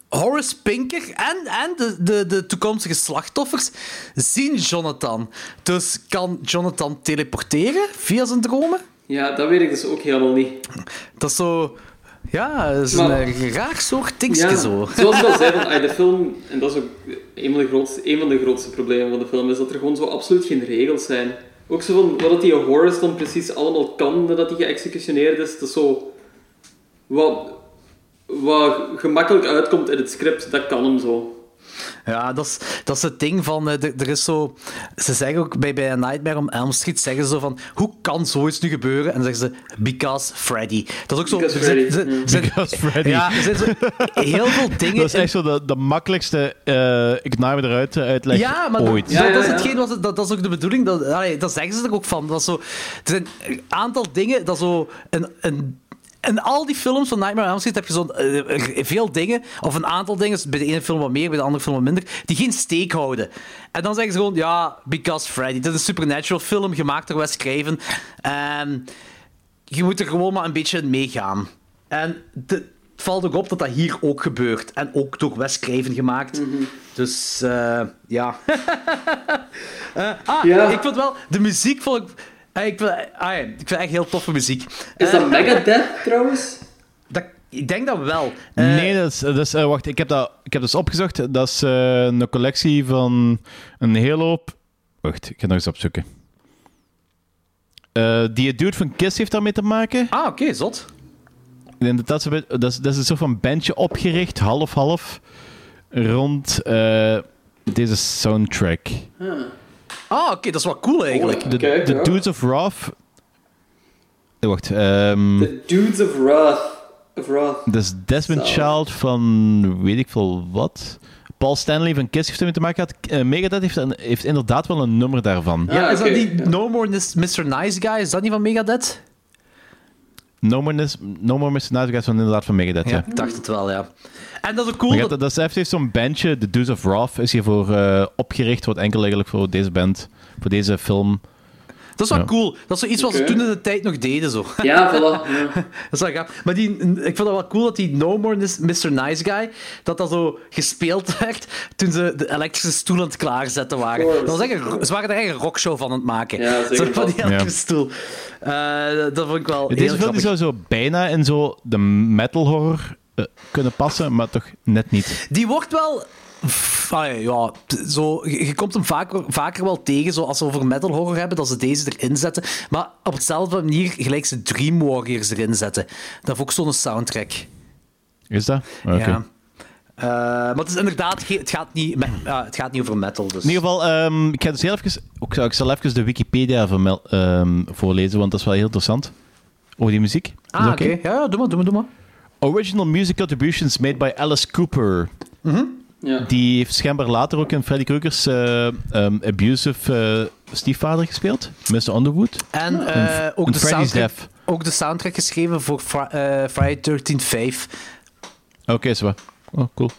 Horace Pinker en, en de, de, de toekomstige slachtoffers zien Jonathan. Dus kan Jonathan teleporteren via zijn dromen?
Ja, dat weet ik dus ook helemaal niet.
Dat is zo... Ja, dat is
Maar-
een eh, raar soort dingetje
Ja,
zo.
Zoals ik al zei, van, ah, de film, en dat is ook een van, de grootste, een van de grootste problemen van de film, is dat er gewoon zo absoluut geen regels zijn. Ook zo van wat dat die Horace dan precies allemaal kan nadat hij geëxecutioneerd is, dat is zo. Wat, wat gemakkelijk uitkomt in het script, dat kan hem zo.
Ja, dat is, dat is het ding van. eh, Er, er is zo. Ze zeggen ook bij, bij A Nightmare on Elm Street: zeggen ze zo van. Hoe kan zoiets nu gebeuren? En dan zeggen ze. Because Freddy. Dat is ook zo.
Because
er zijn-
Freddy,
ze-
ja.
ze-
Because Freddy.
Ja, er zijn zo heel veel dingen.
Dat is
in-
echt zo de, de makkelijkste. eh, ik naai me eruit eh, uitleg
ja, maar
ooit.
Dat, dat,
Ja, ja,
is
ja.
hetgeen wat ze- dat, dat is ook de bedoeling. Dat, allee, dat zeggen ze er ook van. Dat is zo, er zijn een aantal dingen dat zo. Een, een, in al die films van Nightmare on Elm Street heb je zo'n eh, veel dingen, of een aantal dingen, bij de ene film wat meer, bij de andere film wat minder, die geen steek houden. En dan zeggen ze gewoon, ja, because Freddy. Dit is een supernatural film, gemaakt door Wes Craven. En je moet er gewoon maar een beetje in meegaan. En de, het valt ook op dat dat hier ook gebeurt. En ook door Wes Craven gemaakt.
Mhm.
Dus eh, ja. Eh, ah,
Ja.
ik vond wel... De muziek vond ik... eh, ik, vind, ah, ja, ik vind echt heel toffe muziek.
Is
Eh.
dat Megadeth trouwens?
Dat, ik denk dat wel. Eh,
Nee, dat is, dat is, eh, wacht, ik heb dat, ik heb dus opgezocht. Dat is eh, een collectie van een hele hoop. Wacht, ik ga nog eens opzoeken. Eh, die dude van Kiss heeft daarmee te maken.
Ah, oké, zot.
Ik denk dat dat, zo bij- dat, is, dat is een soort van bandje opgericht, half-half, rond eh, deze soundtrack.
Ah, oké, dat is wel cool eigenlijk.
De,
Kijk,
de
ja.
Dudes of Wrath. Eh, Wacht, ehm,
The Dudes of Wrath. Of Wrath.
dat is Desmond
Zo.
Child van weet ik veel wat. Paul Stanley van Kiss heeft ermee te maken gehad. Eh, Megadeth heeft, een- heeft inderdaad wel een nummer daarvan.
ja,
Ah,
is
oké,
dat die
ja.
No More Nis- Mr. Nice Guy? Is dat niet van Megadeth?
No More, Nis- no More Mr. Nice Guys van inderdaad van Megadeth, ja.
ik dacht het wel, ja. En dat is ook
Maar
cool.
ja,
Dat,
dat, dat is- heeft heeft zo'n bandje, The Dudes of Wrath, is hiervoor eh, opgericht. Wordt enkel eigenlijk voor deze band, voor deze film.
dat is wel
ja.
cool. Dat is zo iets wat ze
Oké.
toen in de tijd nog deden, zo.
Ja, voilà. Ja.
Dat is wel gaaf. Maar die, ik vond dat wel cool dat die No More Nis- Mr. Nice Guy, dat dat zo gespeeld werd toen ze de elektrische stoel aan het klaarzetten waren.
Of course.
Dat was echt een ro- ze waren er echt een rockshow van aan het maken.
Ja, zeker
Zo van die
wel.
elektrische
Ja.
stoel. Eh, dat- dat vond ik wel heel
Deze film
grappig.
die zou zo bijna in zo de metal horror eh, kunnen passen, maar toch net niet.
Die wordt wel... pff, ah ja, ja, t- zo, je, je komt hem vaker, vaker wel tegen, zo, als ze over metal horror hebben, dat ze deze erin zetten. Maar op hetzelfde manier gelijk ze Dream Warriors erin zetten. Dat heeft ook zo'n soundtrack.
Is dat? Oké.
Ja. Eh, maar het is inderdaad, ge- het gaat niet, me- ja, het gaat niet over metal. Dus.
In ieder geval, ehm, ik ga dus heel even... Ik zal, ik zal even de Wikipedia vermel- ehm, voorlezen, want dat is wel heel interessant. Over die muziek. Is
ah,
dat
oké. Ja, ja, doe maar, doe maar, doe maar.
Original music contributions made by Alice Cooper.
Mhm.
Ja.
Die heeft schijnbaar later ook in Freddy Krueger's eh, ehm, abusive eh, stiefvader gespeeld. Mr. Underwood.
En eh, ook,
een
de
Freddy's
soundtrack,
Death.
ook de soundtrack geschreven voor Fri- eh, Friday 13 5.
Oké, is waar. Oh, cool.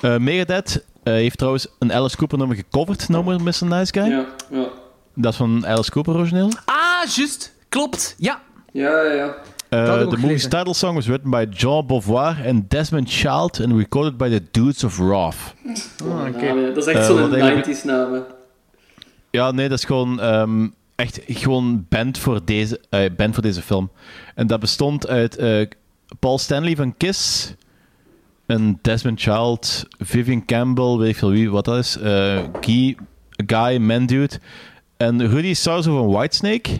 Eh Megadeth eh, heeft trouwens een Alice Cooper nummer gecoverd, nummer Mr. Nice Guy.
Ja, ja.
Dat is van Alice Cooper origineel.
Ah, juist. Klopt. Ja.
Ja, ja, ja.
Eh,
had ik ook
the movie's
gelezen.
title song was written by John Beauvoir and Desmond Child and recorded by the Dudes of Wrath.
Namen, ja. Dat is echt
Eh,
zo'n
wat eigenlijk-
90s naam. hè.
Ja, nee, dat is gewoon ehm, echt gewoon band voor, deze, eh, band voor deze film. En dat bestond uit eh, Paul Stanley van Kiss en Desmond Child, Vivian Campbell, weet ik veel wie wat dat is, eh, Guy, Guy Mandude en Rudy Sarzo van Whitesnake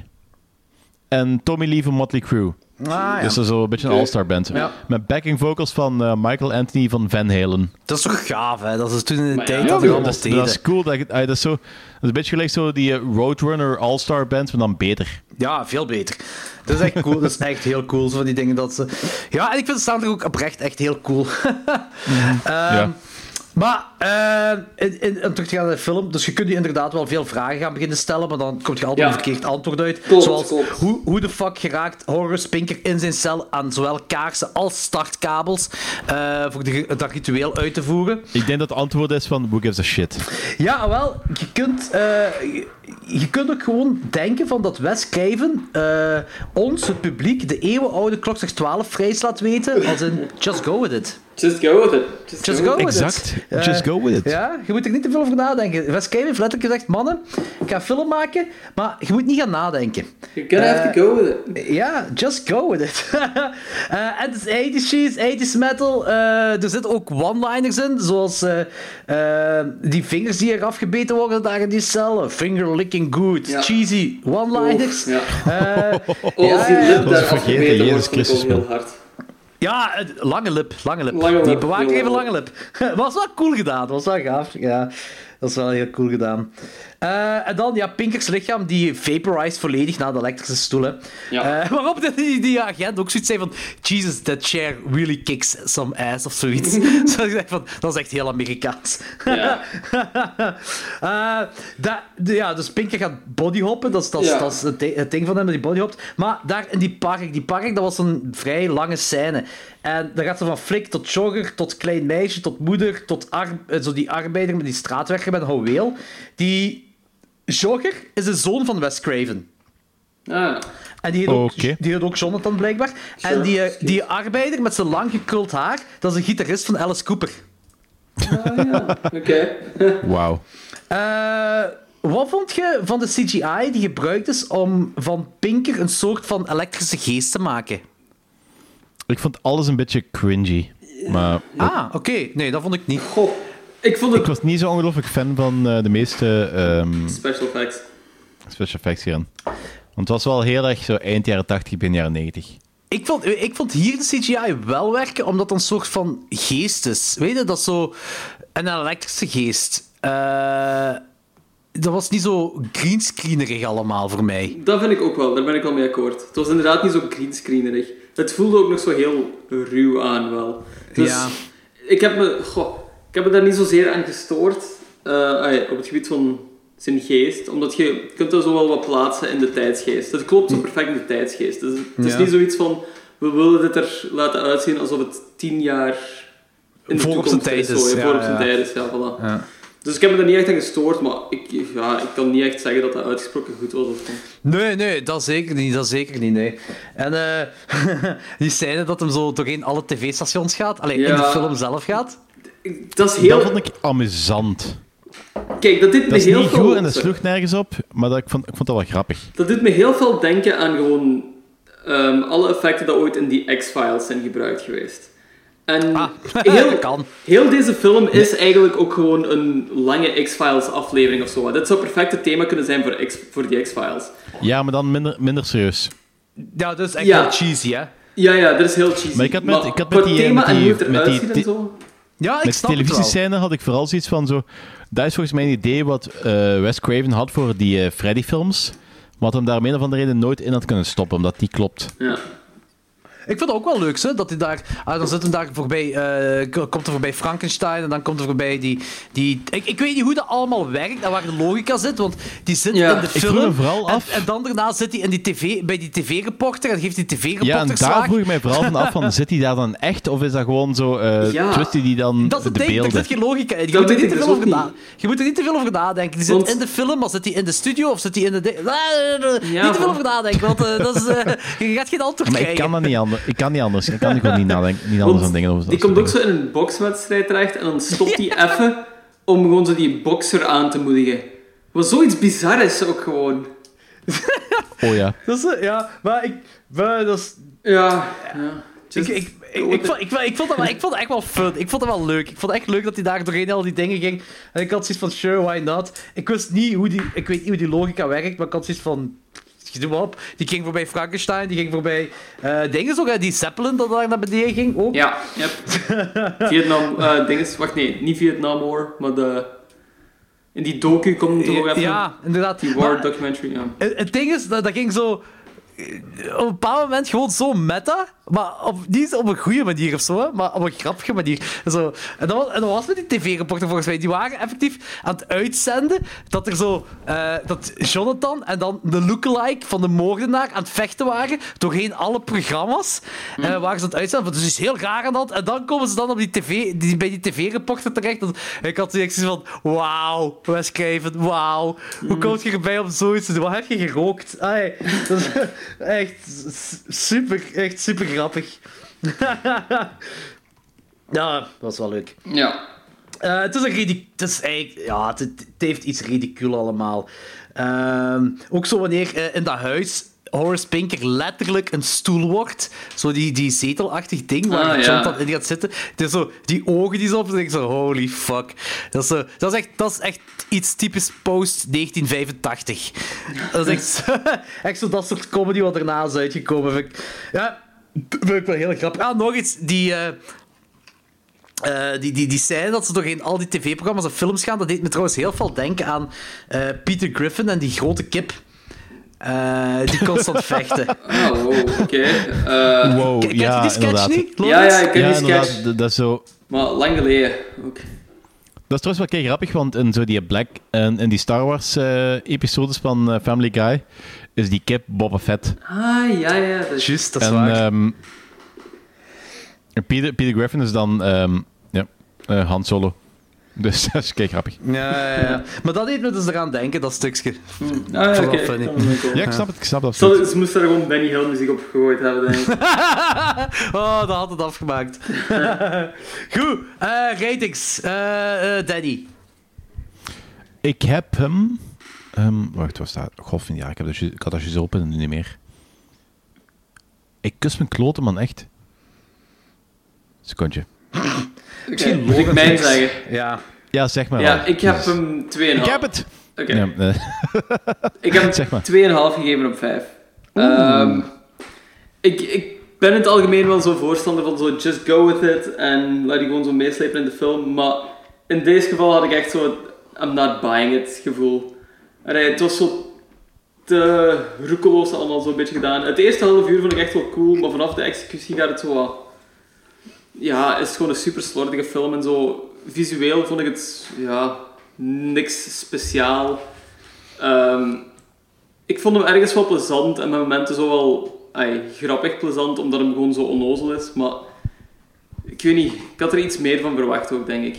en Tommy Lee van Motley Crue.
Ah, ja.
Dus dat is zo een beetje een
Oké.
all-star band. Met backing vocals van eh, Michael Anthony van Van Halen.
Dat is toch gaaf, hè? Dat is toen in de
Maar ja,
tijd
ja,
dat we
joh,
dat,
allemaal
is, dat
deden.
is cool. Dat, je- ah, dat, is zo, dat is een beetje gelijk zo die eh, Roadrunner all-star band, maar dan beter.
Ja, veel beter. Dat is echt cool. Dat is echt heel cool, zo van die dingen dat ze... Ja, en ik vind de soundtrack ook oprecht echt heel cool. Ehm,
ja.
Maar, eh, in, in, om terug te gaan naar de film, dus je kunt je inderdaad wel veel vragen gaan beginnen stellen, maar dan kom je altijd
Ja.
een verkeerd antwoord uit.
Klopt,
Zoals,
klopt.
Hoe, hoe de fuck geraakt Horus Pinker in zijn cel aan zowel kaarsen als startkabels eh, voor de, dat ritueel uit te voeren?
Ik denk dat het antwoord is van who gives a shit.
Ja, wel, je kunt, eh, je, je kunt ook gewoon denken van dat Wes Craven eh, ons, het publiek, de eeuwenoude klokslag 12 vrees laat weten, als een just go with it.
Just go with it. Just,
Just
go.
go with
Exact.
it.
Just
Eh,
go with it.
Ja, je moet er niet te veel over nadenken. Wes Craven heeft letterlijk gezegd, mannen, ik ga film maken, maar je moet niet gaan nadenken.
You're gonna have to go with it.
Ja, just go with it. Eh, En het is 80s cheese, 80s metal. Eh, er zitten ook one-liners in, zoals eh, eh, die vingers die eraf gebeten worden daar in die cel. Finger licking good.
Ja.
Cheesy one-liners.
Oef, ja.
Eh,
Oh, als die
ja, ja.
lip
Dat is
daar
vergeten,
afgemeten
Jezus
wordt, vind ik
Christus,
ook heel
man.
hard.
Ja, eh, lange lip, lange lip.
Lange
Die
Lip,
bewaakt
heel
even
lang.
lange lip. was wel cool gedaan, was wel gaaf. Ja, dat is wel heel cool gedaan. Eh, en dan, ja, Pinkers lichaam, die vaporized volledig na de elektrische stoelen. Eh,
Ja.
waarop de- die, die agent ook zoiets zei van... Jesus, that chair really kicks some ass, of zoiets. Zo, ik dacht van, dat is echt heel Amerikaans.
Ja.
Eh, da- de- ja, dus Pinker gaat bodyhoppen. Dat is, dat is,
Ja.
dat is het, di- het ding van hem, dat hij bodyhopt. Maar daar in die park, die park, dat was een vrij lange scène. En dan gaat ze van flik tot jogger, tot klein meisje, tot moeder, tot ar- eh, zo die arbeider met die straatwerker met een houweel. Die jogger is de zoon van Wes Craven.
Ah,
En die heet, ook,
Oké.
die heet ook Jonathan, blijkbaar. En die, eh, die arbeider met zijn lang gekruld haar, dat is een gitarist van Alice Cooper.
Ah, oké.
Wauw.
Eh, wat vond je van de CGI die gebruikt is om van Pinker een soort van elektrische geest te maken?
Ik vond alles een beetje cringy. Maar
Ah, oké. Nee, dat vond ik niet.
God, ik vond
ik
het
was niet zo ongelooflijk fan van eh, de meeste ehm,
special effects.
special effects hierin. Want het was wel heel erg zo eind jaren 80, begin jaren 90.
Ik vond, eh, ik vond hier de CGI wel werken, omdat het een soort van geest is. Weet je, dat is zo een elektrische geest. Eh, dat was niet zo greenscreenerig allemaal voor mij.
Dat vind ik ook wel, daar ben ik wel mee akkoord. Het was inderdaad niet zo greenscreenerig. Het voelde ook nog zo heel ruw aan wel. Dus
Ja.
ik heb me, goh, ik heb me daar niet zozeer aan gestoord eh, ah ja, op het gebied van zijn geest, omdat je je kunt dat zo wel wat plaatsen in de tijdsgeest. Het klopt zo perfect in de tijdsgeest. Dus het is
Hm. Ja.
niet zoiets van we willen dit er laten uitzien alsof het tien jaar in de
Voor op
toekomst
zijn tijd
zo,
is,
ja,
ja,
voor op zijn
ja.
tijd is, ja, voilà.
Ja.
Dus ik heb me daar niet echt aan gestoord, maar ik, ja, ik kan niet echt zeggen dat dat uitgesproken goed was. Of zo.
Nee, nee, dat zeker niet. Dat zeker niet, nee. En eh, die scène dat hem zo doorheen alle tv-stations gaat, alleen in de
Ja.
film zelf gaat.
Dat is heel...
Dat vond ik amusant.
Kijk, dat deed
Dat is
me heel
niet
veel...
goed en dat sloeg nergens op, maar dat, ik, vond, ik vond dat wel grappig.
Dat doet me heel veel denken aan gewoon ehm, alle effecten die ooit in die X-Files zijn gebruikt geweest. En
Ah,
heel,
dat kan.
heel deze film is eigenlijk ook gewoon een lange X-Files aflevering of zo. Dat zou perfect het thema kunnen zijn voor, X, voor die X-Files.
Ja, maar dan minder, minder serieus.
Ja, dat is echt
Ja.
wel cheesy, hè?
Ja, ja, dat is heel cheesy.
Maar ik had met- ik had met
qua
die, eh,
thema
met
en
die-
hoe het
met die
eruit ziet en
ti-
zo...
Ja, ik
Met de
snap het wel.
televisiescène had ik vooral zoiets van zo... Dat is volgens mij een idee wat eh, Wes Craven had voor die eh, Freddy-films. Maar had hem daar om een of andere reden nooit in had kunnen stoppen, omdat die klopt.
Ja.
Ik vind het ook wel leuk, hè, dat hij daar... Ah, dan zit hem daar voorbij... eh, k- komt er voorbij Frankenstein en dan komt er voorbij die... die ik, ik weet niet hoe dat allemaal werkt en waar de logica zit, want die zit
Ja.
in de
Ik vroeg
film...
me vooral
en,
af-
en dan daarna zit hij in die TV, bij die tv-reporter en geeft die tv-reporter
Ja, en daar
slaag.
vroeg ik mij vooral van af, van, zit hij daar dan echt? Of is dat gewoon zo eh
Ja.
twisty die dan
Dat is
de
het ding,
beelden...
er zit geen logica in. Je
Dat
moet er,
weet
niet
ik
te veel
dus
over
ook
na- je moet er niet te veel over nadenken. Die zit
Want-
in de film, maar zit hij in de studio of zit hij in de... ding- niet te veel
man.
over nadenken, want eh, dat is, eh, je gaat geen antwoord
Maar ik
krijgen.
kan, dat niet anders. ik kan niet anders. Ik kan gewoon niet nadenken, niet anders aan dingen over
die komt ook zo in een bokswedstrijd terecht en dan stopt hij even om gewoon zo die bokser aan te moedigen. Wat zoiets bizar is ook gewoon.
Oh ja.
Dat is, eh, ja, maar ik... maar dat is,
Ja. ja.
Ik,
Just-
ik, ik, ik, vond, ik, vond- ik, vond dat wel, ik vond het echt wel fun. Ik vond het wel leuk. Ik vond het echt leuk dat hij daar doorheen al die dingen ging. En ik had zoiets van, sure, why not? Ik wist niet hoe die, ik weet niet hoe die logica werkt, maar ik had zoiets van... Doe maar op. Die ging voorbij Frankenstein, die ging voorbij... eh dingen zo, die Zeppelin dat daar naar beneden ging ook.
Ja, yep. Vietnam, eh dinges, wacht nee, niet Vietnam War, maar de... In die docu komt het toch ook even...
Ja, inderdaad.
Die
Maar
war documentary, ja.
het het ding is, dat, dat ging zo... eh, Op een bepaald moment gewoon zo meta, maar op, niet op een goede manier of zo, hè, maar op een grappige manier. Zo. En, dat was, en dat was met die tv-reporter volgens mij. Die waren effectief aan het uitzenden dat er zo... eh, dat Jonathan en dan de lookalike van de moordenaar aan het vechten waren doorheen alle programma's. eh, waren ze aan het uitzenden, van, dus is heel raar aan dat. En dan komen ze dan op die TV, die, bij die tv-reporter terecht. Dat, ik had toen echt zoiets van, wauw, Wes Craven, wauw. Hoe komt je erbij om zoiets te doen? Wat heb je gerookt? Ai, dat is echt s- super, echt super grappig. ja, dat was wel leuk.
Ja.
Eh, het is een ridic- het is eigenlijk, ja, het, het heeft iets ridicuul allemaal. Ehm, ook zo wanneer eh, in dat huis Horace Pinker letterlijk een stoel wordt. Zo die, die zetelachtig ding waar
Ah, ja.
John dan in gaat zitten. Het is zo, die ogen die zo op dan denk ik zo, holy fuck. Dat is, zo- dat is, echt, dat is echt iets typisch post-1985. Dat is echt, zo- echt zo dat soort comedy wat daarna is uitgekomen. vind ik. Ja, Dat vind ik wel heel grappig. Ah, nog iets. Die, eh eh, die, die, die scène dat ze doorheen al die tv-programma's en films gaan, dat deed me trouwens heel veel denken aan eh, Peter Griffin en die grote kip. eh, die constant vechten.
Oh, wow, oké. Eh,
Wow,
Ken- Kent
ja,
je die sketch
inderdaad.
niet?
ja, ja, ik
Laurens?
ken
Ja,
die sketch.
inderdaad, d- dat is zo...
Maar lang geleden ook.
Dat is trouwens wel kei grappig, want in zo die Black en in die Star Wars eh, episodes van eh, Family Guy is die kip Boba Fett.
Ah, ja, ja. Dat is...
Juist, dat is
en
eh,
waar.
ehm, Peter, Peter Griffin is dan ehm ja, eh, Han Solo. Dus dat is kei grappig.
ja, ja, ja. Maar dat deed me dus eraan denken, dat stukje.
Ah, ja,
Vooral
oké.
funny.
Dat vond ik wel.
Ja, ik snap het, ik snap dat.
Zo, Ze moesten daar gewoon Benny Hill muziek op gegooid hebben, denk ik.
oh, dat had het afgemaakt. Goed, eh, ratings. Eh, eh, Danny.
Ik heb hem. ehm, wacht, waar staat? Golf ja, ik, heb dat, ju- ik had dat juist open en nu niet meer. Ik kus mijn kloten, man, echt. Secondje.
Oké, moet ik mijn zeggen?
Ja.
Ja, zeg maar.
Ja,
wel.
ik heb
Dus-
hem 2,5.
Ik heb het!
Oké.
Ja, eh,
Ik heb
Zeg maar.
2,5 gegeven op 5. Ehm, ik, ik ben in het algemeen wel zo'n voorstander van zo just go with it en laat die gewoon zo meeslepen in de film. Maar in deze geval had ik echt zo het I'm not buying it gevoel. Allee, het was zo te roekeloos allemaal zo'n beetje gedaan. Het eerste half uur vond ik echt wel cool, maar vanaf de executie gaat het zo wat... Ja, is het gewoon een super slordige film en zo. Visueel vond ik het, ja, niks speciaal. Ehm, ik vond hem ergens wel plezant en met momenten zo wel ai, grappig plezant, omdat hem gewoon zo onnozel is. Maar ik weet niet, ik had er iets meer van verwacht ook, denk ik.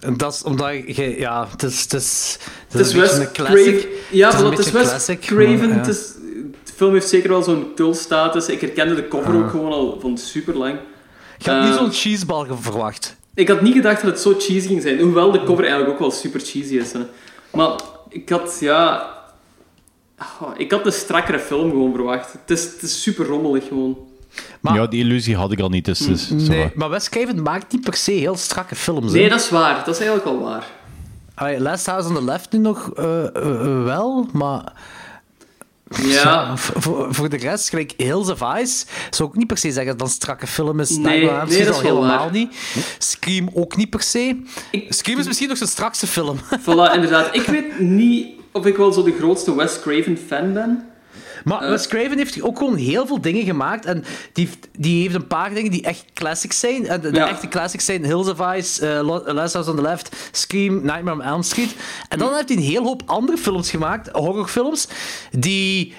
En Dat is omdat je... Ja, het is... Het is, het
Het is
een beetje
Wes
een classic.
Craven. Ja,
Het is een
voilà, het is
beetje
Wes
classic,
Craven.
maar,
Het is, de film heeft zeker wel zo'n cultstatus. Ik herkende de cover
Ah.
ook gewoon al van super lang.
Ik had niet
Eh,
zo'n cheesebal verwacht.
Ik had niet gedacht dat het zo cheesy ging zijn, hoewel de cover eigenlijk ook wel super cheesy is. Hè. Maar ik had, ja... ah, ik had een strakkere film gewoon verwacht. Het is, het is super rommelig gewoon.
Maar-
ja, die illusie had ik al niet, dus... dus zo.
Nee, maar Wes Craven maakt niet per se heel strakke films. hè.
Nee, dat is waar. Dat is eigenlijk wel waar.
Allee, Last House on the Left nu nog eh, eh, eh, wel, maar
Ja.
v- voor, voor de rest, gelijk Hills of Ice, zou ik niet per se zeggen dat het een strakke film is.
Nee,
Nightmare on Elm
nee,
Street
dat
al
is wel
helemaal
waar. Hm?
niet. Scream ook niet per se.
Ik-
Scream is misschien nog zijn strakste film.
Voilà, inderdaad. Ik weet niet of ik wel zo de grootste Wes Craven fan ben. Eh.
Maar Wes Craven heeft ook gewoon heel veel dingen gemaakt. En die, heeft- die heeft een paar dingen die echt classics zijn. En de, de
Ja.
echte classics zijn Hills of Ice, eh, Lo- Last House on the Left, Scream, Nightmare on Elm Street. En
Hm.
dan heeft hij een heel hoop andere films gemaakt, horrorfilms, die...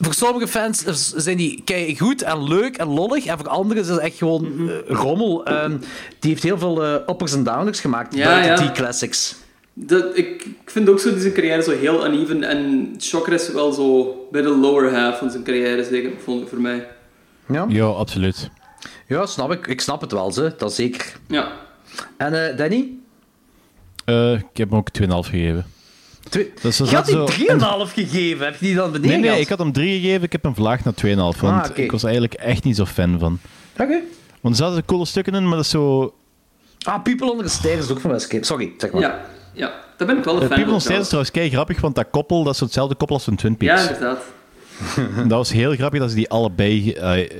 Voor sommige fans eh, zijn die kei goed en leuk en lollig. En voor anderen is dat echt gewoon
Hm.
eh, rommel. Ehm, die heeft heel veel eh, uppers en downers gemaakt
Ja,
buiten
ja.
die classics.
Dat, ik, ik vind ook zo dat zijn carrière zo heel uneven. En Shocker is wel zo bij de lower half van zijn carrière, zeker, vond ik voor mij.
Ja, absoluut.
Ja, snap ik. Ik snap het wel, ze. dat zeker.
Ja.
En eh, Danny?
Eh, ik heb hem ook 2,5 gegeven.
Twee...
Dus er
je had
zat
die
zo
3,5 gegeven. Heb je die dan beneden
Nee, nee,
gehad?
ik had hem 3 gegeven, ik heb hem verlaagd naar 2,5, want
Ah, oké.
ik was eigenlijk echt niet zo fan van.
Oké.
Want er zaten coole stukken in, maar dat is zo... eh,
Ah, People Under the Stairs is ook van Westcape. Sorry, zeg maar.
Ja. Ja. Daar ben
Eh,
ik wel een
Uh,
fan
People
van.
on Stairs
trouwens.
is trouwens kei grappig, want dat koppel, dat is hetzelfde koppel als van Twin Peaks.
Ja, inderdaad.
En Dat was heel grappig dat ze die allebei eh,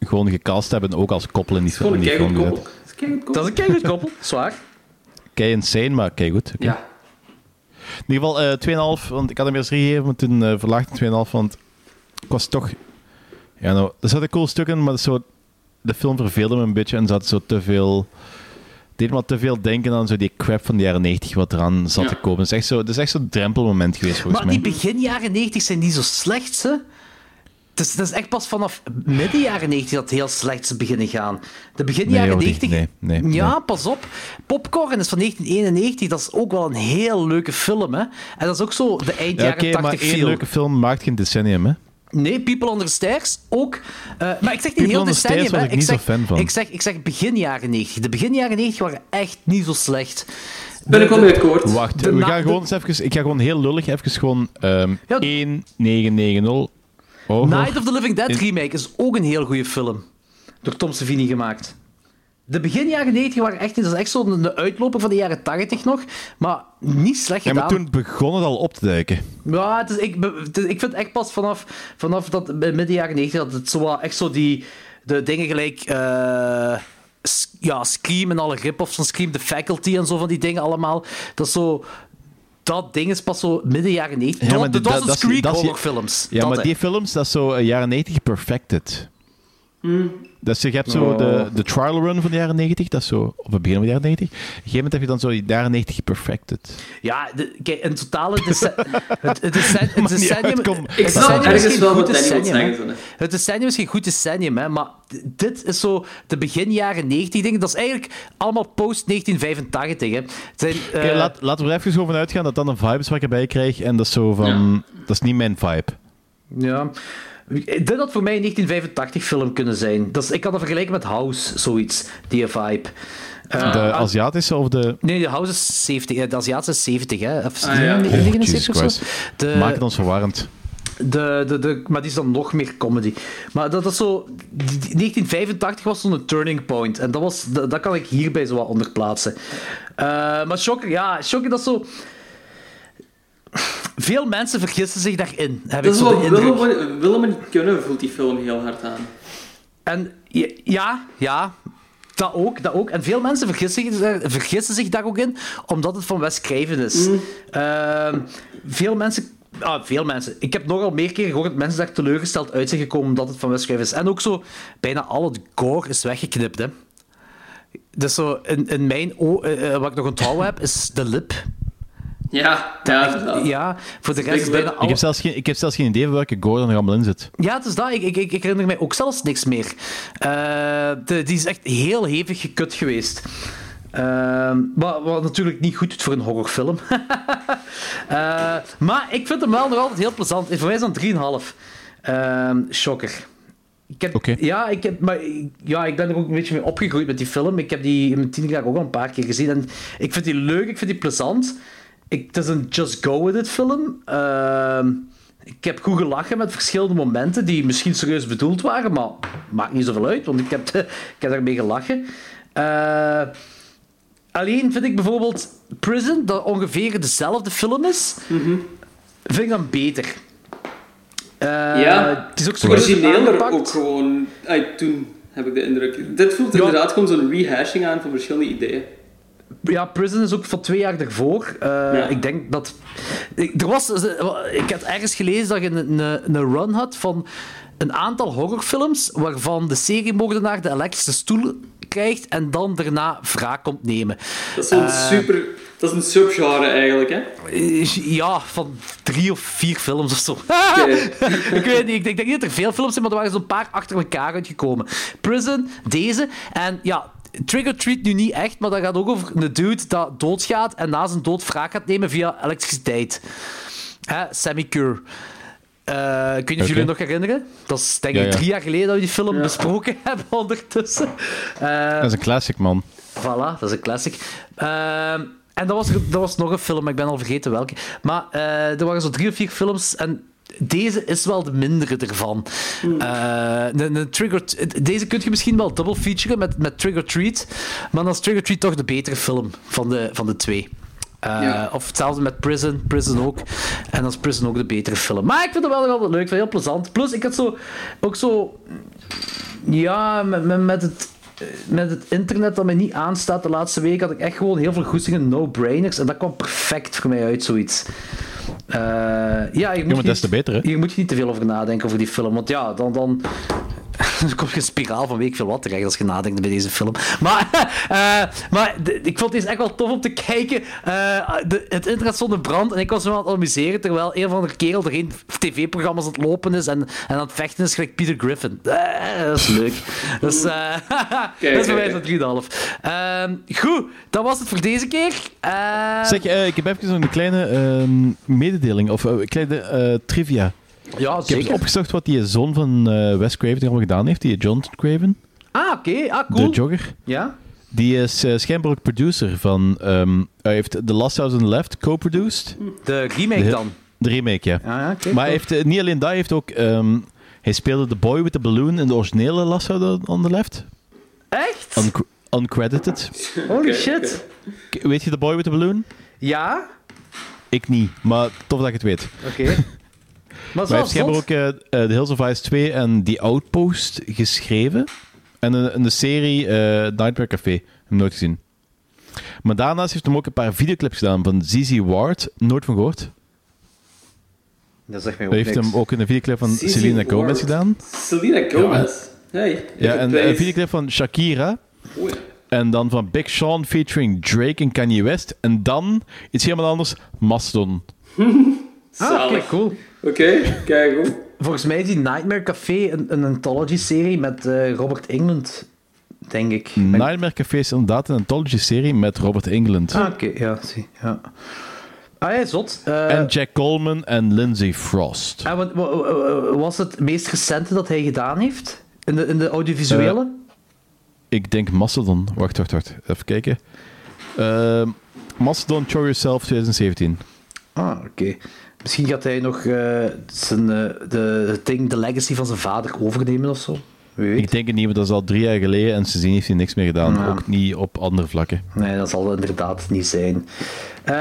gewoon gecast hebben, ook als koppel in die
Gewoon
film.
een
die
keigoed
film
koppel.
gezet.
Dat is
Dat is
een keigoed koppel.
een keigoed koppel, zwaar.
Kei insane, maar kei goed. oké.
Ja.
In ieder geval eh 2,5, want ik had hem eerst 3 gegeven, maar toen eh verlaagd naar 2,5, want ik was toch... Ja, nou, er zaten coole stukken, maar dat is zo, de film verveelde me een beetje en zat zo te veel... Het deed me te veel denken aan zo die crap van de jaren 90 wat eraan zat
Ja.
te komen. Het is echt zo- het is echt zo'n drempelmoment geweest volgens
Maar die
mij.
begin jaren 90 zijn niet zo slecht, hè? Het is, het is echt pas vanaf midden jaren 90 dat het heel slecht is beginnen gaan. De begin
Nee,
jaren
Jordi,
90...
nee, nee,
ja,
nee.
pas op. Popcorn is van 1991. Dat is ook wel een heel leuke film, hè? En dat is ook zo de eind
Ja,
jaren
Oké, maar
80
één
feel.
leuke film maakt geen decennium, hè?
Nee, People Under the Stairs ook. Eh, maar ik zeg niet
People
heel
Under the Stairs
decennium.
was
hè.
ik niet
zeg,
zo fan van.
Ik zeg, ik zeg begin jaren 90. De begin jaren 90 waren echt niet zo slecht.
Ben ik wel mee akkoord.
Wacht,
De
we
na-
gaan
de-
gewoon eens even... Ik ga gewoon heel lullig even gewoon... ehm
Ja.
1990. Oh,
Night of the Living Dead
In-
remake is ook een heel goede film. Door Tom Savini gemaakt. de begin jaren 90 waren echt, dat is echt zo'n een uitloper van de jaren 80 nog. Maar niet slecht
Ja,
gedaan.
maar toen begon het al op te duiken.
Ja, het is, ik, be- het is- ik vind echt pas vanaf, vanaf dat midden jaren 90 dat het zo wat- echt zo die de dingen gelijk. eh, S- ja, Scream en alle rip-offs van Scream, de faculty en zo van die dingen allemaal. Dat is zo. Dat ding is pas zo midden jaren 90.
Ja,
Ja,
maar
de
dit- dat-
Dawson's
dat is-
Creek
dat is-
horrorfilms.
Ja,
Dat,
maar
hè.
die films, dat is zo eh, jaren 90 perfected. Dus je hebt zo
Oh.
de, de trial run van de jaren 90, dat is zo op het begin van de jaren 90. Op een gegeven moment heb je dan zo die jaren 90 perfected.
Ja, de- kijk, in totale... dece- het, het, decen- het
niet
decennium...
uitkom.
het
Ik snap
decennium is
ergens
geen
wel
goed
wat Danny wil
decennium, hè.
zeggen, zo,
Het decennium is geen goed decennium, hè, maar d- dit is zo de begin jaren 90 dingen. Dat is eigenlijk allemaal post-1985. hè. Het zijn, eh,
Oké, laat, laten we er even gewoon van uitgaan dat dat een vibe is wat ik erbij krijg. En dat is zo van... Dat is niet mijn vibe.
ja. Dit had voor mij een 1985-film kunnen zijn. Dat is, ik kan het vergelijken met House, zoiets. Die vibe. Eh,
De Aziatische of de...
Nee, de House is 70. eh, De Aziatische is 70, hè. Of
Ah, ja.
79
Oh,
of
Jesus
zo. De,
Maak het ons verwarrend.
De, de, de, maar die is dan nog meer comedy. Maar dat is zo. die- die- 1985 was zo'n turning point. En dat, was, dat, dat kan ik hierbij zo wat onder plaatsen. Eh, maar Shocker, ja, Shocker, dat is zo. Veel mensen vergissen zich daarin. Heb
Dat
ik
is
zo
wat
de indruk.
Willem, Willem niet kunnen, voelt die film heel hard aan.
En je- ja, ja. Dat ook, dat ook. En veel mensen vergissen zich, daar- vergissen zich daar ook in, omdat het van Wes Craven is. Ehm, veel mensen... Ah, veel mensen. Ik heb nogal meer keer gehoord dat mensen daar teleurgesteld uit zijn gekomen omdat het van Wes Craven is. En ook zo, bijna al het gore is weggeknipt, hè. Dus zo, in, in mijn o- eh, eh, wat ik nog onthouden heb, is de lip.
Ja, ja, inderdaad.
Ja, voor de rest
Big
is
lip.
bijna
Ik heb,
alles...
zelfs geen, ik heb zelfs geen idee van welke gore er nog allemaal in zit.
Ja, het is dat. Ik, ik, ik, ik herinner mij ook zelfs niks meer. Eh, de- die is echt heel hevig gekut geweest. Ehm, wat, wat natuurlijk niet goed doet voor een horrorfilm. Eh, maar ik vind hem wel nog altijd heel plezant. Voor mij is dat een 3,5. Ehm shocker. Ik heb,
Oké.
ja, ik heb, maar, ik- ja, ik ben er ook een beetje mee opgegroeid met die film. Ik heb die in mijn tien jaar ook al een paar keer gezien. En ik vind die leuk, ik vind die plezant. Ik, het is een just go with it film. Ehm, ik heb goed gelachen met verschillende momenten die misschien serieus bedoeld waren, maar maakt niet zoveel uit, want ik heb, ik heb daarmee gelachen. Eh, alleen vind ik bijvoorbeeld Prison, dat ongeveer dezelfde film is,
Mhm.
vind ik dan beter. Eh,
Ja.
het is ook zo
Origineeler
aangepakt.
ook gewoon. Ay, toen heb ik de indruk. Dit voelt
Ja.
inderdaad gewoon zo'n rehashing aan van verschillende ideeën.
Ja, Prison is ook van twee jaar daarvoor. Eh, Ik denk dat. Ik, er was, ik had ergens gelezen dat je een, een, een run had van een aantal horrorfilms. waarvan de seriemoordenaar de elektrische stoel krijgt. en dan daarna wraak komt nemen.
Dat is zo'n
Ah.
super. Dat is een subgenre eigenlijk, hè?
Eh, ja, van drie of vier films of zo. ik weet niet, ik denk, ik denk niet dat er veel films zijn, maar er waren zo'n paar achter elkaar uitgekomen. Prison, deze, en ja... Trick or Treat nu niet echt, maar dat gaat ook over een dude dat doodgaat en na zijn dood wraak gaat nemen via elektriciteit. Hè, Sammy Cure. Eh, ik weet niet of
Oké.
jullie het nog herinneren. Dat is denk ik
Ja, ja.
drie jaar geleden dat we die film besproken hebben ondertussen. Eh,
Dat is een classic, man.
Voilà, dat is een classic. Ehm, en dat was, dat was nog een film, maar ik ben al vergeten welke. Maar eh, er waren zo drie of vier films en deze is wel de mindere ervan. Eh, een, een trigger, deze kun je misschien wel dubbel featuren met, met Trigger Treat, maar dan is Trigger Treat toch de betere film van de, van de twee. Eh,
Ja.
Of hetzelfde met Prison, Prison ook. En dan is Prison ook de betere film. Maar ik vind het wel nog altijd leuk, ik vind het heel plezant. Plus, ik had zo, ook zo ja, met, met, met het, eh, met het internet dat mij niet aanstaat de laatste week, had ik echt gewoon heel veel goestingen no-brainers. En dat kwam perfect voor mij uit, zoiets. Eh, ja, je moet
Ja, maar dat is
niet,
te beter, hè?
hier moet je niet te veel over nadenken over die film. Want ja, dan, dan, dan kom je een spiraal van weet ik veel wat terecht als je nadenkt bij deze film. Maar, eh, maar de- ik vond deze echt wel tof om te kijken. Eh, de, het internet stond in brand en ik was me aan het amuseren terwijl een van de kerel er geen tv-programma's aan het lopen is en, en aan het vechten is gelijk Peter Griffin. Eh, dat is leuk. dus, eh dat is voor mij
kijk.
zo'n 3,5. Ehm, goed, dat was het voor deze keer. Eh,
Zeg, eh, ik heb even een kleine ehm, mededeling, of eh, een kleine eh, trivia.
ja,
Ik heb
zeker.
eens opgezocht wat die zoon van eh Wes Craven hier allemaal gedaan heeft, die John Craven,
Ah, oké. Ah, cool.
de jogger.
ja?
Die is eh, schijnbaar ook producer van... ehm, hij heeft The Last House on the Left co-produced.
De remake
De-
dan.
De remake, ja.
Ah, ja, oké,
maar hij
cool.
heeft, eh, niet alleen dat, hij heeft ook... ehm, hij speelde The Boy with the Balloon in de originele Last House on the Left.
Echt?
Aan, Uncredited.
Holy
Oké,
shit.
oké.
K- Weet je The Boy with the Balloon?
Ja?
Ik niet, maar tof dat ik het weet.
Oké. Maar
Maar hij heeft
zelfs
schijnbaar
dat...
ook eh eh, The Hills of Ice 2 en The Outpost geschreven. En een, een serie eh, Nightmare Café. Heb hem nooit gezien. Maar daarnaast heeft hij ook een paar videoclips gedaan van ZZ Ward. Nooit van gehoord.
Dat zegt mij ook
Hij heeft
niks.
hem ook in een videoclip van
ZZ
Selena
Ward.
Gomez gedaan.
Selena Gomez. Hey, ik
Ja,
heb Oh
en
prijs.
eh,
een videoclip van Shakira.
Oei.
Ah,
En dan van Big Sean featuring Drake en Kanye West. En dan iets helemaal anders, Mastodon.
Ah, oké,
Zalig.
cool.
Oké, kijk hoor.
Volgens mij is die Nightmare Café een, een anthology-serie met eh, Robert England, denk ik. Ben-
Nightmare Café is inderdaad een anthology-serie met Robert England.
Ah, oké, ja, zie. Ja. Ah ja, zot. Eh,
En Jack Coleman en Lindsay Frost.
en wat- wa- wa- wa- was het meest recente dat hij gedaan heeft? In de, in de audiovisuele?
Ik denk Mastodon. Wacht, wacht, wacht. Even kijken. Ehm, Mastodon Show Yourself 2017. Eh.
ah, oké. Misschien gaat hij nog eh, zijn, eh, de, het ding, de legacy van zijn vader overnemen of zo. Wie weet.
Ik denk het niet, want dat is al drie jaar geleden en sindsdien heeft hij niks meer gedaan.
Ja.
Ook niet op andere vlakken.
Nee, dat zal het inderdaad niet zijn. Eh,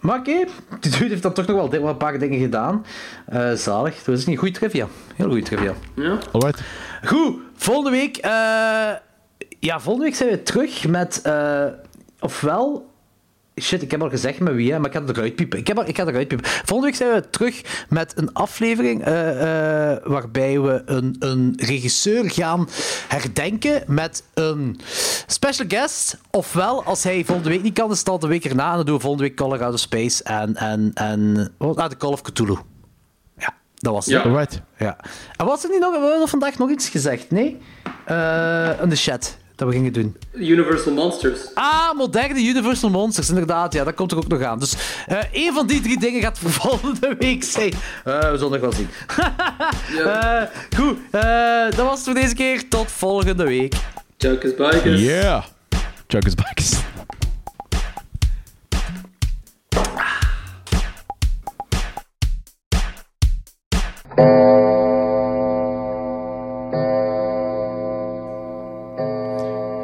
maar oké, die dude heeft dan toch nog wel di- wel een paar dingen gedaan. Eh, zalig, dat is niet goed trivia. Heel goed trivia.
Ja.
Alright.
Goed, volgende week. eh, ja, volgende week zijn we terug met. eh, ofwel. Shit, ik heb al gezegd met wie, hè, maar ik ga het eruit piepen. Ik, heb al, ik ga het eruit piepen. Volgende week zijn we terug met een aflevering eh, eh, waarbij we een, een regisseur gaan herdenken met een special guest. Ofwel, als hij volgende week niet kan, is het al de week erna. En dan doen we volgende week Colorado Space en, en, en wat- ah, de Call of Cthulhu. Ja, dat was het.
Ja.
Alright.
Ja. En was er niet nog, we hadden vandaag nog iets gezegd, nee? Eh in de chat, dat we gingen doen.
Universal Monsters.
Ah, moderne Universal Monsters, inderdaad. Ja, dat komt er ook nog aan. Dus eh één van die drie dingen gaat voor volgende week zijn. Eh, we zullen nog wel zien.
Ja.
Eh, goed, eh, dat was het voor deze keer. Tot volgende week.
Junkers Bikers.
Yeah. Chuckers Bikes.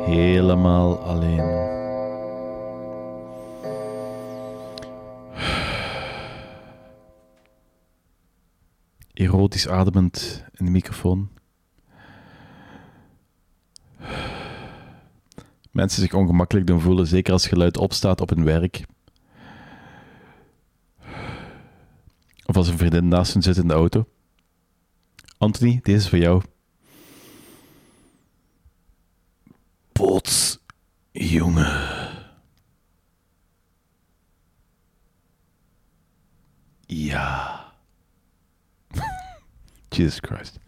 Helemaal alleen. Erotisch ademend in de microfoon. mensen zich ongemakkelijk doen voelen, zeker als geluid opstaat op hun werk. Of als een vriendin naast hen zit in de auto. Anthony, deze is voor jou. Pots, jongen. Ja. Jesus Christ.